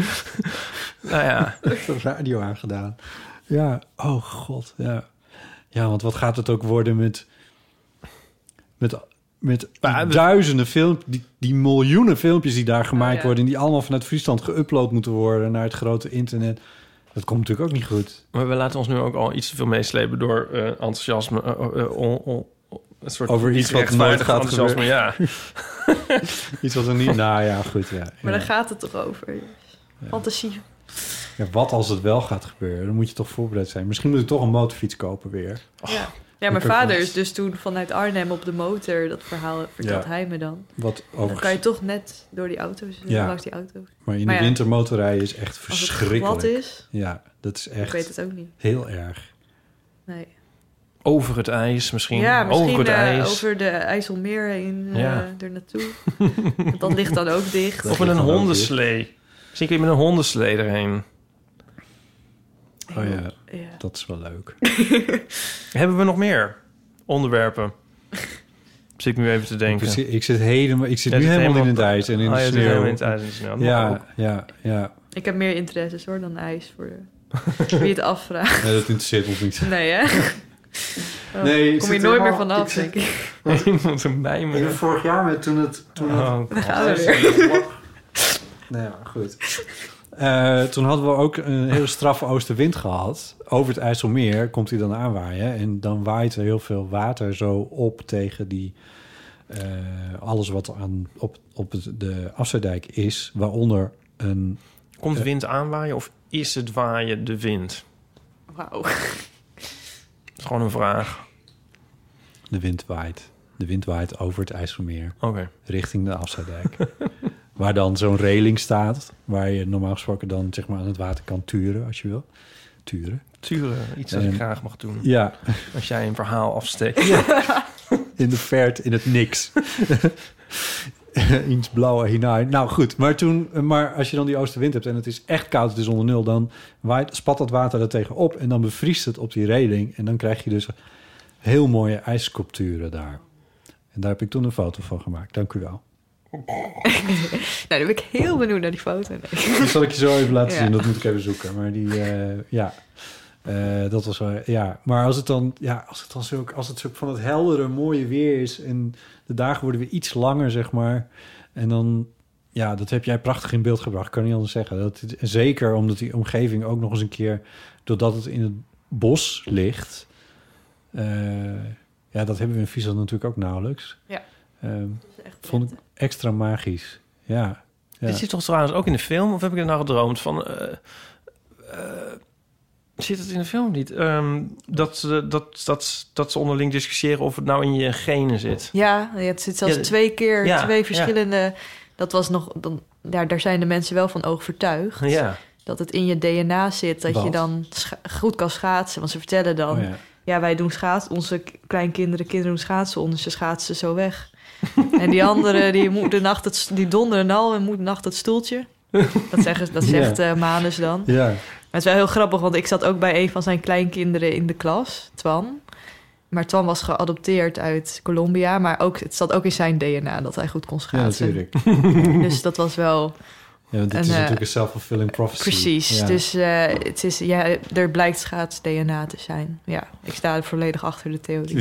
Speaker 3: nou ja.
Speaker 2: de radio aangedaan? Ja, oh god, ja. Ja, want wat gaat het ook worden met, met, met die
Speaker 4: eh,
Speaker 3: Maar we-
Speaker 2: duizenden filmpjes, die, die miljoenen filmpjes die daar gemaakt
Speaker 4: Oh, ja.
Speaker 2: worden... en die allemaal vanuit Friesland geüpload moeten worden naar het grote internet. Dat komt natuurlijk ook niet goed.
Speaker 3: Maar we laten ons nu ook al iets te veel meeslepen door eh, enthousiasme. eh, eh, on- on- on- een soort
Speaker 2: Over iets wat
Speaker 3: rechtvaardig
Speaker 2: nooit gaat
Speaker 3: enthousiasme, Ja.
Speaker 2: Iets wat er niet... nou ja, goed, ja.
Speaker 4: Maar
Speaker 2: ja.
Speaker 4: daar gaat het toch over. Fantasie.
Speaker 2: Ja, wat als het wel gaat gebeuren? Dan moet je toch voorbereid zijn. Misschien moet ik toch een motorfiets kopen weer.
Speaker 4: ja. ja, mijn
Speaker 2: ik ook
Speaker 4: vader
Speaker 2: niet.
Speaker 4: is dus toen vanuit Arnhem op de motor. Dat verhaal vertelt
Speaker 2: Ja.
Speaker 4: hij me dan.
Speaker 2: Wat
Speaker 4: Dan kan je
Speaker 2: overigens...
Speaker 4: toch net door die auto's, eh,
Speaker 2: Ja.
Speaker 4: langs die auto's.
Speaker 2: Maar in
Speaker 4: maar
Speaker 2: de
Speaker 4: ja.
Speaker 2: winter motorrijden is echt
Speaker 4: Als het glad
Speaker 2: verschrikkelijk.
Speaker 4: is,
Speaker 2: Ja, dat is
Speaker 4: ik weet
Speaker 2: echt
Speaker 4: het ook niet.
Speaker 2: heel erg.
Speaker 4: Nee.
Speaker 3: Over het ijs misschien.
Speaker 4: Ja, misschien
Speaker 3: over het
Speaker 4: eh,
Speaker 3: ijs.
Speaker 4: over de IJsselmeer heen eh,
Speaker 3: Ja.
Speaker 4: er naartoe. Want dat ligt dan ook dicht.
Speaker 3: Of met een hondenslee. Misschien kun je met een hondenslee erheen.
Speaker 2: Oh ja,
Speaker 4: Ja.
Speaker 2: dat is wel leuk.
Speaker 3: Hebben we nog meer onderwerpen? Zit ik nu even te
Speaker 2: Ik
Speaker 3: denken.
Speaker 2: zit, ik zit helemaal, ik zit
Speaker 3: Jij
Speaker 2: nu
Speaker 3: zit
Speaker 2: helemaal in het
Speaker 3: op-
Speaker 2: ijs en in
Speaker 3: Oh,
Speaker 2: de
Speaker 3: jij zit helemaal in het Oh.
Speaker 2: sneeuw.
Speaker 3: ijs en de sneeuw.
Speaker 2: Ja, ja, ja.
Speaker 4: Ik heb meer interesses hoor dan ijs voor de- wie het afvraagt.
Speaker 2: Nee, dat interesseert ons niet.
Speaker 4: Nee hè? Oh,
Speaker 2: Nee, ik
Speaker 4: kom
Speaker 2: zit
Speaker 4: je nooit meer
Speaker 2: helemaal-
Speaker 4: vanaf,
Speaker 2: ik zit-
Speaker 4: denk ik.
Speaker 3: Iemand een bij me.
Speaker 2: vorig jaar met toen het... Toen
Speaker 3: Oh,
Speaker 4: Gaan we weer.
Speaker 2: Nou ja, goed. Eh, toen hadden we ook een hele straffe oostenwind gehad. Over het IJsselmeer komt hij dan aanwaaien. En dan waait er heel veel water zo op tegen die, eh, alles wat aan, op, op het- de Afzijdijk is. Waaronder een...
Speaker 3: Komt wind aanwaaien of is het waaien de wind?
Speaker 4: Wauw.
Speaker 3: is gewoon een vraag.
Speaker 2: De wind waait. De wind waait over het IJsselmeer.
Speaker 3: Oké.
Speaker 2: Richting de afsluitdijk. waar dan zo'n reling staat. Waar je normaal gesproken dan zeg maar, aan het water kan turen als je wil. Turen.
Speaker 3: Turen, iets dat ik
Speaker 2: En-
Speaker 3: graag mag doen.
Speaker 2: Ja.
Speaker 3: Als jij een verhaal afsteekt.
Speaker 2: in de verte, in het niks. Iets blauwe hinein. Nou goed, maar, toen, maar als je dan die oostenwind hebt en het is echt koud, het is onder nul, dan waait, spat dat water er tegenop en dan bevriest het op die reling. En dan krijg je dus heel mooie ijssculpturen daar. En daar heb ik toen een foto van gemaakt. Dank u wel.
Speaker 4: nou, dan ben ik heel benieuwd naar die foto. Nee.
Speaker 2: Die zal ik je zo even laten
Speaker 4: Ja.
Speaker 2: zien. Dat moet ik even zoeken. Maar die, eh, ja, Eh, dat was wel, ja. Maar als het dan, ja, als het dan zo, als het zo van het heldere, mooie weer is en de dagen worden weer iets langer, zeg maar. En dan, ja, dat heb jij prachtig in beeld gebracht. Kan niet anders zeggen. Dat, zeker omdat die omgeving ook nog eens een keer, doordat het in het bos ligt. eh, ja, dat hebben we in Friesland natuurlijk ook nauwelijks.
Speaker 4: Ja.
Speaker 2: Ehm, vond ik extra magisch. Ja. ja.
Speaker 3: Dit zit toch trouwens ook in de film? Of heb ik er nou gedroomd van... eh, eh, zit het in de film niet? Ehm, dat, ze, dat, dat, dat ze onderling discussiëren of het nou in je genen zit.
Speaker 4: Ja, het zit zelfs
Speaker 3: Ja,
Speaker 4: twee keer,
Speaker 3: ja, ja.
Speaker 4: twee verschillende... Dat was nog... Dan, daar, daar zijn de mensen wel van overtuigd.
Speaker 3: Ja.
Speaker 4: Dat het in je DNA zit, dat je
Speaker 3: Wat?
Speaker 4: dan scha- goed kan schaatsen. Want ze vertellen dan...
Speaker 3: Oh,
Speaker 4: ja.
Speaker 3: ja.
Speaker 4: wij doen schaatsen, onze k- kleinkinderen, kinderen doen schaatsen onder, ze schaatsen zo weg. en die andere, die, moet de nacht het, s- die donderen al en moet de nacht het stoeltje. Dat, zeggen, dat
Speaker 2: Ja.
Speaker 4: zegt eh Manus dan.
Speaker 2: Ja.
Speaker 4: Maar het is wel heel grappig, want ik zat ook bij een van zijn kleinkinderen in de klas, Twan. Maar Twan was geadopteerd uit Colombia, maar ook, het zat ook in zijn DNA dat hij goed kon schaatsen.
Speaker 2: natuurlijk.
Speaker 4: dus dat was wel...
Speaker 2: Ja, want dit
Speaker 4: een,
Speaker 2: is
Speaker 4: eh,
Speaker 2: natuurlijk een self-fulfilling prophecy.
Speaker 4: Precies,
Speaker 2: Ja.
Speaker 4: dus eh, het is, ja, er blijkt schaats-DNA te zijn. Ja, ik sta er volledig achter de theorie.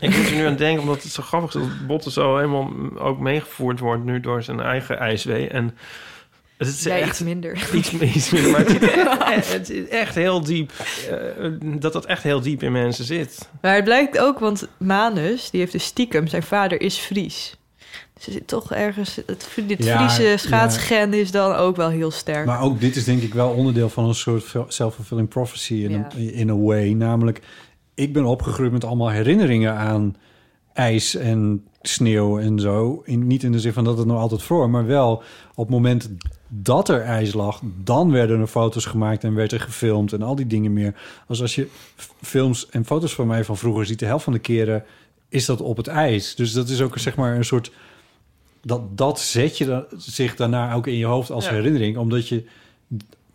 Speaker 3: Ik moet er nu aan denken, omdat het zo grappig is... dat Botten zo helemaal m- ook meegevoerd wordt nu door zijn eigen ijswee. En het is
Speaker 4: Jij
Speaker 3: echt...
Speaker 4: iets minder.
Speaker 3: Iets, iets minder, maar het, is- het is echt heel diep... eh, dat dat echt heel diep in mensen zit.
Speaker 4: Maar het blijkt ook, want Manus, die heeft dus stiekem, zijn vader is Fries. Dus er zit toch ergens, het, dit
Speaker 2: Ja, ja.
Speaker 4: Friese schaatsgen is dan ook wel heel sterk.
Speaker 2: Maar ook dit is denk ik wel onderdeel van een soort fel- self-fulfilling prophecy in, een, in a way. Namelijk, ik ben opgegroeid met allemaal herinneringen aan ijs en sneeuw en zo. In, niet in de zin van dat het nog altijd voor, maar wel op het moment dat er ijs lag, dan werden er foto's gemaakt en werd er gefilmd en al die dingen meer. Als als je f- films en foto's van mij van vroeger ziet, de helft van de keren is dat op het ijs. Dus dat is ook zeg maar een soort dat, dat zet je dan, zich daarna ook in je hoofd als
Speaker 3: Ja.
Speaker 2: herinnering. Omdat je,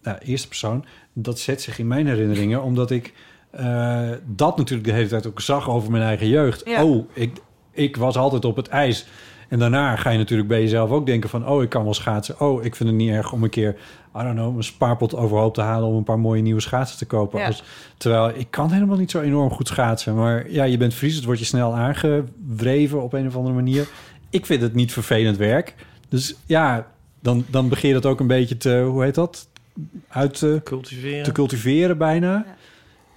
Speaker 2: nou, eerste persoon, dat zet zich in mijn herinneringen. Omdat ik eh, dat natuurlijk de hele tijd ook zag over mijn eigen jeugd.
Speaker 3: Ja.
Speaker 2: Oh, ik, ik was altijd op het ijs. En daarna ga je natuurlijk bij jezelf ook denken van... oh, ik kan wel schaatsen. Oh, ik vind het niet erg om een keer... I don't know, mijn spaarpot overhoop te halen... om een paar mooie nieuwe schaatsen te kopen.
Speaker 3: Ja.
Speaker 2: Als, terwijl ik kan helemaal niet zo enorm goed schaatsen. Maar ja, je bent Fries, het wordt je snel aangewreven op een of andere manier. Ik vind het niet vervelend werk. Dus ja, dan, dan begin je dat ook een beetje te... hoe heet dat? Uit te
Speaker 3: Cultiveren.
Speaker 2: Te cultiveren bijna.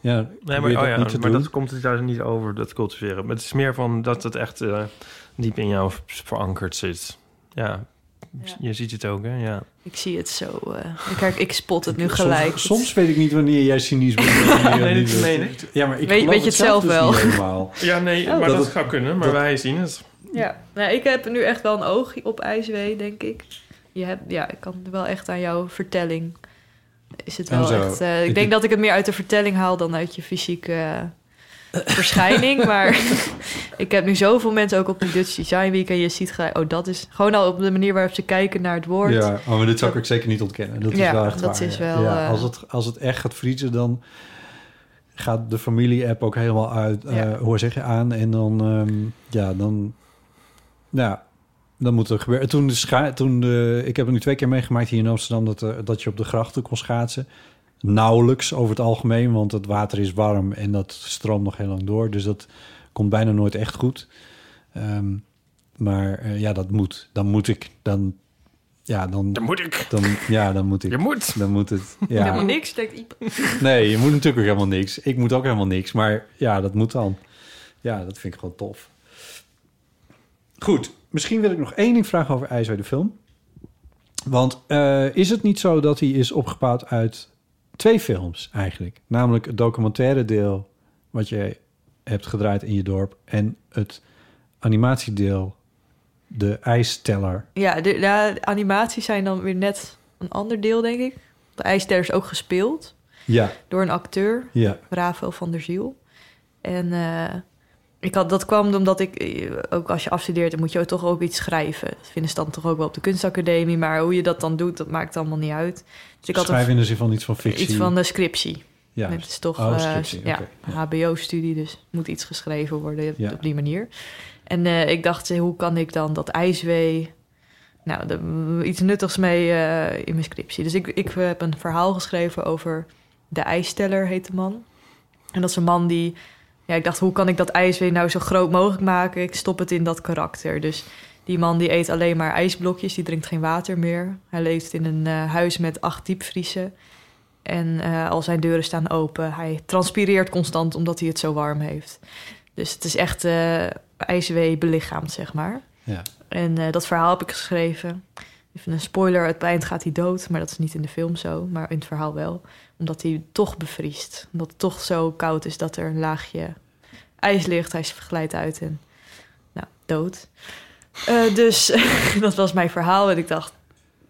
Speaker 2: Ja,
Speaker 3: Nee,
Speaker 2: probeer
Speaker 3: maar, oh ja,
Speaker 2: niet te
Speaker 3: maar
Speaker 2: doen.
Speaker 3: dat komt het daar niet over, dat cultiveren. Maar het is meer van dat het echt eh, diep in jou verankerd zit. Ja, je ziet het ook, hè? Ja.
Speaker 4: Ik zie het zo. eh, ik, herk- ik spot het nu
Speaker 2: Soms-
Speaker 4: gelijk.
Speaker 2: Soms, weet ik niet wanneer jij cynisch bent. en wanneer jij
Speaker 3: Nee,
Speaker 2: niet
Speaker 3: dit
Speaker 2: bent.
Speaker 3: meen ik.
Speaker 2: Ja, maar ik
Speaker 4: Weet-
Speaker 2: geloof
Speaker 4: weet je het zelf
Speaker 2: dus
Speaker 4: wel?
Speaker 2: niet helemaal.
Speaker 3: dus. Ja, nee,
Speaker 4: Oh.
Speaker 3: maar dat,
Speaker 2: Dat het-
Speaker 3: zou kunnen. Maar wij zien het.
Speaker 4: Ja, nou, ik heb nu echt wel een oog op IJswee, denk ik. Je hebt, ja, ik kan wel echt aan jouw vertelling. Is het
Speaker 2: En
Speaker 4: wel
Speaker 2: Nou, zo.
Speaker 4: echt. eh, ik
Speaker 2: Ik-
Speaker 4: denk dat ik het meer uit de vertelling haal dan uit je fysieke eh, verschijning. maar ik heb nu zoveel mensen ook op de Dutch Design Week. En je ziet gelijk, oh, dat is gewoon al op de manier waarop ze kijken naar het woord.
Speaker 2: Ja, oh, maar dit zou ik ook zeker niet ontkennen. Dat
Speaker 4: Ja,
Speaker 2: is wel echt
Speaker 4: dat
Speaker 2: waar,
Speaker 4: is
Speaker 2: ja.
Speaker 4: wel,
Speaker 2: Ja,
Speaker 4: eh,
Speaker 2: als, het, als het echt gaat vriezen, dan gaat de familie-app ook helemaal uit. eh, hoor zeg je aan. En dan, ehm, ja, dan, nou ja, dan moet er gebeuren. Toen de scha toen de, ik heb het nu twee keer meegemaakt hier in Amsterdam dat, eh, dat je op de grachten kon schaatsen. Nauwelijks over het algemeen, want het water is warm en dat stroomt nog heel lang door. Dus dat komt bijna nooit echt goed. Ehm, maar eh, ja, dat moet. Dan moet ik. Dan, ja, dan, dan
Speaker 3: moet ik.
Speaker 2: Dan, ja, dan moet ik.
Speaker 3: Je moet.
Speaker 2: Dan moet het.
Speaker 4: Ja.
Speaker 2: Ja.
Speaker 4: Helemaal niks, denkt Iep.
Speaker 2: Nee, je moet natuurlijk ook helemaal niks. Ik moet ook helemaal niks. Maar ja, dat moet dan. Ja, dat vind ik gewoon tof. Goed, misschien wil ik nog één ding vragen over IJs uit de film. Want eh, is het niet zo dat hij is opgebouwd uit twee films eigenlijk? Namelijk het documentaire deel wat je hebt gedraaid in je dorp en het animatiedeel, de ijsteller.
Speaker 4: Ja, de, ja, de animaties zijn dan weer net een ander deel, denk ik. De IJster is ook gespeeld
Speaker 2: Ja,
Speaker 4: door een acteur,
Speaker 2: ja.
Speaker 4: Ravo van der Ziel. En eh, ik had, dat kwam omdat ik, eh, ook als je afstudeert, dan moet je ook toch ook iets schrijven. Dat vinden ze dan toch ook wel op de kunstacademie. Maar hoe je dat dan doet, dat maakt allemaal niet uit. Dus ik had
Speaker 2: Schrijf in
Speaker 4: een,
Speaker 2: de zin van iets van fictie.
Speaker 4: iets van de scriptie.
Speaker 2: Ja.
Speaker 4: Het is toch
Speaker 2: Oh,
Speaker 4: eh,
Speaker 2: scriptie,
Speaker 4: ja,
Speaker 2: oké,
Speaker 4: HBO-studie, dus moet iets geschreven worden
Speaker 2: Ja.
Speaker 4: op die manier. En eh, ik dacht, eh, hoe kan ik dan dat ijswee... Nou, de- iets nuttigs mee eh, in mijn scriptie. Dus ik, ik heb een verhaal geschreven over de ijsteller, heet de man. En dat is een man die... Ja, ik dacht, hoe kan ik dat ijswee nou zo groot mogelijk maken? Ik stop het in dat karakter. Dus die man die eet alleen maar ijsblokjes, die drinkt geen water meer. Hij leeft in een eh, huis met acht diepvriezen. En eh, al zijn deuren staan open. Hij transpireert constant omdat hij het zo warm heeft. Dus het is echt eh ijswee belichaamd, zeg maar.
Speaker 2: Ja.
Speaker 4: En eh, dat verhaal heb ik geschreven. Even een spoiler, het eind gaat hij dood. Maar dat is niet in de film zo, maar in het verhaal wel. Omdat hij toch bevriest. Omdat het toch zo koud is dat er een laagje ijs ligt. Hij glijdt uit en nou, dood. Eh, dus dat was mijn verhaal. En ik dacht,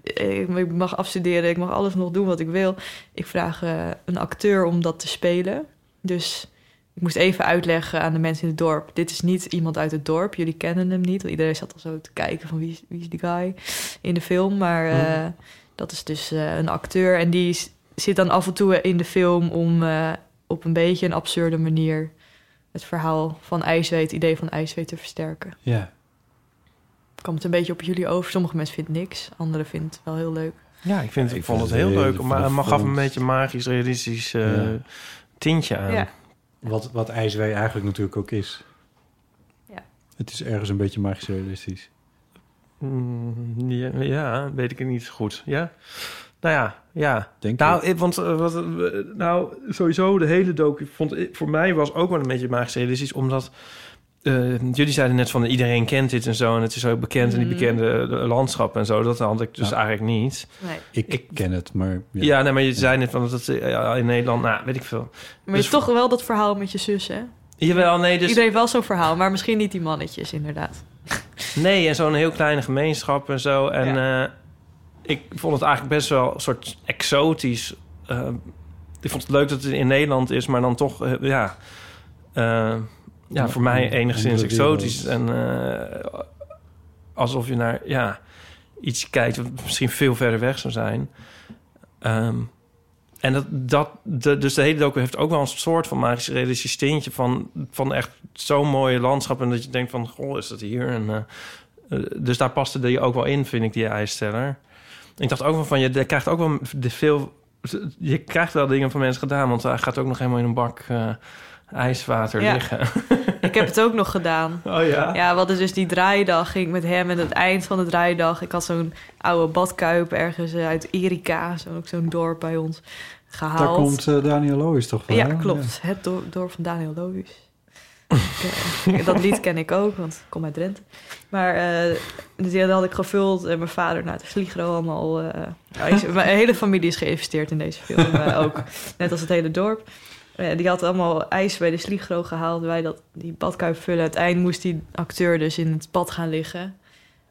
Speaker 4: eh, ik mag afstuderen, ik mag alles nog doen wat ik wil. Ik vraag eh, een acteur om dat te spelen. Dus ik moest even uitleggen aan de mensen in het dorp. Dit is niet iemand uit het dorp. Jullie kennen hem niet. Want iedereen zat al zo te kijken van wie is, wie is die guy in de film. Maar eh, dat is dus eh, een acteur. En die s- zit dan af en toe in de film om eh, op een beetje een absurde manier... het verhaal van IJswee, het idee van IJswee te versterken
Speaker 2: Ja.
Speaker 4: kwam het een beetje op jullie over. Sommige mensen vinden niks, anderen vinden het wel heel leuk.
Speaker 3: Ja, ik, vind, ik vond het
Speaker 2: vind
Speaker 3: heel
Speaker 2: het heel-
Speaker 3: leuk. Maar
Speaker 2: ik
Speaker 3: het mag- gaf
Speaker 2: vond-
Speaker 3: een beetje magisch, realistisch eh,
Speaker 2: Ja.
Speaker 3: tintje aan.
Speaker 4: Ja.
Speaker 2: Wat, wat IJswee eigenlijk natuurlijk ook is. Het is ergens een beetje magisch realistisch.
Speaker 3: Mm, Ja, ja, weet ik het niet zo goed. Ja? Nou ja, ja. nou, ik, want, eh, wat, eh, nou, sowieso de hele docu vond ik, voor mij was ook wel een beetje magisch realistisch, omdat eh, jullie zeiden net van iedereen kent dit en zo en het is ook bekend in die
Speaker 2: Mm.
Speaker 3: bekende eh, landschappen en zo. Dat had ik dus eigenlijk niet.
Speaker 4: Nee.
Speaker 2: Ik, ken het, maar...
Speaker 3: Ja, nee, maar je zei net van dat het eh, ja, in Nederland, nou, weet ik veel.
Speaker 4: Maar
Speaker 3: Dus
Speaker 4: je hebt toch wel dat verhaal met je zus, hè?
Speaker 3: Jawel, nee, dus...
Speaker 4: Iedereen heeft wel zo'n verhaal, maar misschien niet die mannetjes, inderdaad.
Speaker 3: Nee, en zo'n heel kleine gemeenschap en zo. En eh, ik vond het eigenlijk best wel een soort exotisch. Eh, ik vond het leuk dat het in Nederland is, maar dan toch, eh, ja... eh, ja,
Speaker 2: Ja,
Speaker 3: voor mij
Speaker 2: een
Speaker 3: enigszins
Speaker 2: andere wereld.
Speaker 3: exotisch. En eh, alsof je naar ja, iets kijkt wat misschien veel verder weg zou zijn. Ehm, en dat, dat de, dus de hele docu heeft ook wel een soort van magisch realistisch tintje van, van echt zo'n mooie landschap. En dat je denkt van, goh, is dat hier? En, eh, eh, dus daar paste die ook wel in, vind ik, die ijsteller. Ik dacht ook wel van, je je krijgt ook wel de veel... Je krijgt wel dingen van mensen gedaan, want hij gaat ook nog helemaal in een bak eh, ijswater
Speaker 4: Ja.
Speaker 3: liggen.
Speaker 4: Ik heb het ook nog gedaan.
Speaker 3: Oh ja?
Speaker 4: Ja, we hadden dus die draaidag, ging ik met hem. En het eind van de draaidag, ik had zo'n oude badkuip ergens eh, uit Erika, zo, ook zo'n dorp bij ons, gehaald.
Speaker 2: Daar komt eh, Daniel Loos toch van?
Speaker 4: Ja,
Speaker 2: hè?
Speaker 4: klopt. Het dorp, dorp van Daniel Loewis. Ik, eh, dat lied ken ik ook, want ik kom uit Drenthe. Maar eh, dus die had ik gevuld en mijn vader naar de Sligro allemaal... eh, ja, is- mijn hele familie is geïnvesteerd in deze film eh, ook. Net als het hele dorp. Eh, die had allemaal ijs bij de Sligro gehaald. Wij dat, die badkuip vullen. Uiteindelijk moest die acteur dus in het bad gaan liggen.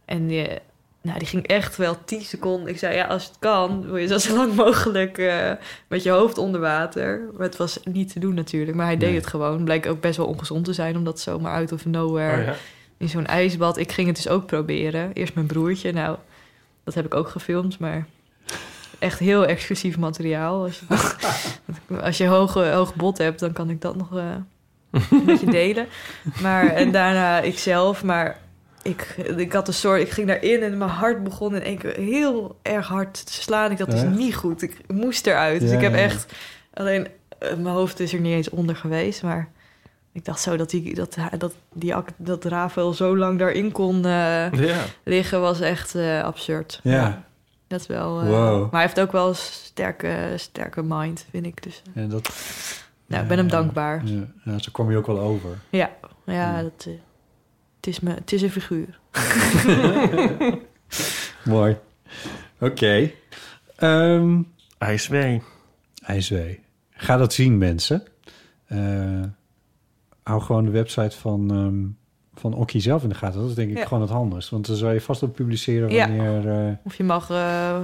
Speaker 4: En die, eh, nou, die ging echt wel 10 seconden. Ik zei, ja, als het kan, wil je zo lang mogelijk eh, met je hoofd onder water. Maar het was niet te doen natuurlijk. Maar hij deed
Speaker 7: Nee.
Speaker 4: het gewoon. Blijkt ook best wel ongezond te zijn, omdat zomaar out of nowhere
Speaker 7: Oh ja.
Speaker 4: in zo'n ijsbad. Ik ging het dus ook proberen. Eerst mijn broertje. Nou, dat heb ik ook gefilmd, maar echt heel exclusief materiaal. Als je, als je hoog, eh, hoog bot hebt, dan kan ik dat nog eh, een beetje delen. Maar en daarna ikzelf, maar ik, ik had een soort, ik ging daarin en mijn hart begon in één keer heel erg hard te slaan. Ik dacht, dat
Speaker 7: Echt?
Speaker 4: is niet goed. Ik moest eruit. Dus
Speaker 7: Ja,
Speaker 4: ik heb
Speaker 7: ja, ja.
Speaker 4: echt alleen eh, mijn hoofd is er niet eens onder geweest, maar ik dacht zo dat die dat hij- dat die act- dat Rafael zo lang daarin kon eh,
Speaker 3: Ja.
Speaker 4: liggen was echt eh, absurd.
Speaker 2: Ja.
Speaker 4: Dat is wel. eh,
Speaker 2: Wow.
Speaker 4: Maar hij heeft ook wel een sterke, sterke mind, vind ik. Dus,
Speaker 2: En dat,
Speaker 4: nou, ik ben hem dankbaar.
Speaker 2: Ja, nou, zo kom je ook wel over.
Speaker 4: Ja, ja, dat, eh, het, is me, het is een figuur.
Speaker 2: Mooi. Oké. Ehm IJswee. Ga dat zien, mensen. Eh, hou gewoon de website van, ehm van Okkie zelf in de gaten. Dat is denk ik
Speaker 4: Ja.
Speaker 2: gewoon het handigst. Want dan zou je vast op publiceren
Speaker 4: Ja.
Speaker 2: wanneer... eh,
Speaker 4: Of je mag... eh,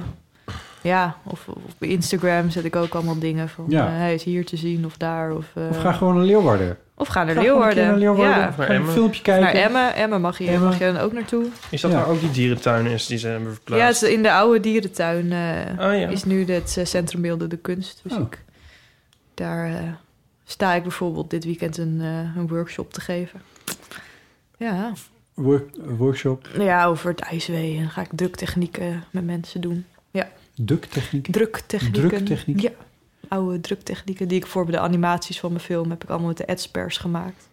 Speaker 4: ja, of, of bij Instagram zet ik ook allemaal dingen van...
Speaker 2: Ja.
Speaker 4: eh, hij is hier te zien of daar. Of, eh,
Speaker 2: of ga gewoon naar Leeuwarden.
Speaker 4: Of ga naar
Speaker 2: Ga gewoon een keer
Speaker 4: Leeuwarden.
Speaker 2: naar Leeuwarden.
Speaker 4: Ja.
Speaker 2: Of
Speaker 3: naar
Speaker 2: Ga een
Speaker 3: Emmen.
Speaker 2: filmpje
Speaker 4: Of
Speaker 2: kijken.
Speaker 4: Naar Emmen. Emmen mag je, mag je dan ook naartoe.
Speaker 3: Is dat
Speaker 2: Ja.
Speaker 3: waar ook die dierentuin is die ze hebben verplaatst?
Speaker 4: Ja, het is in de oude dierentuin eh,
Speaker 3: Oh, ja.
Speaker 4: is nu het eh, Centrum Beelden de Kunst. Dus
Speaker 2: Oh.
Speaker 4: ik, daar eh, sta ik bijvoorbeeld dit weekend een, eh, een workshop te geven. Ja.
Speaker 2: Work- workshop,
Speaker 4: Nou ja, over het ijswee. En dan ga ik druktechnieken met mensen doen. Ja,
Speaker 2: ducttechniek.
Speaker 4: druktechnieken.
Speaker 2: Druktechniek.
Speaker 4: Ja, oude druktechnieken die ik voor bij de animaties van mijn film... heb ik allemaal met de adspers gemaakt.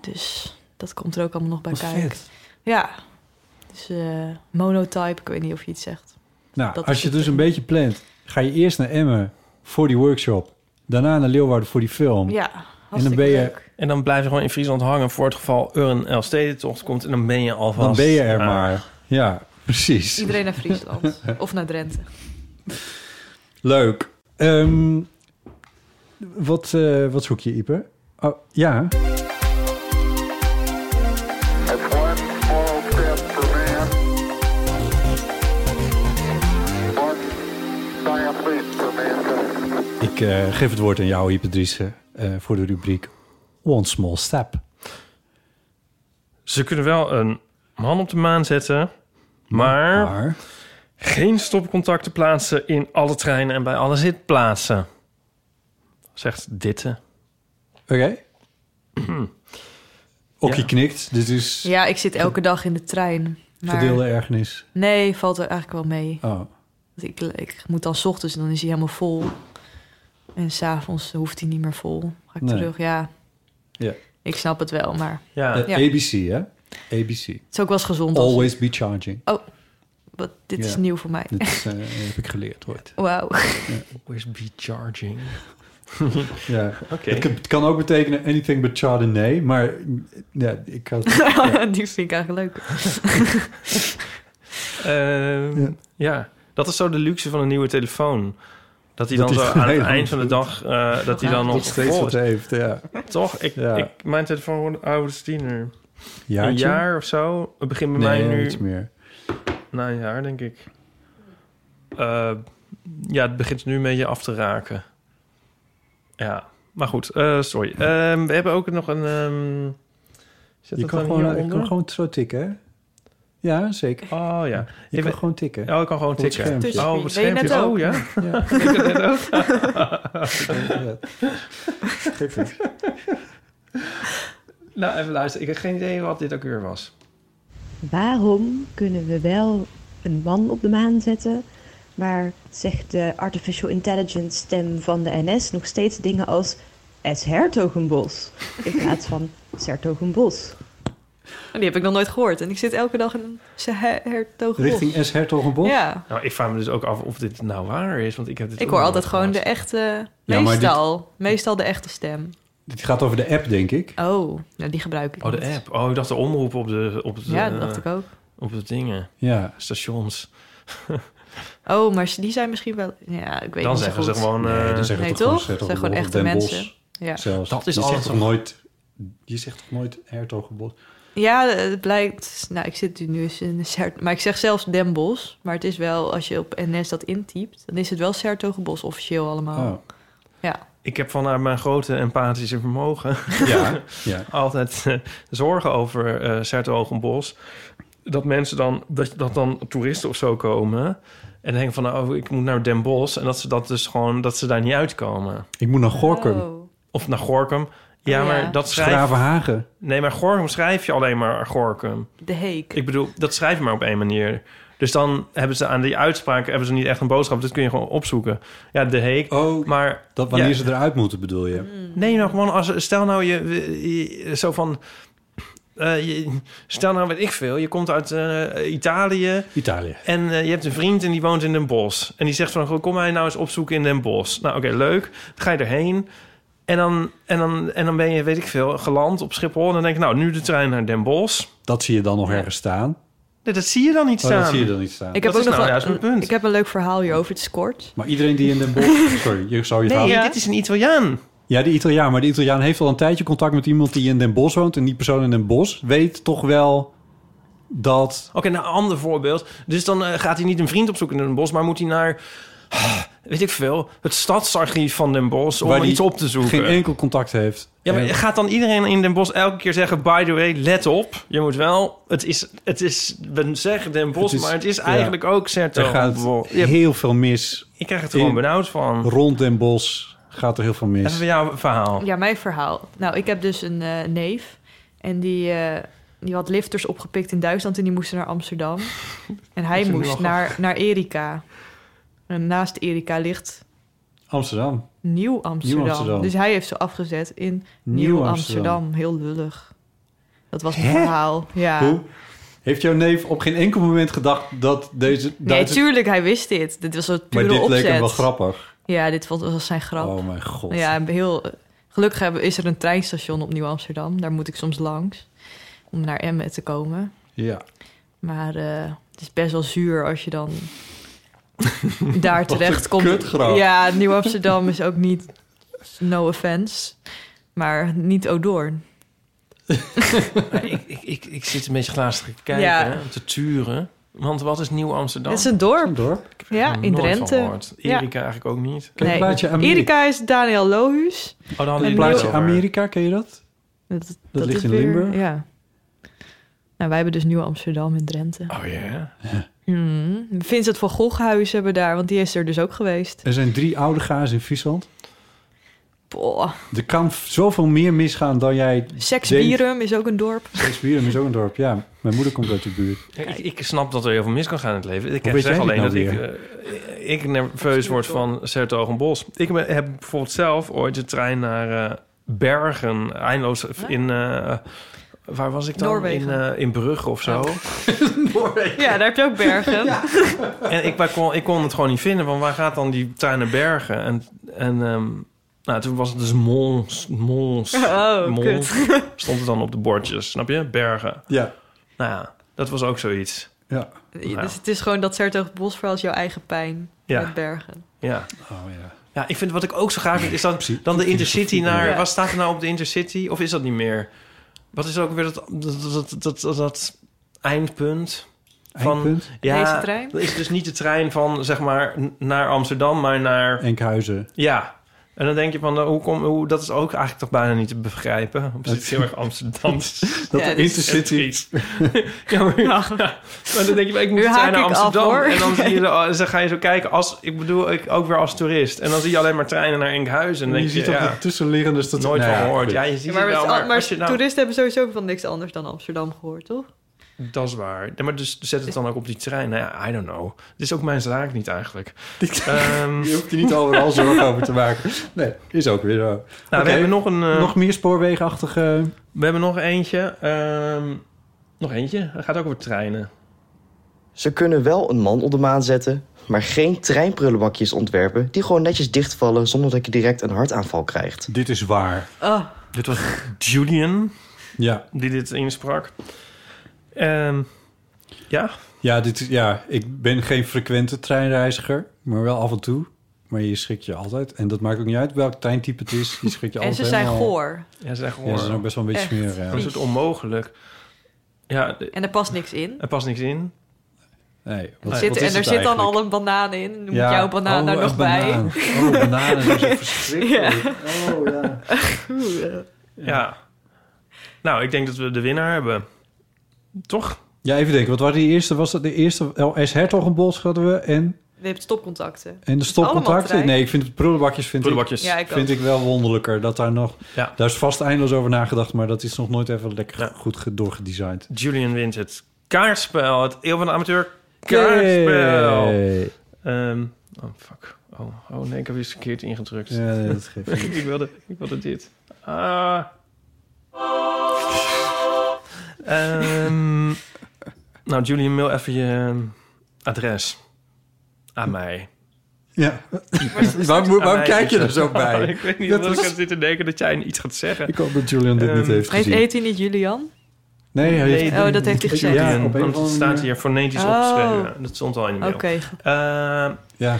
Speaker 4: Dus dat komt er ook allemaal nog bij
Speaker 2: Wat
Speaker 4: kijken.
Speaker 2: vet.
Speaker 4: Ja, dus eh, monotype, ik weet niet of je iets zegt.
Speaker 2: Nou,
Speaker 4: Dat
Speaker 2: als
Speaker 4: is
Speaker 2: je
Speaker 4: het
Speaker 2: dus een beetje plant, ga je eerst naar Emmen voor die workshop. Daarna naar Leeuwarden voor die film.
Speaker 4: Ja,
Speaker 2: en dan
Speaker 4: hartstikke
Speaker 2: ben je,
Speaker 4: leuk.
Speaker 3: En dan blijf je gewoon in Friesland hangen voor het geval er een Elfstedentocht komt. En dan ben je alvast...
Speaker 2: dan ben je er
Speaker 3: Ah.
Speaker 2: maar. Ja, precies.
Speaker 4: Iedereen naar Friesland of naar Drenthe.
Speaker 2: Leuk. Ehm, wat, eh, wat zoek je, Ipe? Oh, ja. Ik eh, geef het woord aan jou, Ipe Driessen, eh, voor de rubriek One Small Step.
Speaker 3: Ze kunnen wel een man op de maan zetten, maar,
Speaker 2: Maar
Speaker 3: geen stopcontacten plaatsen in alle treinen en bij alle zitplaatsen. Zegt ditte.
Speaker 2: Oké. Okkie knikt. Dit is
Speaker 4: Ja, ik zit elke dag in de trein. Maar
Speaker 2: gedeelde ergernis.
Speaker 4: Nee, valt er eigenlijk wel mee.
Speaker 2: Oh.
Speaker 4: Want Ik, ik moet dan 's ochtends en dan is hij helemaal vol. En s'avonds hoeft hij niet meer vol. Ga ik
Speaker 2: Nee.
Speaker 4: terug, ja.
Speaker 2: Ja.
Speaker 4: Ik snap het wel, maar
Speaker 3: Ah. Ja,
Speaker 2: Eh,
Speaker 4: Ja.
Speaker 2: ABC, hè? ABC.
Speaker 4: het is ook wel eens gezond. Als,
Speaker 2: Always be charging.
Speaker 4: wat, dit
Speaker 2: Ja.
Speaker 4: is nieuw voor mij.
Speaker 2: Dat is, eh, heb ik geleerd ooit.
Speaker 4: Wauw.
Speaker 3: always be charging.
Speaker 2: Ja.
Speaker 3: Oké.
Speaker 2: Het, kan- het kan ook betekenen anything but chardonnay, maar mm, ja, ik had,
Speaker 4: Die vind ik eigenlijk leuk.
Speaker 3: Ehm,
Speaker 2: Ja.
Speaker 3: ja. dat is zo de luxe van een nieuwe telefoon. Dat hij
Speaker 2: Dat
Speaker 3: dan zo
Speaker 2: hij
Speaker 3: aan het
Speaker 2: helemaal
Speaker 3: eind van de dag, eh, dat hij dan nog
Speaker 2: nog steeds
Speaker 3: vol
Speaker 2: wat
Speaker 3: is.
Speaker 2: heeft. Ja.
Speaker 3: Toch? Ik,
Speaker 2: Ja.
Speaker 3: ik, mijn telefoon wordt ouder dan tiener. Een
Speaker 2: Jaartje?
Speaker 3: jaar of zo. Het begint bij
Speaker 2: Nee,
Speaker 3: mij nu
Speaker 2: iets meer.
Speaker 3: na een jaar, denk ik. Eh, ja, het begint nu een beetje af te raken. Ja, maar goed. eh sorry. Ehm, we hebben ook nog een... ehm, zit
Speaker 2: Je
Speaker 3: dat
Speaker 2: kan
Speaker 3: dan
Speaker 2: gewoon, je
Speaker 3: hieronder?
Speaker 2: kan gewoon zo tikken, hè? Ja, zeker.
Speaker 3: Oh ja.
Speaker 2: Je
Speaker 3: Ik
Speaker 2: kan
Speaker 3: weet-
Speaker 2: gewoon tikken.
Speaker 3: Oh, ik kan gewoon
Speaker 2: Op het
Speaker 3: tikken.
Speaker 2: schermpje.
Speaker 3: Oh, op het
Speaker 4: Deed je net
Speaker 3: schermpje.
Speaker 4: ook.
Speaker 3: Oh, ja.
Speaker 2: Ja.
Speaker 3: Ik heb het net ook.
Speaker 2: Ja. Geef niet.
Speaker 3: Nou, even luisteren. Ik heb geen idee wat dit ook weer was.
Speaker 7: Waarom kunnen we wel een man op de maan zetten, maar zegt de artificial intelligence stem van de NS nog steeds dingen als S. Hertogenbos in plaats van Sertogenbos?
Speaker 4: Die heb ik nog nooit gehoord. En ik zit elke dag in een hertogenbos.
Speaker 2: Richting S. Hertogenbosch?
Speaker 4: Ja,
Speaker 3: Nou, ik vraag me dus ook af of dit nou waar is. Want ik heb dit
Speaker 4: ik
Speaker 3: ook
Speaker 4: hoor
Speaker 3: nog
Speaker 4: altijd
Speaker 3: nooit
Speaker 4: gewoon de
Speaker 3: gehoord.
Speaker 4: echte...
Speaker 2: Oh, Ja, maar dit-
Speaker 4: Meestal. Meestal de echte stem.
Speaker 2: Dit gaat over de app, denk ik.
Speaker 4: Oh, nou, die gebruik ik
Speaker 3: Oh,
Speaker 4: niet.
Speaker 3: de app. Oh, ik dacht de omroep op de, op de,
Speaker 4: Ja, dat dacht ik ook.
Speaker 3: op de dingen,
Speaker 2: Ja.
Speaker 3: stations.
Speaker 4: Oh, maar die zijn misschien wel... Ja, ik weet
Speaker 3: Dan
Speaker 4: niet zo
Speaker 3: zeggen ze
Speaker 4: goed.
Speaker 3: gewoon... eh,
Speaker 2: dan zeggen we
Speaker 4: nee,
Speaker 2: toch gewoon
Speaker 4: toch? Ze zijn
Speaker 2: Hertogenbosch
Speaker 4: gewoon
Speaker 2: of
Speaker 4: echte
Speaker 2: Den
Speaker 4: mensen.
Speaker 2: Bosch
Speaker 4: Ja,
Speaker 2: Zelfs.
Speaker 3: Dat is
Speaker 2: je zegt
Speaker 3: alles
Speaker 2: toch
Speaker 3: een-
Speaker 2: nooit... Je zegt toch nooit Hertogenbosch?
Speaker 4: ja het blijkt... Nou, ik zit nu eens in een Sert... Maar ik zeg zelfs Den Bosch. Maar het is wel, als je op NS dat intypt... dan is het wel Sertogenbos officieel allemaal.
Speaker 2: Oh.
Speaker 4: Ja.
Speaker 3: Ik heb vanuit mijn grote empathische vermogen
Speaker 2: Ja. ja.
Speaker 3: altijd eh, zorgen over eh Sertogenbos. Dat mensen dan, dat, dat dan toeristen of zo komen... en denken van, nou, oh, ik moet naar Den Bosch... en dat ze, dat dus gewoon, dat ze daar niet uitkomen.
Speaker 2: Ik moet naar Gorkum.
Speaker 4: Oh.
Speaker 3: Of naar Gorkum. Ja,
Speaker 4: Oh, ja.
Speaker 3: maar dat schrijf...
Speaker 2: Schravenhagen.
Speaker 3: Nee, maar Gorkum schrijf je alleen maar Gorkum.
Speaker 4: De Heek.
Speaker 3: Ik bedoel, dat schrijf je maar op één manier. Dus dan hebben ze aan die uitspraak hebben ze niet echt een boodschap. Dat kun je gewoon opzoeken. Ja, de heek.
Speaker 2: Oh,
Speaker 3: Maar
Speaker 2: dat wanneer
Speaker 3: Ja.
Speaker 2: ze eruit moeten, bedoel
Speaker 4: Mm.
Speaker 2: je?
Speaker 3: nee, nou gewoon als stel nou je, je- zo van. eh, je- stel nou weet ik veel. Je komt uit eh, Italië
Speaker 2: Italië.
Speaker 3: en eh, je hebt een vriend en die woont in Den Bosch. En die zegt van, goh, kom mij nou eens opzoeken in Den Bosch. Nou, oké, leuk. Dan ga je erheen. En dan, en, dan, en dan ben je, weet ik veel, geland op Schiphol. En dan denk ik, nou, nu de trein naar Den Bosch.
Speaker 2: Dat zie je dan nog ergens staan. Oh,
Speaker 3: Nee, dat zie je dan niet staan.
Speaker 2: dat zie je dan niet staan.
Speaker 4: Ik
Speaker 3: dat
Speaker 4: heb ook
Speaker 3: is
Speaker 4: nog
Speaker 3: nou
Speaker 4: wel-
Speaker 3: juist mijn punt.
Speaker 4: Ik heb een leuk verhaal hierover. Het is kort.
Speaker 2: Maar iedereen die in Den Bosch... Sorry, je zou je
Speaker 3: Nee,
Speaker 2: verhaal...
Speaker 3: dit is een Italiaan.
Speaker 2: Ja, de Italiaan. Maar de Italiaan heeft al een tijdje contact met iemand die in Den Bosch woont. En die persoon in Den Bosch weet toch wel dat...
Speaker 3: Oké, nou, een ander voorbeeld. Dus dan eh, gaat hij niet een vriend opzoeken in Den Bosch, maar moet hij naar, ah, weet ik veel, het stadsarchief van Den Bosch om
Speaker 2: waar die
Speaker 3: iets op te zoeken.
Speaker 2: geen enkel contact heeft.
Speaker 3: Ja, maar
Speaker 2: En-
Speaker 3: gaat dan iedereen in Den Bosch elke keer zeggen... by the way, let op. Je moet wel... Het is... Het is we zeggen Den Bosch, maar het is
Speaker 2: ja.
Speaker 3: eigenlijk ook Serto.
Speaker 2: Er gaat
Speaker 3: Ja,
Speaker 2: heel veel mis.
Speaker 3: Ik krijg het gewoon
Speaker 2: In-
Speaker 3: benauwd van.
Speaker 2: Rond Den Bosch gaat er heel veel mis.
Speaker 3: Even bij jouw verhaal.
Speaker 4: Ja, mijn verhaal. Nou, ik heb dus een eh, neef. En die, eh, die had lifters opgepikt in Duitsland en die moesten naar Amsterdam. En hij
Speaker 2: Dat vind ik
Speaker 4: moest
Speaker 2: wel
Speaker 4: naar, naar Erika. En naast Erika ligt
Speaker 2: Amsterdam.
Speaker 4: Nieuw Amsterdam.
Speaker 2: Amsterdam.
Speaker 4: Dus hij heeft ze afgezet in
Speaker 2: Nieuw
Speaker 4: Nieuw,
Speaker 2: Amsterdam.
Speaker 4: Amsterdam. Heel lullig. Dat was mijn
Speaker 2: Hè?
Speaker 4: verhaal. Ja.
Speaker 2: Hoe? Heeft jouw neef op geen enkel moment gedacht dat deze
Speaker 4: Nee,
Speaker 2: Duitse...
Speaker 4: tuurlijk, hij wist dit. Dit was een
Speaker 2: maar
Speaker 4: pure
Speaker 2: dit
Speaker 4: opzet.
Speaker 2: leek hem wel grappig.
Speaker 4: Ja, dit vond- was zijn grap.
Speaker 2: Oh mijn god.
Speaker 4: Ja, en heel eh, gelukkig hebben, is er een treinstation op Nieuw Amsterdam. Daar moet ik soms langs om naar Emmen te komen.
Speaker 2: Ja.
Speaker 4: Maar eh, het is best wel zuur als je dan daar terecht komt.
Speaker 2: kutgrap.
Speaker 4: Ja, Nieuw Amsterdam is ook niet no offense, maar niet
Speaker 2: Oh.
Speaker 4: Odoorn.
Speaker 3: ik, ik, ik, ik zit een beetje glazig te kijken,
Speaker 4: Ja.
Speaker 3: hè, te turen. Want wat is Nieuw-Amsterdam?
Speaker 4: Het is een dorp. Ja,
Speaker 3: Nog
Speaker 4: in
Speaker 3: nooit van
Speaker 4: Drenthe.
Speaker 3: gehoord.
Speaker 4: Ja.
Speaker 3: Erika eigenlijk ook niet.
Speaker 4: Nee. Erika is Daniel Lohuus.
Speaker 3: Oh, dan hadden
Speaker 2: Het
Speaker 3: jullie het
Speaker 2: plaatje
Speaker 3: over.
Speaker 2: Amerika, ken je dat?
Speaker 4: Dat,
Speaker 2: Dat ligt
Speaker 4: is
Speaker 2: in
Speaker 4: weer-
Speaker 2: Limburg.
Speaker 4: Ja. Nou, wij hebben dus Nieuw Amsterdam in Drenthe.
Speaker 3: Oh ja.
Speaker 4: Hmm. Vincent van Goghuis hebben we daar, want die is er dus ook geweest.
Speaker 2: Er zijn drie oude gazen in Friesland.
Speaker 4: Boah.
Speaker 2: Er kan v- zoveel meer misgaan dan jij denkt.
Speaker 4: Seksbierum is ook een dorp.
Speaker 2: Seksbieren is ook een dorp, ja. Mijn moeder komt uit de buurt.
Speaker 3: Ik, ik snap dat er heel veel mis kan gaan in het leven. Ik
Speaker 2: Hoe weet
Speaker 3: zeg
Speaker 2: jij dit
Speaker 3: alleen
Speaker 2: nou
Speaker 3: dat ik, eh, ik nerveus word van Sertogenbos. en Bos. Ik ben- heb bijvoorbeeld zelf ooit de trein naar eh, Bergen, eindeloos in... eh, waar was ik dan?
Speaker 4: Noorwegen.
Speaker 3: In, eh, in Brugge of zo.
Speaker 4: Ja, daar heb je ook bergen.
Speaker 3: En ik, maar kon, ik kon het gewoon niet vinden. Van waar gaat dan die trein naar Bergen? En, en ehm, nou, toen was het dus Mons. Mons.
Speaker 4: Oh,
Speaker 3: Mons.
Speaker 4: kut.
Speaker 3: Stond het dan op de bordjes, snap je? Bergen.
Speaker 2: Ja.
Speaker 3: Nou ja, dat was ook zoiets.
Speaker 2: Ja.
Speaker 3: Nou.
Speaker 4: Dus het is gewoon dat Sertogenbosch is jouw eigen pijn
Speaker 3: Ja.
Speaker 4: met bergen.
Speaker 3: Ja.
Speaker 2: Oh ja.
Speaker 3: Ja, ik vind wat ik ook zo graag vind, is dan, dan de Intercity naar...
Speaker 4: Ja.
Speaker 3: Wat staat er nou op de Intercity? Of is dat niet meer? Wat is ook weer dat, dat, dat, dat, dat, dat eindpunt?
Speaker 2: Eindpunt?
Speaker 3: Ja,
Speaker 4: Deze trein?
Speaker 3: dat is dus niet de trein van, zeg maar, n- naar Amsterdam, maar naar...
Speaker 2: Enkhuizen.
Speaker 3: Ja. En dan denk je van, nou, hoe kom, hoe, dat is ook eigenlijk toch bijna niet te begrijpen. Want Het is heel erg Amsterdams.
Speaker 2: Dat de
Speaker 4: dus-
Speaker 2: Intercity...
Speaker 3: Ja, maar, ja. maar dan denk je, maar ik moet
Speaker 4: Nu
Speaker 3: zijn
Speaker 4: haak
Speaker 3: naar
Speaker 4: ik af,
Speaker 3: Amsterdam.
Speaker 4: hoor.
Speaker 3: en dan, zie je, de- oh, dan ga je zo kijken, als, ik bedoel, ik, ook weer als toerist. En dan zie je alleen maar treinen naar Enkhuizen. En dan
Speaker 2: Je
Speaker 3: denk je,
Speaker 2: ziet op
Speaker 3: ja,
Speaker 2: de tussenliggende stad...
Speaker 3: nooit
Speaker 2: Nou
Speaker 3: van
Speaker 2: ja,
Speaker 3: gehoord.
Speaker 2: goed.
Speaker 3: Ja, je ziet
Speaker 4: maar
Speaker 3: het
Speaker 4: met-
Speaker 3: wel, maar,
Speaker 4: Oh, maar
Speaker 3: als je nou...
Speaker 4: toeristen hebben sowieso van niks anders dan Amsterdam gehoord, toch?
Speaker 3: Dat is waar. Ja, maar dus zet het dan ook op die trein. Nou ja, I don't know. Het is ook mijn zaak niet eigenlijk. Ehm,
Speaker 2: Je hoeft je niet overal zorgen over te maken. Nee, is ook weer zo. Nou,
Speaker 3: we hebben nog een, eh,
Speaker 2: nog meer spoorwegachtige...
Speaker 3: we hebben nog eentje. Ehm, nog eentje. Het gaat ook over treinen.
Speaker 8: Ze kunnen wel een man op de maan zetten, maar geen treinprullenbakjes ontwerpen die gewoon netjes dichtvallen zonder dat je direct een hartaanval krijgt.
Speaker 2: Dit is waar.
Speaker 4: Oh,
Speaker 3: Dit was Julian
Speaker 2: Ja.
Speaker 3: die dit insprak. Ehm, ja,
Speaker 2: Ja, dit, is- ja, ik ben geen frequente treinreiziger, maar wel af en toe. Maar je schrikt je altijd. En dat maakt ook niet uit welk treintype het is. Je schrikt je
Speaker 4: en
Speaker 2: altijd
Speaker 4: ze zijn
Speaker 2: helemaal-
Speaker 4: goor.
Speaker 3: Ja, ze zijn gewoon
Speaker 2: Ja, ze zijn ook best wel een beetje
Speaker 4: Echt.
Speaker 2: smerig. Ja.
Speaker 3: een soort onmogelijk. Ja, de-
Speaker 4: En er past niks in.
Speaker 3: er past niks in.
Speaker 2: Nee,
Speaker 4: Er zit, en er zit dan al een banaan in. Dan moet jouw banaan daar nog bij.
Speaker 2: bij. Oh, bananen. Dat is echt verschrikkelijk. Oh, ja.
Speaker 3: Ja. Nou, ik denk dat we de winnaar hebben. Toch?
Speaker 2: Ja, even denken. Wat waren die eerste? Was dat de eerste? LS Hertogenbosch hadden we en,
Speaker 4: Je hebt stopcontacten.
Speaker 2: en de
Speaker 4: Allemaal
Speaker 2: stopcontacten.
Speaker 4: trein.
Speaker 2: Nee, ik vind het prullenbakjes vind
Speaker 3: Prullenbakjes.
Speaker 4: Ja,
Speaker 2: ik,
Speaker 4: ik ook.
Speaker 2: vind ik wel wonderlijker. Dat daar nog...
Speaker 3: Ja.
Speaker 2: Daar is vast eindeloos over nagedacht, maar dat is nog nooit even lekker
Speaker 3: Ja.
Speaker 2: goed ge- doorgedesigned.
Speaker 3: Julian wint het kaartspel. Het Eeuw van de Amateur kaartspel.
Speaker 2: Yay.
Speaker 3: Ehm, oh, fuck. Oh, oh nee, ik heb eens verkeerd ingedrukt.
Speaker 2: Ja, nee, dat geeft niet.
Speaker 3: ik, wilde, ik wilde dit. Ah. Ehm, nou, Julian, mail even je ehm, adres aan mij.
Speaker 2: Ja. Waarom, moet-
Speaker 3: Aan
Speaker 2: waarom
Speaker 3: mij
Speaker 2: kijk je
Speaker 3: zitten.
Speaker 2: er zo bij?
Speaker 3: ik weet niet
Speaker 2: Dat
Speaker 3: dat ik
Speaker 2: was-
Speaker 3: aan zit te denken dat jij iets gaat zeggen.
Speaker 2: Ik hoop dat Julian dit
Speaker 3: Ehm,
Speaker 2: niet heeft
Speaker 4: Heet,
Speaker 2: gezien.
Speaker 4: heet hij niet Julian?
Speaker 2: nee, hij heeft...
Speaker 4: Oh, dat heeft hij gezegd.
Speaker 2: Ja,
Speaker 3: Ja,
Speaker 2: op een of
Speaker 3: want
Speaker 2: andere
Speaker 3: het staat
Speaker 2: manier.
Speaker 3: hier fonetisch
Speaker 4: Oh.
Speaker 3: opgeschreven. Dat stond al in de mail.
Speaker 4: Oké.
Speaker 3: Ehm,
Speaker 2: Ja.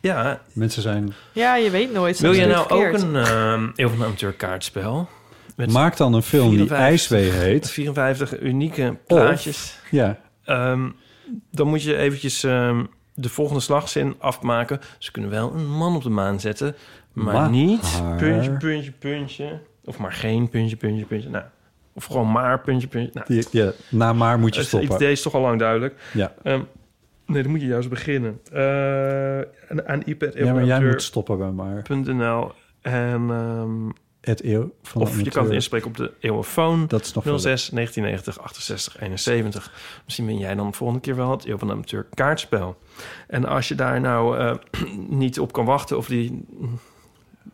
Speaker 3: Ja.
Speaker 2: Mensen zijn...
Speaker 4: Ja, je weet nooit.
Speaker 3: Wil
Speaker 4: soms
Speaker 3: je
Speaker 4: doe
Speaker 3: nou
Speaker 4: het verkeerd.
Speaker 3: ook een ehm Eeuw van de Amateur kaartspel? Met
Speaker 2: Maak dan een film die
Speaker 3: 54
Speaker 2: IJswee heet.
Speaker 3: 54 unieke plaatjes.
Speaker 2: ja.
Speaker 3: Ehm, dan moet je eventjes ehm, de volgende slagzin afmaken. Ze kunnen wel een man op de maan zetten, maar,
Speaker 2: Maar-
Speaker 3: niet... Puntje, puntje, puntje. Of maar geen puntje, puntje, puntje. Nou, of gewoon maar puntje, puntje. Nou,
Speaker 2: Die, ja, na maar moet je
Speaker 3: het idee
Speaker 2: stoppen.
Speaker 3: is toch al lang duidelijk.
Speaker 2: Ja.
Speaker 3: Ehm, nee, dan moet je juist beginnen. Eh, aan, aan iPad.
Speaker 2: Ja, maar jij moet stoppen bij maar.
Speaker 3: .nl en... ehm,
Speaker 2: Het eeuw van de
Speaker 3: of je kan het
Speaker 2: amateur.
Speaker 3: inspreken op de eeuwenfoon.
Speaker 2: Dat is nog
Speaker 3: 06 1990 68 71. Misschien ben jij dan de volgende keer wel het Eeuw van de Amateur kaartspel. En als je daar nou eh, niet op kan wachten of die mm,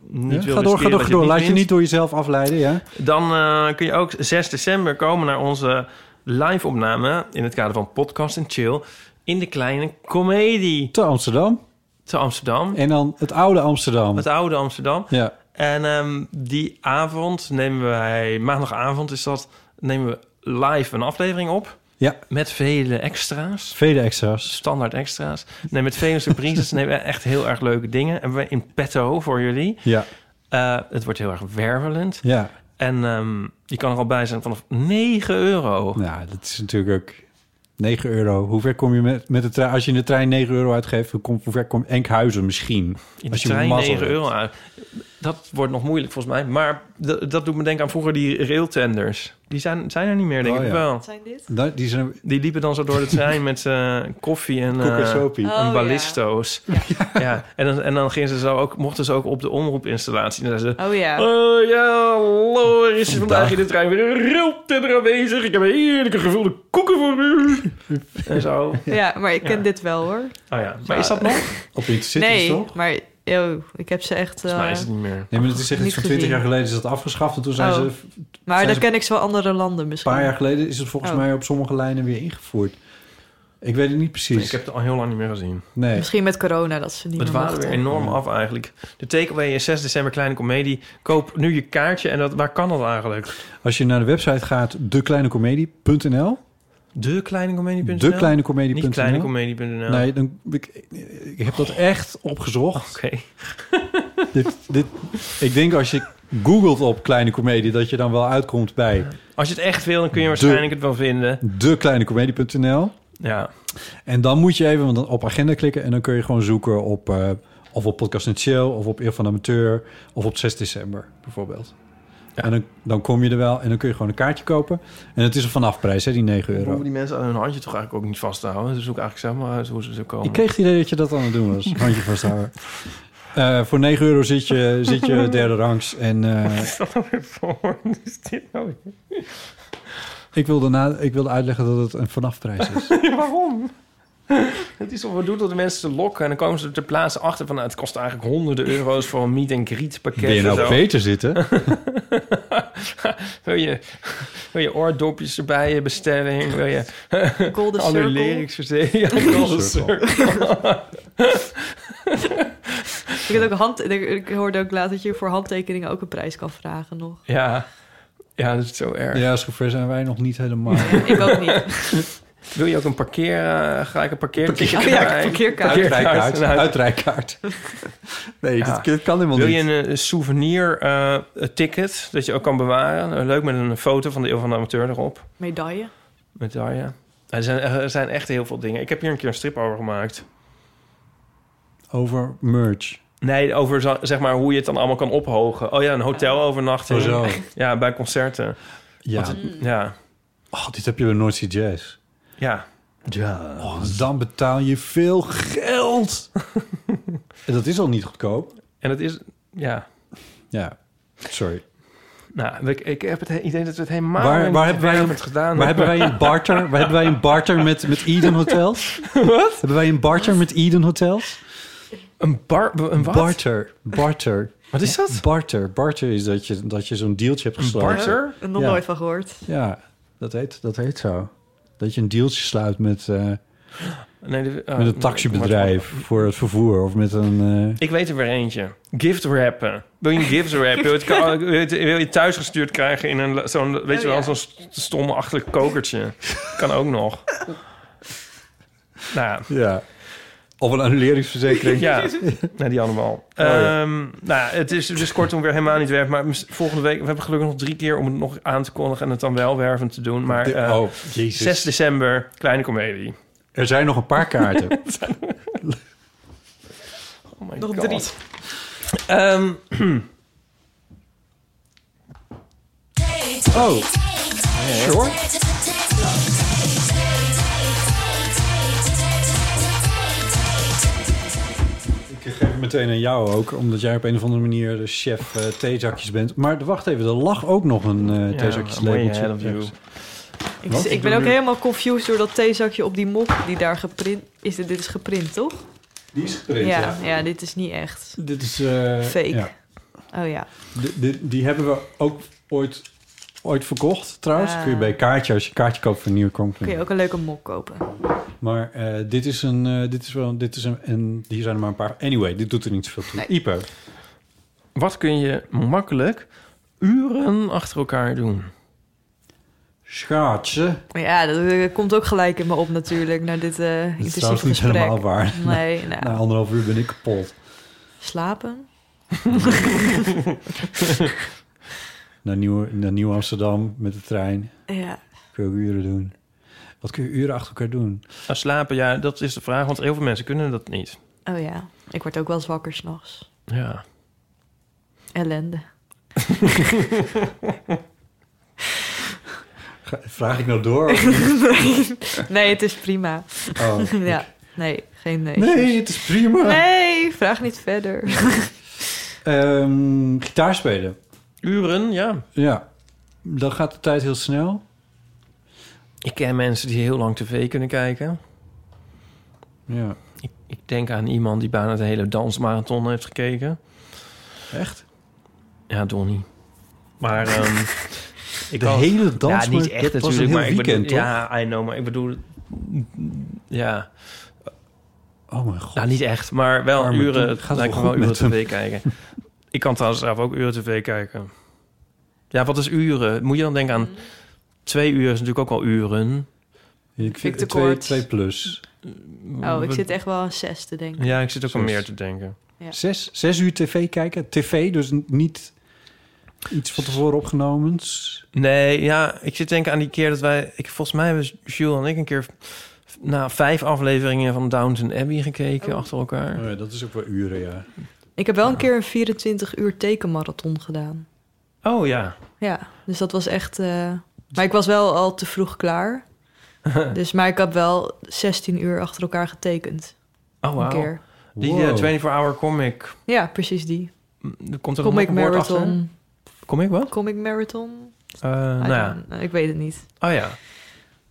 Speaker 3: niet
Speaker 2: Ja,
Speaker 3: wil
Speaker 2: ga door, ga
Speaker 3: riskeren
Speaker 2: door,
Speaker 3: dat
Speaker 2: ga door.
Speaker 3: het
Speaker 2: Laat je
Speaker 3: wint,
Speaker 2: niet door jezelf afleiden, ja?
Speaker 3: Dan eh, kun je ook 6 december komen naar onze live opname in het kader van Podcast en Chill in de kleine comedie
Speaker 2: te Amsterdam.
Speaker 3: Te Amsterdam.
Speaker 2: En dan het oude Amsterdam.
Speaker 3: Het oude Amsterdam.
Speaker 2: Ja.
Speaker 3: En ehm, die avond nemen wij, maandagavond is dat, nemen we live een aflevering op.
Speaker 2: Ja.
Speaker 3: Met vele extra's.
Speaker 2: Vele extra's.
Speaker 3: Standaard extra's. Nee, met vele surprises. Nee, we hebben echt heel erg leuke dingen. Hebben we in petto voor jullie.
Speaker 2: Ja.
Speaker 3: Eh, het wordt heel erg wervelend.
Speaker 2: Ja.
Speaker 3: En ehm, je kan er al bij zijn vanaf 9 euro.
Speaker 2: Nou, dat is natuurlijk ook 9 euro. Hoe ver kom je met, met de trein? Als je in de trein 9 euro uitgeeft, hoe, kom, hoe ver kom Enkhuizen misschien?
Speaker 3: In de
Speaker 2: als je
Speaker 3: trein
Speaker 2: mazzel
Speaker 3: 9
Speaker 2: hebt.
Speaker 3: euro uit. Dat wordt nog moeilijk volgens mij. Maar d- dat doet me denken aan vroeger die railtenders. Die zijn, zijn er niet meer, denk
Speaker 2: Oh,
Speaker 3: ik
Speaker 2: ja.
Speaker 3: wel.
Speaker 2: Wat zijn dit? Nou, die zijn-
Speaker 3: Die liepen dan zo door de trein met eh, koffie en, eh,
Speaker 2: Koekensopie. Oh,
Speaker 3: en
Speaker 2: ja.
Speaker 3: ballisto's. Ja. En, dan, en dan gingen ze zo ook, mochten ze ook op de omroepinstallatie. En dan zeiden ze,
Speaker 4: Oh ja.
Speaker 3: Oh ja, hallo, er is vandaag in de trein weer een railtender aanwezig. Ik heb heerlijke gevulde koeken voor u. en zo.
Speaker 4: Ja, maar ik ken
Speaker 3: Ja.
Speaker 4: dit wel hoor.
Speaker 3: Oh ja, maar is dat nog?
Speaker 2: Op iets
Speaker 4: nee, maar yo, ik heb ze echt... eh,
Speaker 3: Volgens mij is het niet meer.
Speaker 2: Nee, maar dat is echt iets van 20 jaar geleden is dat afgeschaft. En toen zijn
Speaker 4: Oh.
Speaker 2: ze...
Speaker 4: Maar
Speaker 2: zijn
Speaker 4: dan
Speaker 2: ze-
Speaker 4: ken ik zo andere landen
Speaker 2: Een
Speaker 4: misschien.
Speaker 2: paar jaar geleden is het volgens
Speaker 4: Oh.
Speaker 2: mij op sommige lijnen weer ingevoerd. Ik weet het niet precies.
Speaker 3: Ik heb het al heel lang niet meer gezien.
Speaker 2: Nee.
Speaker 4: Misschien met corona dat ze niet
Speaker 3: Het
Speaker 4: meer
Speaker 3: waren weer
Speaker 4: mochten.
Speaker 3: enorm af eigenlijk. De takeaway is 6 december Kleine Comedie. Koop nu je kaartje. En dat, waar kan dat eigenlijk?
Speaker 2: Als je naar de website gaat, dekleinecomedie.nl.
Speaker 3: Dekleinecomedie.nl?
Speaker 2: Dekleinecomedie.nl.
Speaker 3: Niet kleinecomedie.nl.
Speaker 2: Nee, dan, ik, ik heb dat echt opgezocht.
Speaker 3: Oké.
Speaker 2: dit, dit, ik denk als je googelt op kleine comedie, dat je dan wel uitkomt bij
Speaker 3: Als je het echt wil, dan kun je waarschijnlijk het wel vinden.
Speaker 2: dekleinecomedie.nl.
Speaker 3: Ja.
Speaker 2: En dan moet je even want dan op agenda klikken en dan kun je gewoon zoeken op... eh, of op Podcast en Chill, of op Eer van de Amateur... of op 6 december bijvoorbeeld. En dan, dan kom je er wel en dan kun je gewoon een kaartje kopen. En het is een vanafprijs, hè, die 9
Speaker 3: We
Speaker 2: euro.
Speaker 3: hoeven die mensen aan hun handje toch eigenlijk ook niet vast te houden. Dus zoek eigenlijk zelf maar uit hoe ze zo komen.
Speaker 2: Ik kreeg het idee dat je dat aan het doen was. Handje vasthouden. Eh, voor 9 euro zit je, zit je derde rangs. En eh,
Speaker 3: nou
Speaker 2: ik, wilde na, ik wilde uitleggen dat het een vanafprijs is.
Speaker 3: Waarom? Het is wat we doen door de mensen te lokken. En dan komen ze er ter plaatse achter van... nou, het kost eigenlijk honderden euro's voor een meet and greet pakket.
Speaker 2: Wil je nou
Speaker 3: en zo.
Speaker 2: beter zitten?
Speaker 3: Wil je, wil je oordopjes erbij, je bestelling, wil je
Speaker 4: Golden
Speaker 3: annuleringsverzekering.
Speaker 4: Circle.
Speaker 3: Ja, Golden
Speaker 4: Circle.
Speaker 3: Circle.
Speaker 4: Ik, had ook hand, ik- ik hoorde ook laat dat je voor handtekeningen ook een prijs kan vragen nog.
Speaker 3: ja. ja, dat is zo erg.
Speaker 2: ja, zover zijn wij nog niet helemaal.
Speaker 4: Ik ook niet.
Speaker 3: Wil je ook een parkeer, eh, ga ik een parkeerticket
Speaker 4: Parkeer- oh ja, een parkeerkaart.
Speaker 2: Uitrijkaart. Uitrijkaart. Nee,
Speaker 3: Ja.
Speaker 2: dat, dat kan helemaal
Speaker 3: Wil
Speaker 2: niet.
Speaker 3: je een eh, souvenir eh, een ticket dat je ook kan bewaren? Eh, Leuk met een foto van de Eeuw van de Amateur erop.
Speaker 4: Medaille.
Speaker 3: Medaille. Er zijn, eh, er zijn echt heel veel dingen. Ik heb hier een keer een strip over gemaakt.
Speaker 2: Over merch.
Speaker 3: Nee, over zo- zeg maar hoe je het dan allemaal kan ophogen. Oh ja, een hotel overnachten.
Speaker 2: Oh, zo.
Speaker 3: Ja, bij concerten.
Speaker 2: Ja.
Speaker 3: Want het- ja.
Speaker 2: Oh, dit heb je bij North Sea Jazz.
Speaker 3: Ja.
Speaker 2: Ja. dan betaal je veel geld. en dat is al niet goedkoop.
Speaker 3: En het is... Ja.
Speaker 2: Ja, sorry.
Speaker 3: Nou, ik, ik heb het he- idee dat we het helemaal...
Speaker 2: waar
Speaker 3: niet
Speaker 2: waar, hebben, wij
Speaker 3: hebben
Speaker 2: een,
Speaker 3: het gedaan.
Speaker 2: waar hebben wij een barter? Waar hebben wij een barter met, met Eden Hotels?
Speaker 3: Wat?
Speaker 2: Hebben wij een barter met Eden Hotels?
Speaker 3: Een, bar, een wat?
Speaker 2: Barter. Barter.
Speaker 3: Wat is dat?
Speaker 2: Barter. Barter is dat je, dat je zo'n dealtje hebt gesloten.
Speaker 4: Barter? Nog
Speaker 2: Ja.
Speaker 4: nooit van gehoord.
Speaker 2: Ja, dat heet, dat heet zo. Dat je een dealtje sluit met, eh,
Speaker 3: Nee, de- oh,
Speaker 2: met een taxibedrijf voor het vervoer. Of met een... eh,
Speaker 3: Ik weet er weer eentje. Gift wrappen. Wil je een gift wrap? Wil je, het, ka- wil je het- wil je het thuis gestuurd krijgen in een, zo'n, weet
Speaker 1: Oh,
Speaker 3: je wel, zo'n st- stomme achterlijk kokertje? kan ook nog. Nou ja.
Speaker 2: ja. Of een annuleringsverzekering.
Speaker 3: Ja, nee, die allemaal.
Speaker 2: Oh, ja.
Speaker 3: Ehm, nou, het is dus kortom weer helemaal niet werf. Maar mis- volgende week, we hebben gelukkig nog drie keer om het nog aan te kondigen en het dan wel wervend te doen. Maar
Speaker 2: De-
Speaker 3: eh,
Speaker 2: oh, jezus.
Speaker 3: 6 december, kleine komedie.
Speaker 2: Er zijn nog een paar kaarten.
Speaker 3: Er zijn nog- oh my
Speaker 1: Nog
Speaker 3: God.
Speaker 1: drie.
Speaker 3: Ehm,
Speaker 1: Oh.
Speaker 3: Sure.
Speaker 2: Ik geef het meteen aan jou ook, omdat jij op een of andere manier de chef eh, theezakjes bent. Maar de- wacht even, er lag ook nog een eh
Speaker 3: Ja,
Speaker 2: theezakjes
Speaker 3: een mooie
Speaker 2: labeltje.
Speaker 3: head of you.
Speaker 4: Ik,
Speaker 2: Wat?
Speaker 4: ik ben ook helemaal confused door dat theezakje op die mok die daar geprint is. Dit, dit is geprint, toch?
Speaker 2: Die is geprint, ja.
Speaker 4: Ja, dit is niet echt.
Speaker 2: Dit is... eh,
Speaker 4: Fake.
Speaker 2: ja.
Speaker 4: Oh ja.
Speaker 2: De- de- die hebben we ook ooit, ooit verkocht, trouwens.
Speaker 4: Ah.
Speaker 2: Kun je bij kaartje, als je kaartje koopt voor nieuw
Speaker 4: Kun
Speaker 2: Company.
Speaker 4: je ook een leuke mok kopen.
Speaker 2: Maar eh, dit is een... eh, dit is wel, een- dit is een, en hier zijn er maar een paar. Anyway, dit doet er niet zoveel toe.
Speaker 3: Nee.
Speaker 2: Ipe.
Speaker 3: wat kun je makkelijk uren achter elkaar doen?
Speaker 2: Schaatsen.
Speaker 4: Maar ja, dat eh, komt ook gelijk in me op natuurlijk, naar dit eh
Speaker 2: Dat is
Speaker 4: intensieve
Speaker 2: trouwens niet
Speaker 4: gesprek.
Speaker 2: helemaal waar.
Speaker 4: Nee, nou,
Speaker 2: Na anderhalf uur ben ik kapot.
Speaker 4: slapen.
Speaker 2: naar, Nieuw, naar Nieuw Amsterdam met de trein.
Speaker 4: Ja.
Speaker 2: Kun je ook uren doen. Wat kun je uren achter elkaar doen?
Speaker 3: Nou, slapen, ja, dat is de vraag, want heel veel mensen kunnen dat niet.
Speaker 4: Oh ja, ik word ook wel eens wakker s'nachts.
Speaker 3: Ja.
Speaker 4: Ellende.
Speaker 2: Ga- Vraag ik nou door? of
Speaker 4: nee,
Speaker 2: niet?
Speaker 4: nee, het is prima.
Speaker 2: Oh.
Speaker 4: ja, nee, geen nee.
Speaker 2: Nee, het is prima.
Speaker 4: Nee, vraag niet verder.
Speaker 2: Ehm, gitaar spelen.
Speaker 3: Uren, ja.
Speaker 2: Ja. Dan gaat de tijd heel snel.
Speaker 3: Ik ken mensen die heel lang tv kunnen kijken.
Speaker 2: Ja.
Speaker 3: Ik, ik denk aan iemand die bijna de hele dansmarathon heeft gekeken.
Speaker 2: Echt?
Speaker 3: Ja, Donnie. Maar ehm, ik
Speaker 2: De
Speaker 3: kan-
Speaker 2: hele
Speaker 3: Ja,
Speaker 2: dansmara-
Speaker 3: niet
Speaker 2: dat
Speaker 3: echt
Speaker 2: was een
Speaker 3: natuurlijk.
Speaker 2: heel
Speaker 3: maar ik bedoel-
Speaker 2: weekend, toch?
Speaker 3: Ja, I know, maar ik bedoel... Ja.
Speaker 2: Oh mijn god.
Speaker 3: Nou, niet echt, maar wel
Speaker 2: Arme
Speaker 3: uren.
Speaker 2: Don.
Speaker 3: Het
Speaker 2: Gaat het
Speaker 3: lijkt me
Speaker 2: wel
Speaker 3: wel
Speaker 2: goed
Speaker 3: uren
Speaker 2: met hem?
Speaker 3: tv kijken. ik kan trouwens zelf ook uren tv kijken. Ja, wat is uren? Moet je dan denken aan... Twee uur is natuurlijk ook wel uren.
Speaker 2: Ik
Speaker 4: vind te twee- kort. twee
Speaker 2: plus.
Speaker 4: Oh, ik zit echt wel aan zes te denken.
Speaker 3: Ja, ik zit ook aan
Speaker 2: Zes.
Speaker 3: meer te denken.
Speaker 4: Ja.
Speaker 2: Zes, zes uur tv kijken. TV, dus n- niet iets van tevoren opgenomen.
Speaker 3: Nee, ja, ik zit denken aan die keer dat wij... Ik, volgens mij hebben Jules en ik een keer... Na vijf afleveringen van Downton Abbey
Speaker 4: Oh.
Speaker 3: gekeken achter elkaar.
Speaker 2: Oh ja, dat is ook wel uren, ja.
Speaker 4: Ik heb wel een keer een 24 uur tekenmarathon gedaan.
Speaker 3: Oh ja.
Speaker 4: Ja, dus dat was echt... eh, Maar ik was wel al te vroeg klaar. Dus, maar ik heb wel 16 uur achter elkaar getekend.
Speaker 3: Oh,
Speaker 4: Een
Speaker 3: wauw.
Speaker 4: keer.
Speaker 3: Die
Speaker 4: Wow.
Speaker 3: eh, 24-hour comic.
Speaker 4: Ja, precies die.
Speaker 3: Er komt er
Speaker 4: Comic
Speaker 3: nog een woord
Speaker 4: Marathon.
Speaker 3: achter? Comic wat?
Speaker 4: Comic Marathon?
Speaker 3: Eh, nou ja.
Speaker 4: Nou, Ik weet het niet.
Speaker 3: Oh ja.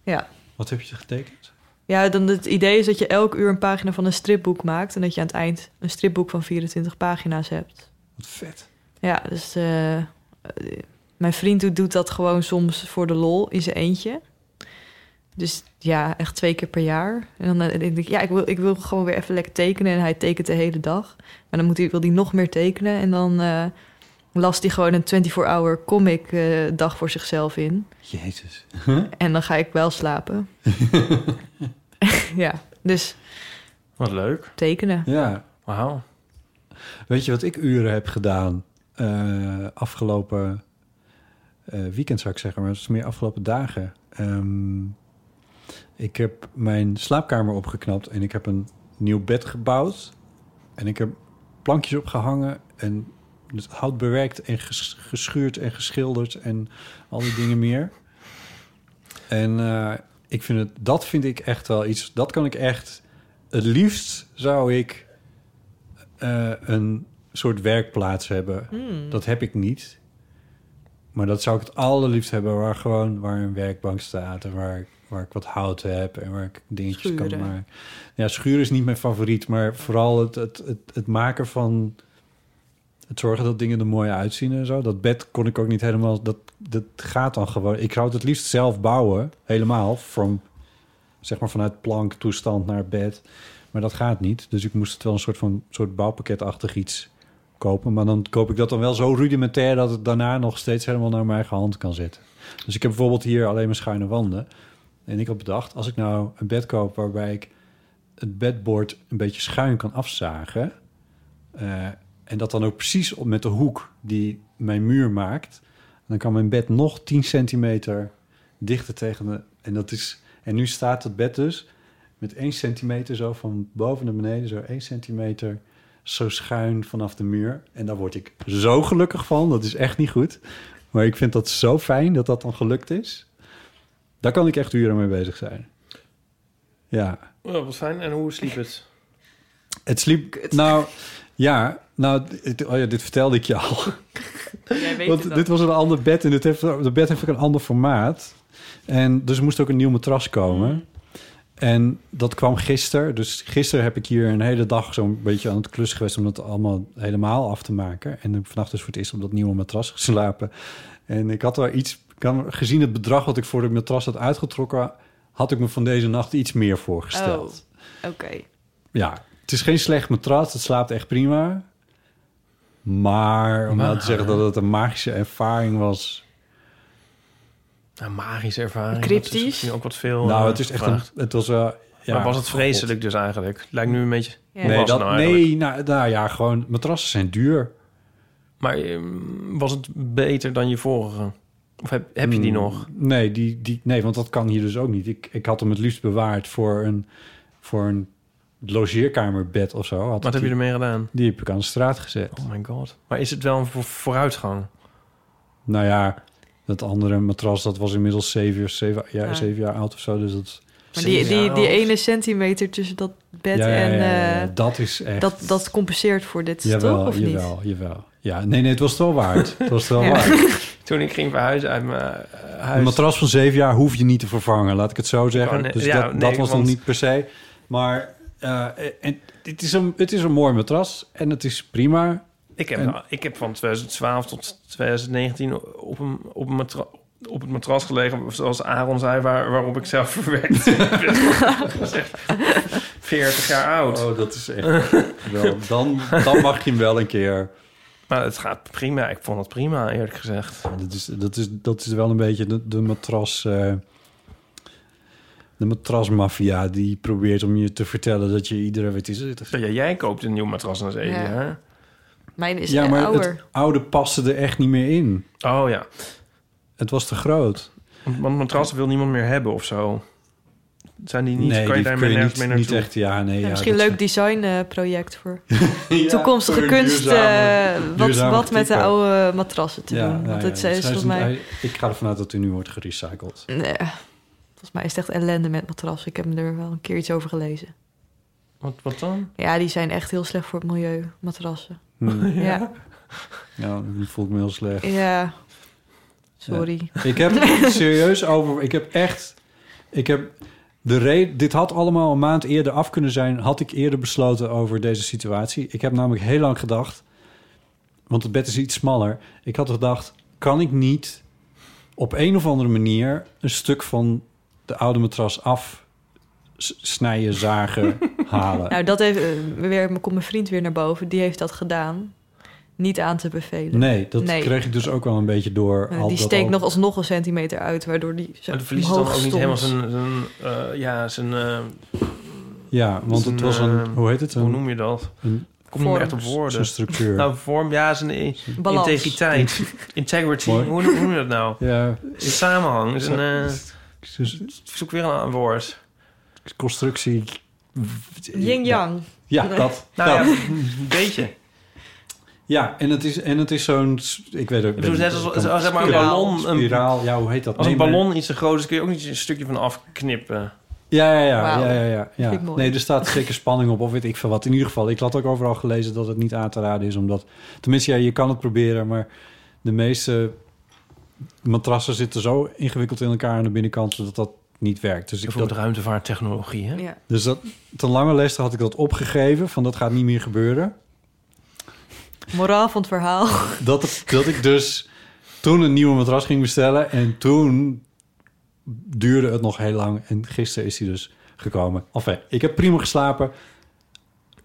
Speaker 4: Ja.
Speaker 2: Wat heb je getekend?
Speaker 4: Ja, dan het idee is dat je elk uur een pagina van een stripboek maakt... en dat je aan het eind een stripboek van 24 pagina's hebt.
Speaker 2: Wat vet.
Speaker 4: Ja, dus eh, eh, mijn vriend doet- doet dat gewoon soms voor de lol in zijn eentje. Dus ja, echt twee keer per jaar. En dan eh, denk ik, ja, ik wil, ik wil gewoon weer even lekker tekenen. En hij tekent de hele dag. Maar dan moet hij, wil hij nog meer tekenen. En dan eh, las hij gewoon een 24-hour comic eh, dag voor zichzelf in.
Speaker 2: Jezus.
Speaker 4: En dan ga ik wel slapen. ja, dus
Speaker 3: Wat leuk.
Speaker 4: tekenen.
Speaker 2: Ja.
Speaker 3: Wauw.
Speaker 2: Weet je wat ik uren heb gedaan eh, afgelopen eh, weekend, zou ik zeggen, maar het is meer afgelopen dagen. Ehm, ik heb mijn slaapkamer opgeknapt en ik heb een nieuw bed gebouwd. En ik heb plankjes opgehangen en het hout bewerkt en ges- geschuurd en geschilderd en al die dingen meer. En eh, ik vind het, dat vind ik echt wel iets, dat kan ik echt, het liefst zou ik eh, een soort werkplaats hebben.
Speaker 1: Hmm.
Speaker 2: Dat heb ik niet. Maar dat zou ik het allerliefst hebben waar gewoon waar een werkbank staat en waar, ik- waar ik wat hout heb en waar ik dingetjes
Speaker 1: Schuren.
Speaker 2: kan maken. Ja, schuren is niet mijn favoriet, maar vooral het, het, het, het maken van het zorgen dat dingen er mooi uitzien en zo. Dat bed kon ik ook niet helemaal. Dat, dat gaat dan gewoon. Ik zou het het liefst zelf bouwen, helemaal. From, zeg maar vanuit planktoestand naar bed. Maar dat gaat niet. Dus ik moest het wel een soort van soort bouwpakketachtig iets kopen. Maar dan koop ik dat dan wel zo rudimentair dat het daarna nog steeds helemaal naar mijn eigen hand kan zitten. Dus ik heb bijvoorbeeld hier alleen maar schuine wanden. En ik had bedacht, als ik nou een bed koop waarbij ik het bedboard een beetje schuin kan afzagen. eh, en dat dan ook precies op, met de hoek die mijn muur maakt. Dan kan mijn bed nog 10 centimeter dichter tegen de... En, dat is, en nu staat het bed dus met 1 centimeter zo van boven naar beneden. Zo 1 centimeter zo schuin vanaf de muur. En daar word ik zo gelukkig van. Dat is echt niet goed. Maar ik vind dat zo fijn dat dat dan gelukt is. Daar kan ik echt uren mee bezig zijn. Ja.
Speaker 3: Oh, wat fijn. En hoe sliep het?
Speaker 2: Het sliep. Nou, ja. Nou, dit, oh ja, dit vertelde ik je al.
Speaker 4: Jij weet
Speaker 2: Want
Speaker 4: het
Speaker 2: dit
Speaker 4: al.
Speaker 2: was een ander bed en dit heeft, de bed heeft ook een ander formaat. En dus er moest ook een nieuw matras komen.
Speaker 4: Mm.
Speaker 2: En dat kwam gisteren. Dus gisteren heb ik hier een hele dag zo'n beetje aan het klussen geweest... om dat allemaal helemaal af te maken. En heb ik vannacht dus voor het eerst op dat nieuwe matras geslapen. En ik had wel iets... ik had- Gezien het bedrag wat ik voor het matras had uitgetrokken... had ik me van deze nacht iets meer voorgesteld.
Speaker 4: Oh. Oké.
Speaker 2: Ja, het is geen slecht matras. Het slaapt echt prima. Maar om nou
Speaker 3: Maar.
Speaker 2: te zeggen dat het een magische ervaring was...
Speaker 3: Nou, magische ervaring.
Speaker 2: Cryptisch?
Speaker 3: Dat is misschien ook wat veel.
Speaker 2: nou,
Speaker 3: eh,
Speaker 2: het is echt een...
Speaker 3: gevraagd.
Speaker 2: Het was, eh, ja,
Speaker 3: maar was het vreselijk dus eigenlijk? Lijkt nu een beetje... Hoe was
Speaker 2: Nee,
Speaker 3: het
Speaker 2: dat,
Speaker 3: nou eigenlijk?
Speaker 2: nee nou, nou ja, gewoon matrassen zijn duur.
Speaker 3: Maar ehm, was het beter dan je vorige? Of heb, heb je die
Speaker 2: Hmm,
Speaker 3: nog?
Speaker 2: Nee, die, die, nee, want dat kan hier dus ook niet. Ik, ik had hem het liefst bewaard voor een, voor een logeerkamerbed of zo. Had ik
Speaker 3: Wat heb je
Speaker 2: die-
Speaker 3: ermee gedaan?
Speaker 2: Die heb ik aan de straat gezet.
Speaker 3: Oh my god. Maar is het wel een vo- vooruitgang?
Speaker 2: Nou ja, dat andere matras, dat was inmiddels zeven, uur, zeven, ja,
Speaker 4: Ja.
Speaker 2: zeven jaar oud of zo. Dus dat,
Speaker 4: Maar die, die, die ene centimeter tussen dat bed
Speaker 2: Ja, ja,
Speaker 4: en...
Speaker 2: ja, ja,
Speaker 4: eh,
Speaker 2: dat is echt-
Speaker 4: Dat, dat compenseert voor dit, toch? Of niet?
Speaker 2: jawel, jawel. Ja, nee, nee, het was het wel waard. het was het wel
Speaker 4: Ja.
Speaker 2: waard.
Speaker 3: Toen ik ging verhuizen uit mijn eh, huis...
Speaker 2: Een matras van zeven jaar hoef je niet te vervangen, laat ik het zo
Speaker 3: Oh,
Speaker 2: zeggen.
Speaker 3: nee,
Speaker 2: dus
Speaker 3: ja,
Speaker 2: dat,
Speaker 3: nee,
Speaker 2: dat was
Speaker 3: want-
Speaker 2: nog niet per se. Maar eh, en, het, is een, het is een mooi matras en het is prima.
Speaker 3: Ik heb,
Speaker 2: En-
Speaker 3: nou- ik heb van 2012 tot 2019 op, een, op, een matra- op het matras gelegen, zoals Aaron zei, waar, waarop ik zelf verwerkt. Ik was echt 40 jaar oud.
Speaker 2: Oh, dat is echt... wel, dan, dan mag je hem wel een keer...
Speaker 3: Maar het gaat prima. Ik vond het prima, eerlijk gezegd.
Speaker 2: Dat is, dat is, dat is wel een beetje de, de matras... eh, de matrasmafia die probeert om je te vertellen dat je iedere... Weet, is het,
Speaker 3: Ja, jij koopt een nieuw matras na zeven
Speaker 4: Ja.
Speaker 3: jaar.
Speaker 4: Mijn is
Speaker 2: ja, maar
Speaker 4: ouder.
Speaker 2: het oude paste er echt niet meer in.
Speaker 3: Oh ja.
Speaker 2: Het was te groot.
Speaker 3: Want matrassen wil niemand meer hebben of zo. Zijn die niet? kan je
Speaker 2: die
Speaker 3: daar
Speaker 2: kun
Speaker 3: nergens mee
Speaker 2: niet, niet
Speaker 3: naartoe?
Speaker 2: echt, ja, nee.
Speaker 4: Ja,
Speaker 2: ja,
Speaker 4: misschien
Speaker 2: dat-
Speaker 4: leuk designproject voor
Speaker 2: Ja,
Speaker 4: toekomstige
Speaker 2: voor een
Speaker 4: kunst.
Speaker 2: duurzame-
Speaker 4: eh, wat
Speaker 2: duurzame
Speaker 4: wat met de
Speaker 2: type.
Speaker 4: oude matrassen te
Speaker 2: Ja,
Speaker 4: doen.
Speaker 2: ja,
Speaker 4: Want
Speaker 2: ja,
Speaker 4: het is
Speaker 2: dus hij
Speaker 4: volgens
Speaker 2: niet-
Speaker 4: mij...
Speaker 2: hij- Ik ga ervan uit dat hij nu wordt gerecycled.
Speaker 4: Nee, volgens mij is het echt ellende met matrassen. Ik heb er wel een keer iets over gelezen.
Speaker 3: Wat, wat dan?
Speaker 4: Ja, die zijn echt heel slecht voor het milieu, matrassen.
Speaker 2: Hmm.
Speaker 4: Ja.
Speaker 2: Ja, dat voelt me heel slecht.
Speaker 4: Ja. Sorry.
Speaker 2: Ja. Ik heb serieus over... Ik heb echt... Ik heb de reden... Dit had allemaal een maand eerder af kunnen zijn... had ik eerder besloten over deze situatie. Ik heb namelijk heel lang gedacht... want het bed is iets smaller. Ik had gedacht, kan ik niet op een of andere manier... een stuk van de oude matras af s- snijden, zagen, halen?
Speaker 4: Nou, dat heeft, eh, weer, komt mijn vriend weer naar boven. Die heeft dat gedaan. Niet aan te bevelen.
Speaker 2: Nee, dat kreeg ik dus ook wel een beetje door.
Speaker 4: Eh,
Speaker 2: al
Speaker 4: die
Speaker 2: dat
Speaker 4: steekt
Speaker 2: al-
Speaker 4: nog alsnog een centimeter uit, waardoor die zo
Speaker 3: Maar dan verliest het
Speaker 4: omhoog
Speaker 3: dan ook niet
Speaker 4: stond.
Speaker 3: helemaal zijn... zijn eh, ja, zijn... eh,
Speaker 2: Ja, want
Speaker 3: zijn,
Speaker 2: het was een...
Speaker 3: eh,
Speaker 2: hoe heet het? Een,
Speaker 3: Hoe noem je dat?
Speaker 2: een-
Speaker 3: Ik kom niet meer echt op
Speaker 2: Vorm.
Speaker 3: woorden.
Speaker 2: Zo'n structuur.
Speaker 3: Nou, vorm, ja, is een i-
Speaker 4: Balans.
Speaker 3: integriteit. Integrity.
Speaker 2: Mooi.
Speaker 3: Hoe noem- hoe noem je dat nou?
Speaker 2: Ja.
Speaker 3: Is samenhang. Is een, eh,
Speaker 2: Dus-
Speaker 3: ik zoek weer een woord.
Speaker 2: constructie...
Speaker 4: Yin-yang.
Speaker 2: Ja, dat.
Speaker 3: Nou ja,
Speaker 2: dat.
Speaker 3: een beetje.
Speaker 2: Ja, en het is, en het is zo'n... s- Ik weet ook...
Speaker 3: Ik bedoel, net als- als- als- zeg maar, een
Speaker 2: Spiraal,
Speaker 3: ballon, een-
Speaker 2: Spiraal, ja, hoe heet dat?
Speaker 3: Als een
Speaker 2: Nee, maar-
Speaker 3: ballon iets te groot is, kun je ook niet een stukje van afknippen.
Speaker 2: Ja, ja, ja.
Speaker 3: Wauw.
Speaker 2: ja, ja, ja, ja.
Speaker 3: Vind ik mooi.
Speaker 2: Nee, er staat zeker spanning op, of weet ik veel wat. In ieder geval, ik had ook overal gelezen dat het niet aan te raden is, omdat... Tenminste, ja, je kan het proberen, maar de meeste matrassen zitten zo ingewikkeld in elkaar aan de binnenkant... dat dat niet werkt. Dus ik
Speaker 3: Bijvoorbeeld ruimtevaarttechnologie, hè?
Speaker 4: Ja.
Speaker 2: Dus dat, ten lange leste had ik dat opgegeven, van dat gaat niet meer gebeuren.
Speaker 4: Moraal van het verhaal.
Speaker 2: Dat, het- dat ik dus toen een nieuwe matras ging bestellen. En toen duurde eh, het nog heel lang. En gisteren is hij dus gekomen. Enfin, ik heb prima geslapen.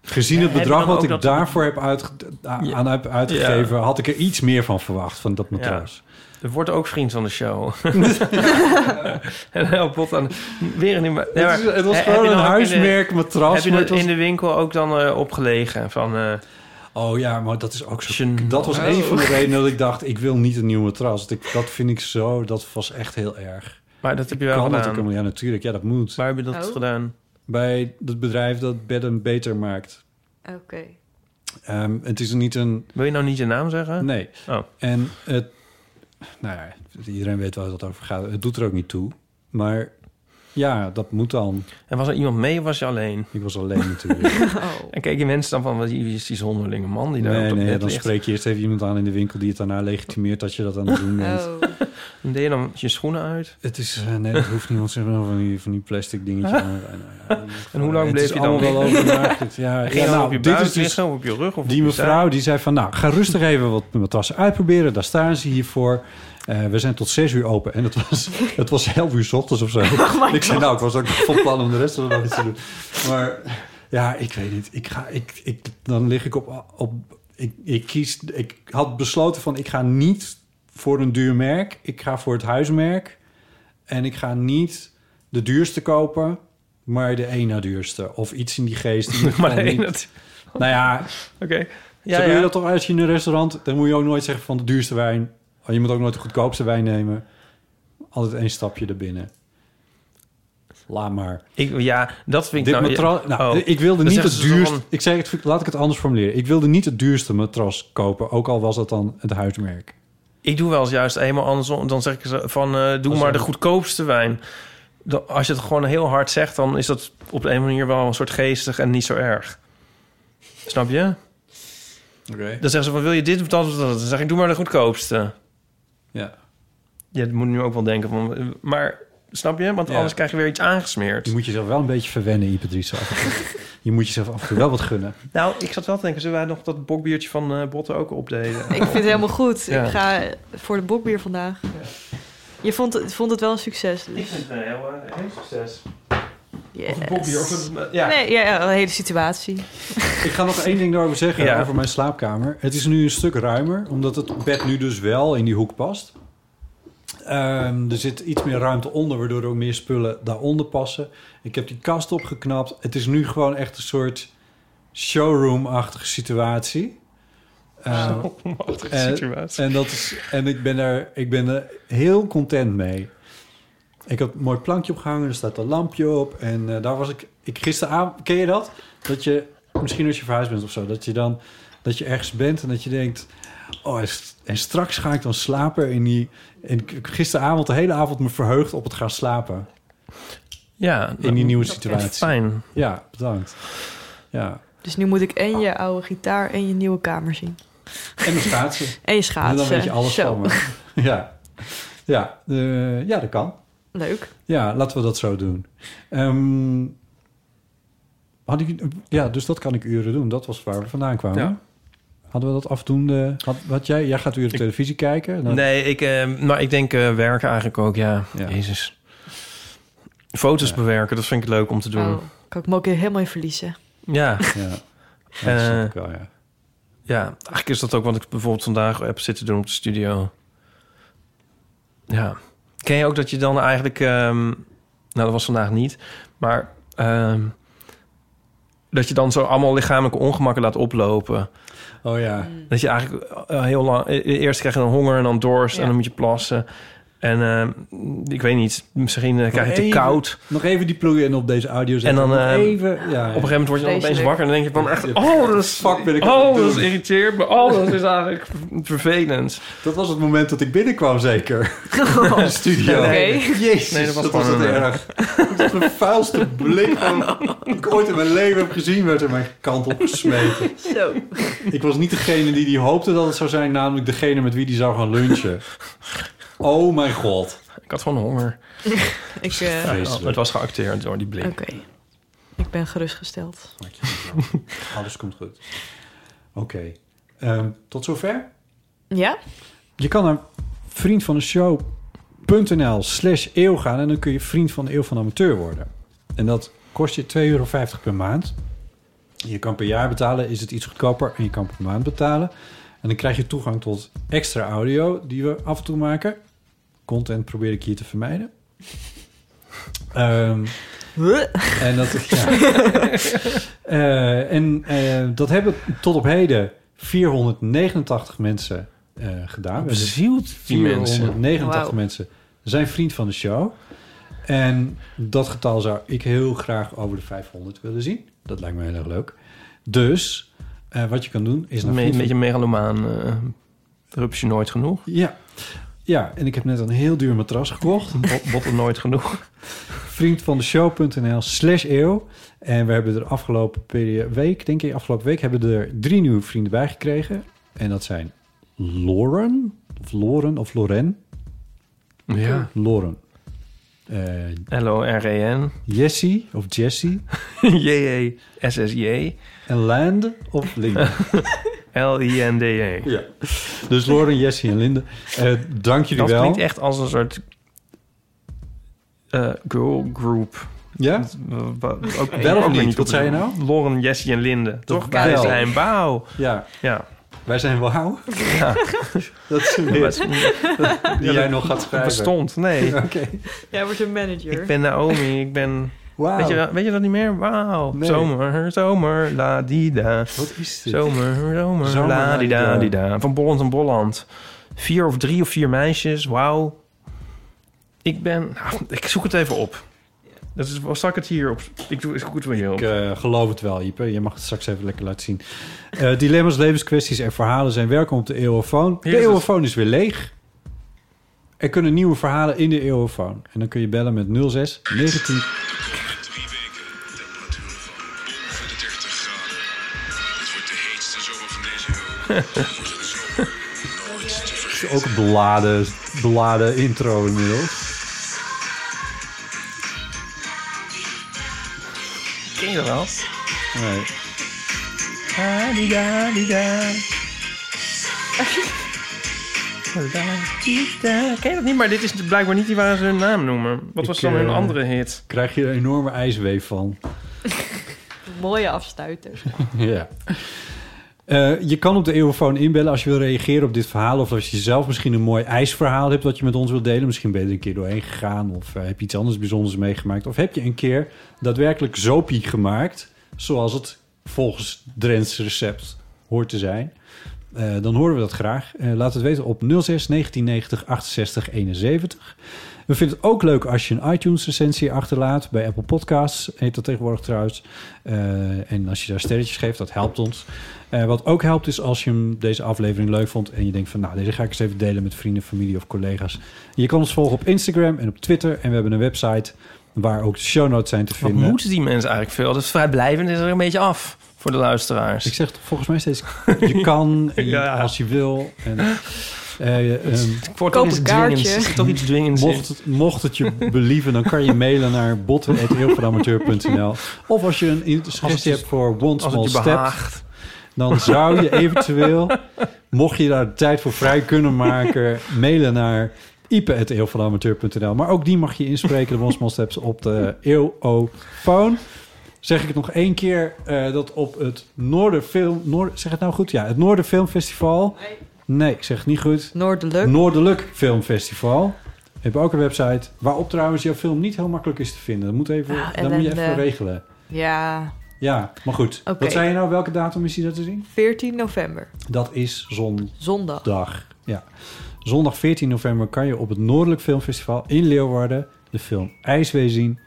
Speaker 2: Gezien het
Speaker 3: Heb je
Speaker 2: bedrag
Speaker 3: dan
Speaker 2: wat
Speaker 3: ook
Speaker 2: ik
Speaker 3: dat-
Speaker 2: daarvoor heb uitge- a-
Speaker 3: Ja.
Speaker 2: aan heb uitgegeven, had ik er iets meer van verwacht, van dat matras.
Speaker 3: Het wordt ook vriend van de show. en heel bot aan. Weer een. Nee, maar-
Speaker 2: Het is- het was
Speaker 3: He- heb je
Speaker 2: gewoon een
Speaker 3: dan ook in de-
Speaker 2: huismerk matras,
Speaker 3: Heb je
Speaker 2: maar
Speaker 3: dat
Speaker 2: het was-
Speaker 3: in de winkel ook dan eh, opgelegen? Van, eh,
Speaker 2: oh ja, maar dat is ook zo. Dat
Speaker 3: Oh.
Speaker 2: was een van de redenen dat ik dacht, ik wil niet een nieuw matras. Dat ik- Dat vind ik zo, dat was echt heel erg.
Speaker 3: Maar dat heb je wel
Speaker 2: kan dat
Speaker 3: gedaan?
Speaker 2: ook helemaal- ja, natuurlijk. Ja, dat moet.
Speaker 3: Waar heb je dat Oh. gedaan?
Speaker 2: Bij het bedrijf dat bedden beter maakt.
Speaker 4: Oké.
Speaker 2: Ehm, het is niet een...
Speaker 3: Wil je nou niet je naam zeggen?
Speaker 2: Nee.
Speaker 3: Oh.
Speaker 2: En het... Nou ja, iedereen weet waar dat over gaat. Het doet er ook niet toe. Maar ja, dat moet dan.
Speaker 3: En was er iemand mee of was je alleen?
Speaker 2: Ik was alleen natuurlijk.
Speaker 4: Oh.
Speaker 3: En kijk je mensen dan van, wat wie is die zonderlinge man die daar
Speaker 2: nee,
Speaker 3: op dat
Speaker 2: nee,
Speaker 3: bed
Speaker 2: dan
Speaker 3: ligt?
Speaker 2: spreek je eerst even iemand aan in de winkel... die het daarna legitimeert dat je dat aan het doen bent.
Speaker 3: Oh.
Speaker 4: Oh.
Speaker 3: Dan deed je dan je schoenen uit?
Speaker 2: Het is, eh, nee, dat hoeft niet, want ze hebben wel van die, van die plastic dingetje aan.
Speaker 3: En hoe lang
Speaker 2: Het
Speaker 3: bleef
Speaker 2: is
Speaker 3: je dan
Speaker 2: allemaal wel
Speaker 3: liggen?
Speaker 2: overmaakt. Ja,
Speaker 3: Ging
Speaker 2: ja,
Speaker 3: je dan
Speaker 2: nou,
Speaker 3: op je
Speaker 2: dit
Speaker 3: buik
Speaker 2: is dus
Speaker 3: liggen, of op je rug? Of
Speaker 2: Die
Speaker 3: op je
Speaker 2: mevrouw die zei van, nou, ga rustig even wat matrassen uitproberen. Daar staan ze hiervoor. Eh, we zijn tot zes uur open. En het was, het was 11 uur 's ochtends of zo.
Speaker 3: Oh my
Speaker 2: ik zei,
Speaker 3: God.
Speaker 2: nou, ik was ook nog van plan om de rest van de dag iets te doen. Maar ja, ik weet niet. Ik ga, ik, ik, dan lig ik op... op ik, ik, kies, ik had besloten van, ik ga niet voor een duur merk. Ik ga voor het huismerk. En ik ga niet de duurste kopen, maar de ene duurste. Of iets in die geest. In ieder
Speaker 3: Maar
Speaker 2: geval
Speaker 3: de
Speaker 2: niet-
Speaker 3: ene du-
Speaker 2: Nou ja.
Speaker 3: Oké.
Speaker 2: Ja,
Speaker 3: Ja,
Speaker 2: Zo doe je
Speaker 3: ja.
Speaker 2: dat toch als je in een restaurant... dan moet je ook nooit zeggen van de duurste wijn. Oh, Je moet ook nooit de goedkoopste wijn nemen. Altijd één stapje erbinnen. Laat maar.
Speaker 3: Ik, ja, dat vind ik
Speaker 2: Dit
Speaker 3: nou...
Speaker 2: matras...
Speaker 3: ja,
Speaker 2: nou,
Speaker 3: oh.
Speaker 2: ik wilde
Speaker 3: Dan
Speaker 2: niet
Speaker 3: zeggen
Speaker 2: het
Speaker 3: ze zo
Speaker 2: duurste...
Speaker 3: van,
Speaker 2: Ik zeg het, laat ik het anders formuleren. Ik wilde niet het duurste matras kopen... ook al was dat dan het huismerk.
Speaker 3: Ik doe wel eens juist eenmaal andersom. Dan zeg ik ze van, eh, doe
Speaker 2: Als
Speaker 3: maar
Speaker 2: een-
Speaker 3: de goedkoopste wijn. Dan, als je het gewoon heel hard zegt, dan is dat op de een manier wel een soort geestig en niet zo erg. Snap je?
Speaker 2: Oké.
Speaker 3: Dan zeggen ze van, wil je dit of dat of dat? Dan zeg ik, doe maar de goedkoopste.
Speaker 2: Ja.
Speaker 3: Ja, dat moet ik nu ook wel denken van... eh, Maar, snap je? Want
Speaker 2: Ja.
Speaker 3: anders krijg je weer iets aangesmeerd.
Speaker 2: Je moet jezelf wel een beetje verwennen, Ipatrice. je moet jezelf af en toe wel wat gunnen.
Speaker 3: Nou, ik zat wel te denken, zullen wij nog dat bokbiertje van eh, Botten ook opdelen?
Speaker 4: Ik vind het helemaal goed.
Speaker 3: Ja.
Speaker 4: Ik ga voor de bokbier vandaag. Je vond het, vond het wel een succes. Dus.
Speaker 3: Ik vind het een heel, eh, heel succes.
Speaker 4: Yes.
Speaker 3: Of een bokbier, of een- eh, ja.
Speaker 4: Nee, ja, ja, een hele situatie.
Speaker 2: Ik ga nog één ding daarover zeggen,
Speaker 3: Ja.
Speaker 2: over mijn slaapkamer. Het is nu een stuk ruimer, omdat het bed nu dus wel in die hoek past. Ehm, er zit iets meer ruimte onder, waardoor er ook meer spullen daaronder passen. Ik heb die kast opgeknapt. Het is nu gewoon echt een soort showroom-achtige situatie. Ehm,
Speaker 3: Showroom-achtige
Speaker 2: en-
Speaker 3: situatie.
Speaker 2: En, dat is, en ik, ben er, ik ben er heel content mee. Ik had een mooi plankje opgehangen, er staat een lampje op. En eh, daar was ik, ik gisteravond, ken je dat? Dat je, misschien als je verhuisd bent of zo, dat je dan dat je ergens bent en dat je denkt... Oh, en st- en straks ga ik dan slapen in die... En ik heb gisteravond de hele avond me verheugd op het gaan slapen.
Speaker 3: Ja,
Speaker 2: In die nieuwe
Speaker 3: dat is
Speaker 2: situatie.
Speaker 3: fijn.
Speaker 2: Ja, bedankt. Ja.
Speaker 4: Dus nu moet ik en je oude gitaar en je nieuwe kamer zien.
Speaker 2: En de schaatsen.
Speaker 4: en je
Speaker 2: En
Speaker 4: schaatsen.
Speaker 2: dan weet je alles
Speaker 4: Zo.
Speaker 2: van me. Ja, ja, eh, ja dat kan.
Speaker 4: Leuk.
Speaker 2: Ja, laten we dat zo doen. Ehm, had ik, ja, dus dat kan ik uren doen. Dat was waar we vandaan kwamen.
Speaker 3: Ja.
Speaker 2: Hadden we dat afdoende? Had, had jij, jij gaat uren televisie kijken. Dan-
Speaker 3: Nee, ik, eh, maar ik denk eh, werken eigenlijk ook, ja. Jezus. Foto's bewerken, dat vind ik leuk om te doen.
Speaker 4: Oh, kan ik me ook helemaal in verliezen.
Speaker 3: Ja.
Speaker 2: Ja.
Speaker 4: dat snap
Speaker 3: Eh,
Speaker 4: ik
Speaker 2: wel, ja.
Speaker 3: eigenlijk is dat ook wat ik bijvoorbeeld vandaag heb zitten doen op de studio. Ja. Ken je ook dat je dan eigenlijk... ehm, nou, dat was vandaag niet. Maar ehm, dat je dan zo allemaal lichamelijke ongemakken laat oplopen.
Speaker 2: Oh ja.
Speaker 3: Dat je eigenlijk eh, heel lang... e- e- Eerst krijg je dan honger en dan dorst en dan moet je plassen. En ehm, ik weet niet, misschien eh, krijg je
Speaker 2: Nog
Speaker 3: het te
Speaker 2: even-
Speaker 3: koud.
Speaker 2: Nog even die plug-in op deze audio
Speaker 3: En
Speaker 2: zetten.
Speaker 3: dan
Speaker 2: Nog
Speaker 3: eh,
Speaker 2: even, ja,
Speaker 3: op een gegeven moment word je dan opeens wakker en dan denk je van echt, oh, dat is,
Speaker 2: Fuck, ben ik aan
Speaker 3: oh,
Speaker 2: het
Speaker 3: dat is
Speaker 2: doen.
Speaker 3: irriteert me, oh, dat is eigenlijk vervelend.
Speaker 2: Dat was het moment dat ik binnenkwam zeker. In de studio.
Speaker 3: Ja, nee. Oké.
Speaker 2: Jezus,
Speaker 3: Nee,
Speaker 2: dat
Speaker 3: dat
Speaker 2: was,
Speaker 3: was
Speaker 2: dat
Speaker 3: gewoon
Speaker 2: het
Speaker 3: een- eh,
Speaker 2: erg. Dat was de vuilste blik van, die ik ooit in mijn leven heb gezien... werd er mijn kant op gesmeten.
Speaker 4: Zo.
Speaker 2: Ik was niet degene die, die hoopte dat het zou zijn, namelijk degene met wie die zou gaan lunchen. Oh mijn god.
Speaker 3: Ik had gewoon honger.
Speaker 4: Ik, eh,
Speaker 3: Oh, het was geacteerd door die blik.
Speaker 4: Oké. Ik ben gerustgesteld.
Speaker 2: Alles komt goed. Oké, ehm, tot zover.
Speaker 4: Ja?
Speaker 2: Je kan naar vriendvandeshow.nl slash eeuw gaan... en dan kun je vriend van de eeuw van amateur worden. En dat kost je 2,50 euro per maand. Je kan per jaar betalen, is het iets goedkoper. En je kan per maand betalen. En dan krijg je toegang tot extra audio die we af en toe maken. Content probeer ik hier te vermijden. Ehm, en dat, ja. Eh, en eh, dat hebben tot op heden 489 mensen eh, gedaan.
Speaker 3: Bezield die mensen.
Speaker 2: 489
Speaker 3: Wauw.
Speaker 2: mensen zijn vriend van de show. En dat getal zou ik heel graag over de 500 willen zien. Dat lijkt me heel erg leuk. Dus eh, wat je kan doen is...
Speaker 3: Een
Speaker 2: naar
Speaker 3: me-
Speaker 2: vriend van-
Speaker 3: beetje megalomaan eh rupsje nooit genoeg.
Speaker 2: ja. ja, en ik heb net een heel duur matras gekocht.
Speaker 3: Bottle nooit genoeg.
Speaker 2: Vriendvandeshow.nl slash eeuw. En we hebben er afgelopen perio- week, denk ik, afgelopen week hebben we er drie nieuwe vrienden bij gekregen. En dat zijn Lauren, of Loren, of Loren.
Speaker 3: Ja.
Speaker 2: Loren. Eh,
Speaker 3: L-O-R-E-N.
Speaker 2: Jessie, of Jessie.
Speaker 4: E.
Speaker 3: J-E-S-S-J.
Speaker 2: En Land, of Linde.
Speaker 3: L-I-N-D-E.
Speaker 2: Ja. Dus Lauren, Jessie en Linde. Eh, dank jullie
Speaker 3: Dat
Speaker 2: wel.
Speaker 3: klinkt echt als een soort eh, girl group.
Speaker 2: Ja?
Speaker 3: Dat- wa- wa- ook-
Speaker 2: Wel of
Speaker 3: ook
Speaker 2: niet?
Speaker 3: weer
Speaker 2: Wat
Speaker 3: op-
Speaker 2: zei je nou?
Speaker 3: Lauren, Jessie en Linde. Toch? Wij
Speaker 2: wel.
Speaker 3: zijn wauw.
Speaker 2: Ja.
Speaker 3: ja.
Speaker 2: Wij zijn wauw?
Speaker 3: Ja.
Speaker 2: Dat is een
Speaker 3: Dat is-
Speaker 2: weer die
Speaker 3: Ja,
Speaker 2: jij
Speaker 3: dat
Speaker 2: nog gaat schrijven.
Speaker 3: bestond, nee.
Speaker 2: Oké.
Speaker 4: Jij wordt een manager.
Speaker 3: Ik ben Naomi, ik ben...
Speaker 4: Wauw.
Speaker 3: Weet, je, dat- weet je dat niet meer? Wauw.
Speaker 4: Nee.
Speaker 3: Zomer, zomer, la di da.
Speaker 2: Wat is dit?
Speaker 3: Zomer, zomer,
Speaker 2: Zomer,
Speaker 3: la di da
Speaker 2: la-di-da.
Speaker 3: di da. Van Bolland en Bolland. Vier of drie of vier meisjes, wauw. Ik ben... nou, ik zoek het even op. Dat is, zal ik het hier op... Ik doe het goed met je op.
Speaker 2: Ik eh, geloof het wel, Ipe. Je mag het straks even lekker laten zien. Eh, dilemma's, levenskwesties en verhalen zijn welkom op de Eeuwofoon.
Speaker 3: Hier
Speaker 2: De
Speaker 3: is het.
Speaker 2: Eeuwofoon is weer leeg. Er kunnen nieuwe verhalen in de Eeuwofoon. En dan kun je bellen met 06 19... Het is ook een beladen, beladen intro inmiddels.
Speaker 3: Ken je dat wel?
Speaker 2: Nee.
Speaker 3: La di da di da. Ken je dat niet? Maar dit is blijkbaar niet die waar ze hun naam noemen. Wat was
Speaker 2: Ik,
Speaker 3: dan hun
Speaker 2: eh,
Speaker 3: andere hit?
Speaker 2: Krijg je een enorme ijsweef van.
Speaker 4: Mooie afstuiter.
Speaker 2: ja. Eh, je kan op de Eeuwofoon inbellen als je wil reageren op dit verhaal... of als je zelf misschien een mooi ijsverhaal hebt dat je met ons wilt delen. Misschien ben je er een keer doorheen gegaan... of eh, heb je iets anders bijzonders meegemaakt. Of heb je een keer daadwerkelijk zopie gemaakt... zoals het volgens Drents recept hoort te zijn. Eh, dan horen we dat graag. Eh, laat het weten op 06 1990 68 71. We vinden het ook leuk als je een iTunes-recensie achterlaat. Bij Apple Podcasts heet dat tegenwoordig trouwens. Eh, en als je daar sterretjes geeft, dat helpt ons. Eh, wat ook helpt is als je hem- deze aflevering leuk vond... en je denkt van, nou, deze ga ik eens even delen met vrienden, familie of collega's. Je kan ons volgen op Instagram en op Twitter. En we hebben een website waar ook de show notes zijn te
Speaker 3: Wat
Speaker 2: vinden.
Speaker 3: moeten die mensen eigenlijk veel? Dat vrijblijvend is er een beetje af voor de luisteraars.
Speaker 2: Ik zeg het volgens mij steeds, je kan en je-
Speaker 3: Ja.
Speaker 2: als je wil. En, eh, ehm,
Speaker 3: Ik word toch iets dwingends. Er zit toch iets dwingends in.
Speaker 2: Mocht het, mocht het je believen, dan kan je mailen naar botten.eeuwvanamateur.nl. Of als je een in- suggestie hebt voor One
Speaker 3: als het
Speaker 2: Small
Speaker 3: je
Speaker 2: Step...
Speaker 3: behaagt.
Speaker 2: dan zou je eventueel, mocht je daar tijd voor vrij kunnen maken... mailen naar ipe.eeuwvanamateur.nl. Maar ook die mag je inspreken, de One Small Steps, op de eeuwofoon. Zeg ik het nog één keer, eh, dat op het Noorderfilm... Noord, zeg het nou goed? Ja, het Noorderfilmfestival... Nee, ik zeg het niet goed.
Speaker 4: Noordelijk.
Speaker 2: Noordelijk Filmfestival. We hebben ook een website waarop trouwens jouw film niet heel makkelijk is te vinden. Dat moet, even,
Speaker 4: Ah,
Speaker 2: dat moet je even
Speaker 4: ellende.
Speaker 2: regelen.
Speaker 4: Ja,
Speaker 2: Ja, maar goed.
Speaker 4: Oké.
Speaker 2: Wat zei je nou? Welke datum is die dat te zien?
Speaker 4: 14 november.
Speaker 2: Dat is zondag.
Speaker 4: Zondag.
Speaker 2: Ja. Zondag 14 november kan je op het Noordelijk Filmfestival in Leeuwarden de film IJswee zien.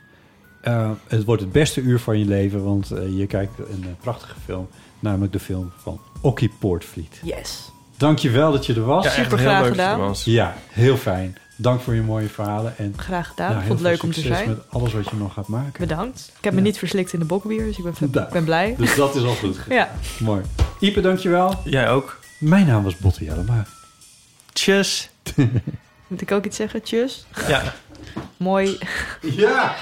Speaker 2: Eh, het wordt het beste uur van je leven, want eh, je kijkt een eh, prachtige film. Namelijk de film van Okkie Poortvliet.
Speaker 4: Yes.
Speaker 2: Dankjewel dat je er was.
Speaker 4: Ja, echt Supergraag heel leuk dat je er gedaan. was.
Speaker 2: Ja, heel fijn. Dank voor je mooie verhalen. En
Speaker 4: Graag gedaan.
Speaker 2: Nou, heel
Speaker 4: Vond het leuk
Speaker 2: veel
Speaker 4: om te
Speaker 2: succes
Speaker 4: zijn.
Speaker 2: met alles wat je nog gaat maken.
Speaker 4: Bedankt. Ik heb me
Speaker 2: Ja.
Speaker 4: niet verslikt in de bokbier, dus ik ben,
Speaker 2: Nou,
Speaker 4: ik ben blij.
Speaker 2: Dus dat is al goed.
Speaker 4: Ja.
Speaker 2: Mooi. Ipe, dankjewel.
Speaker 3: Jij ook.
Speaker 2: Mijn naam was Botte Jellema.
Speaker 3: Tjus.
Speaker 4: Moet ik ook iets zeggen? Tjus.
Speaker 3: Ja.
Speaker 4: Mooi.
Speaker 2: Ja.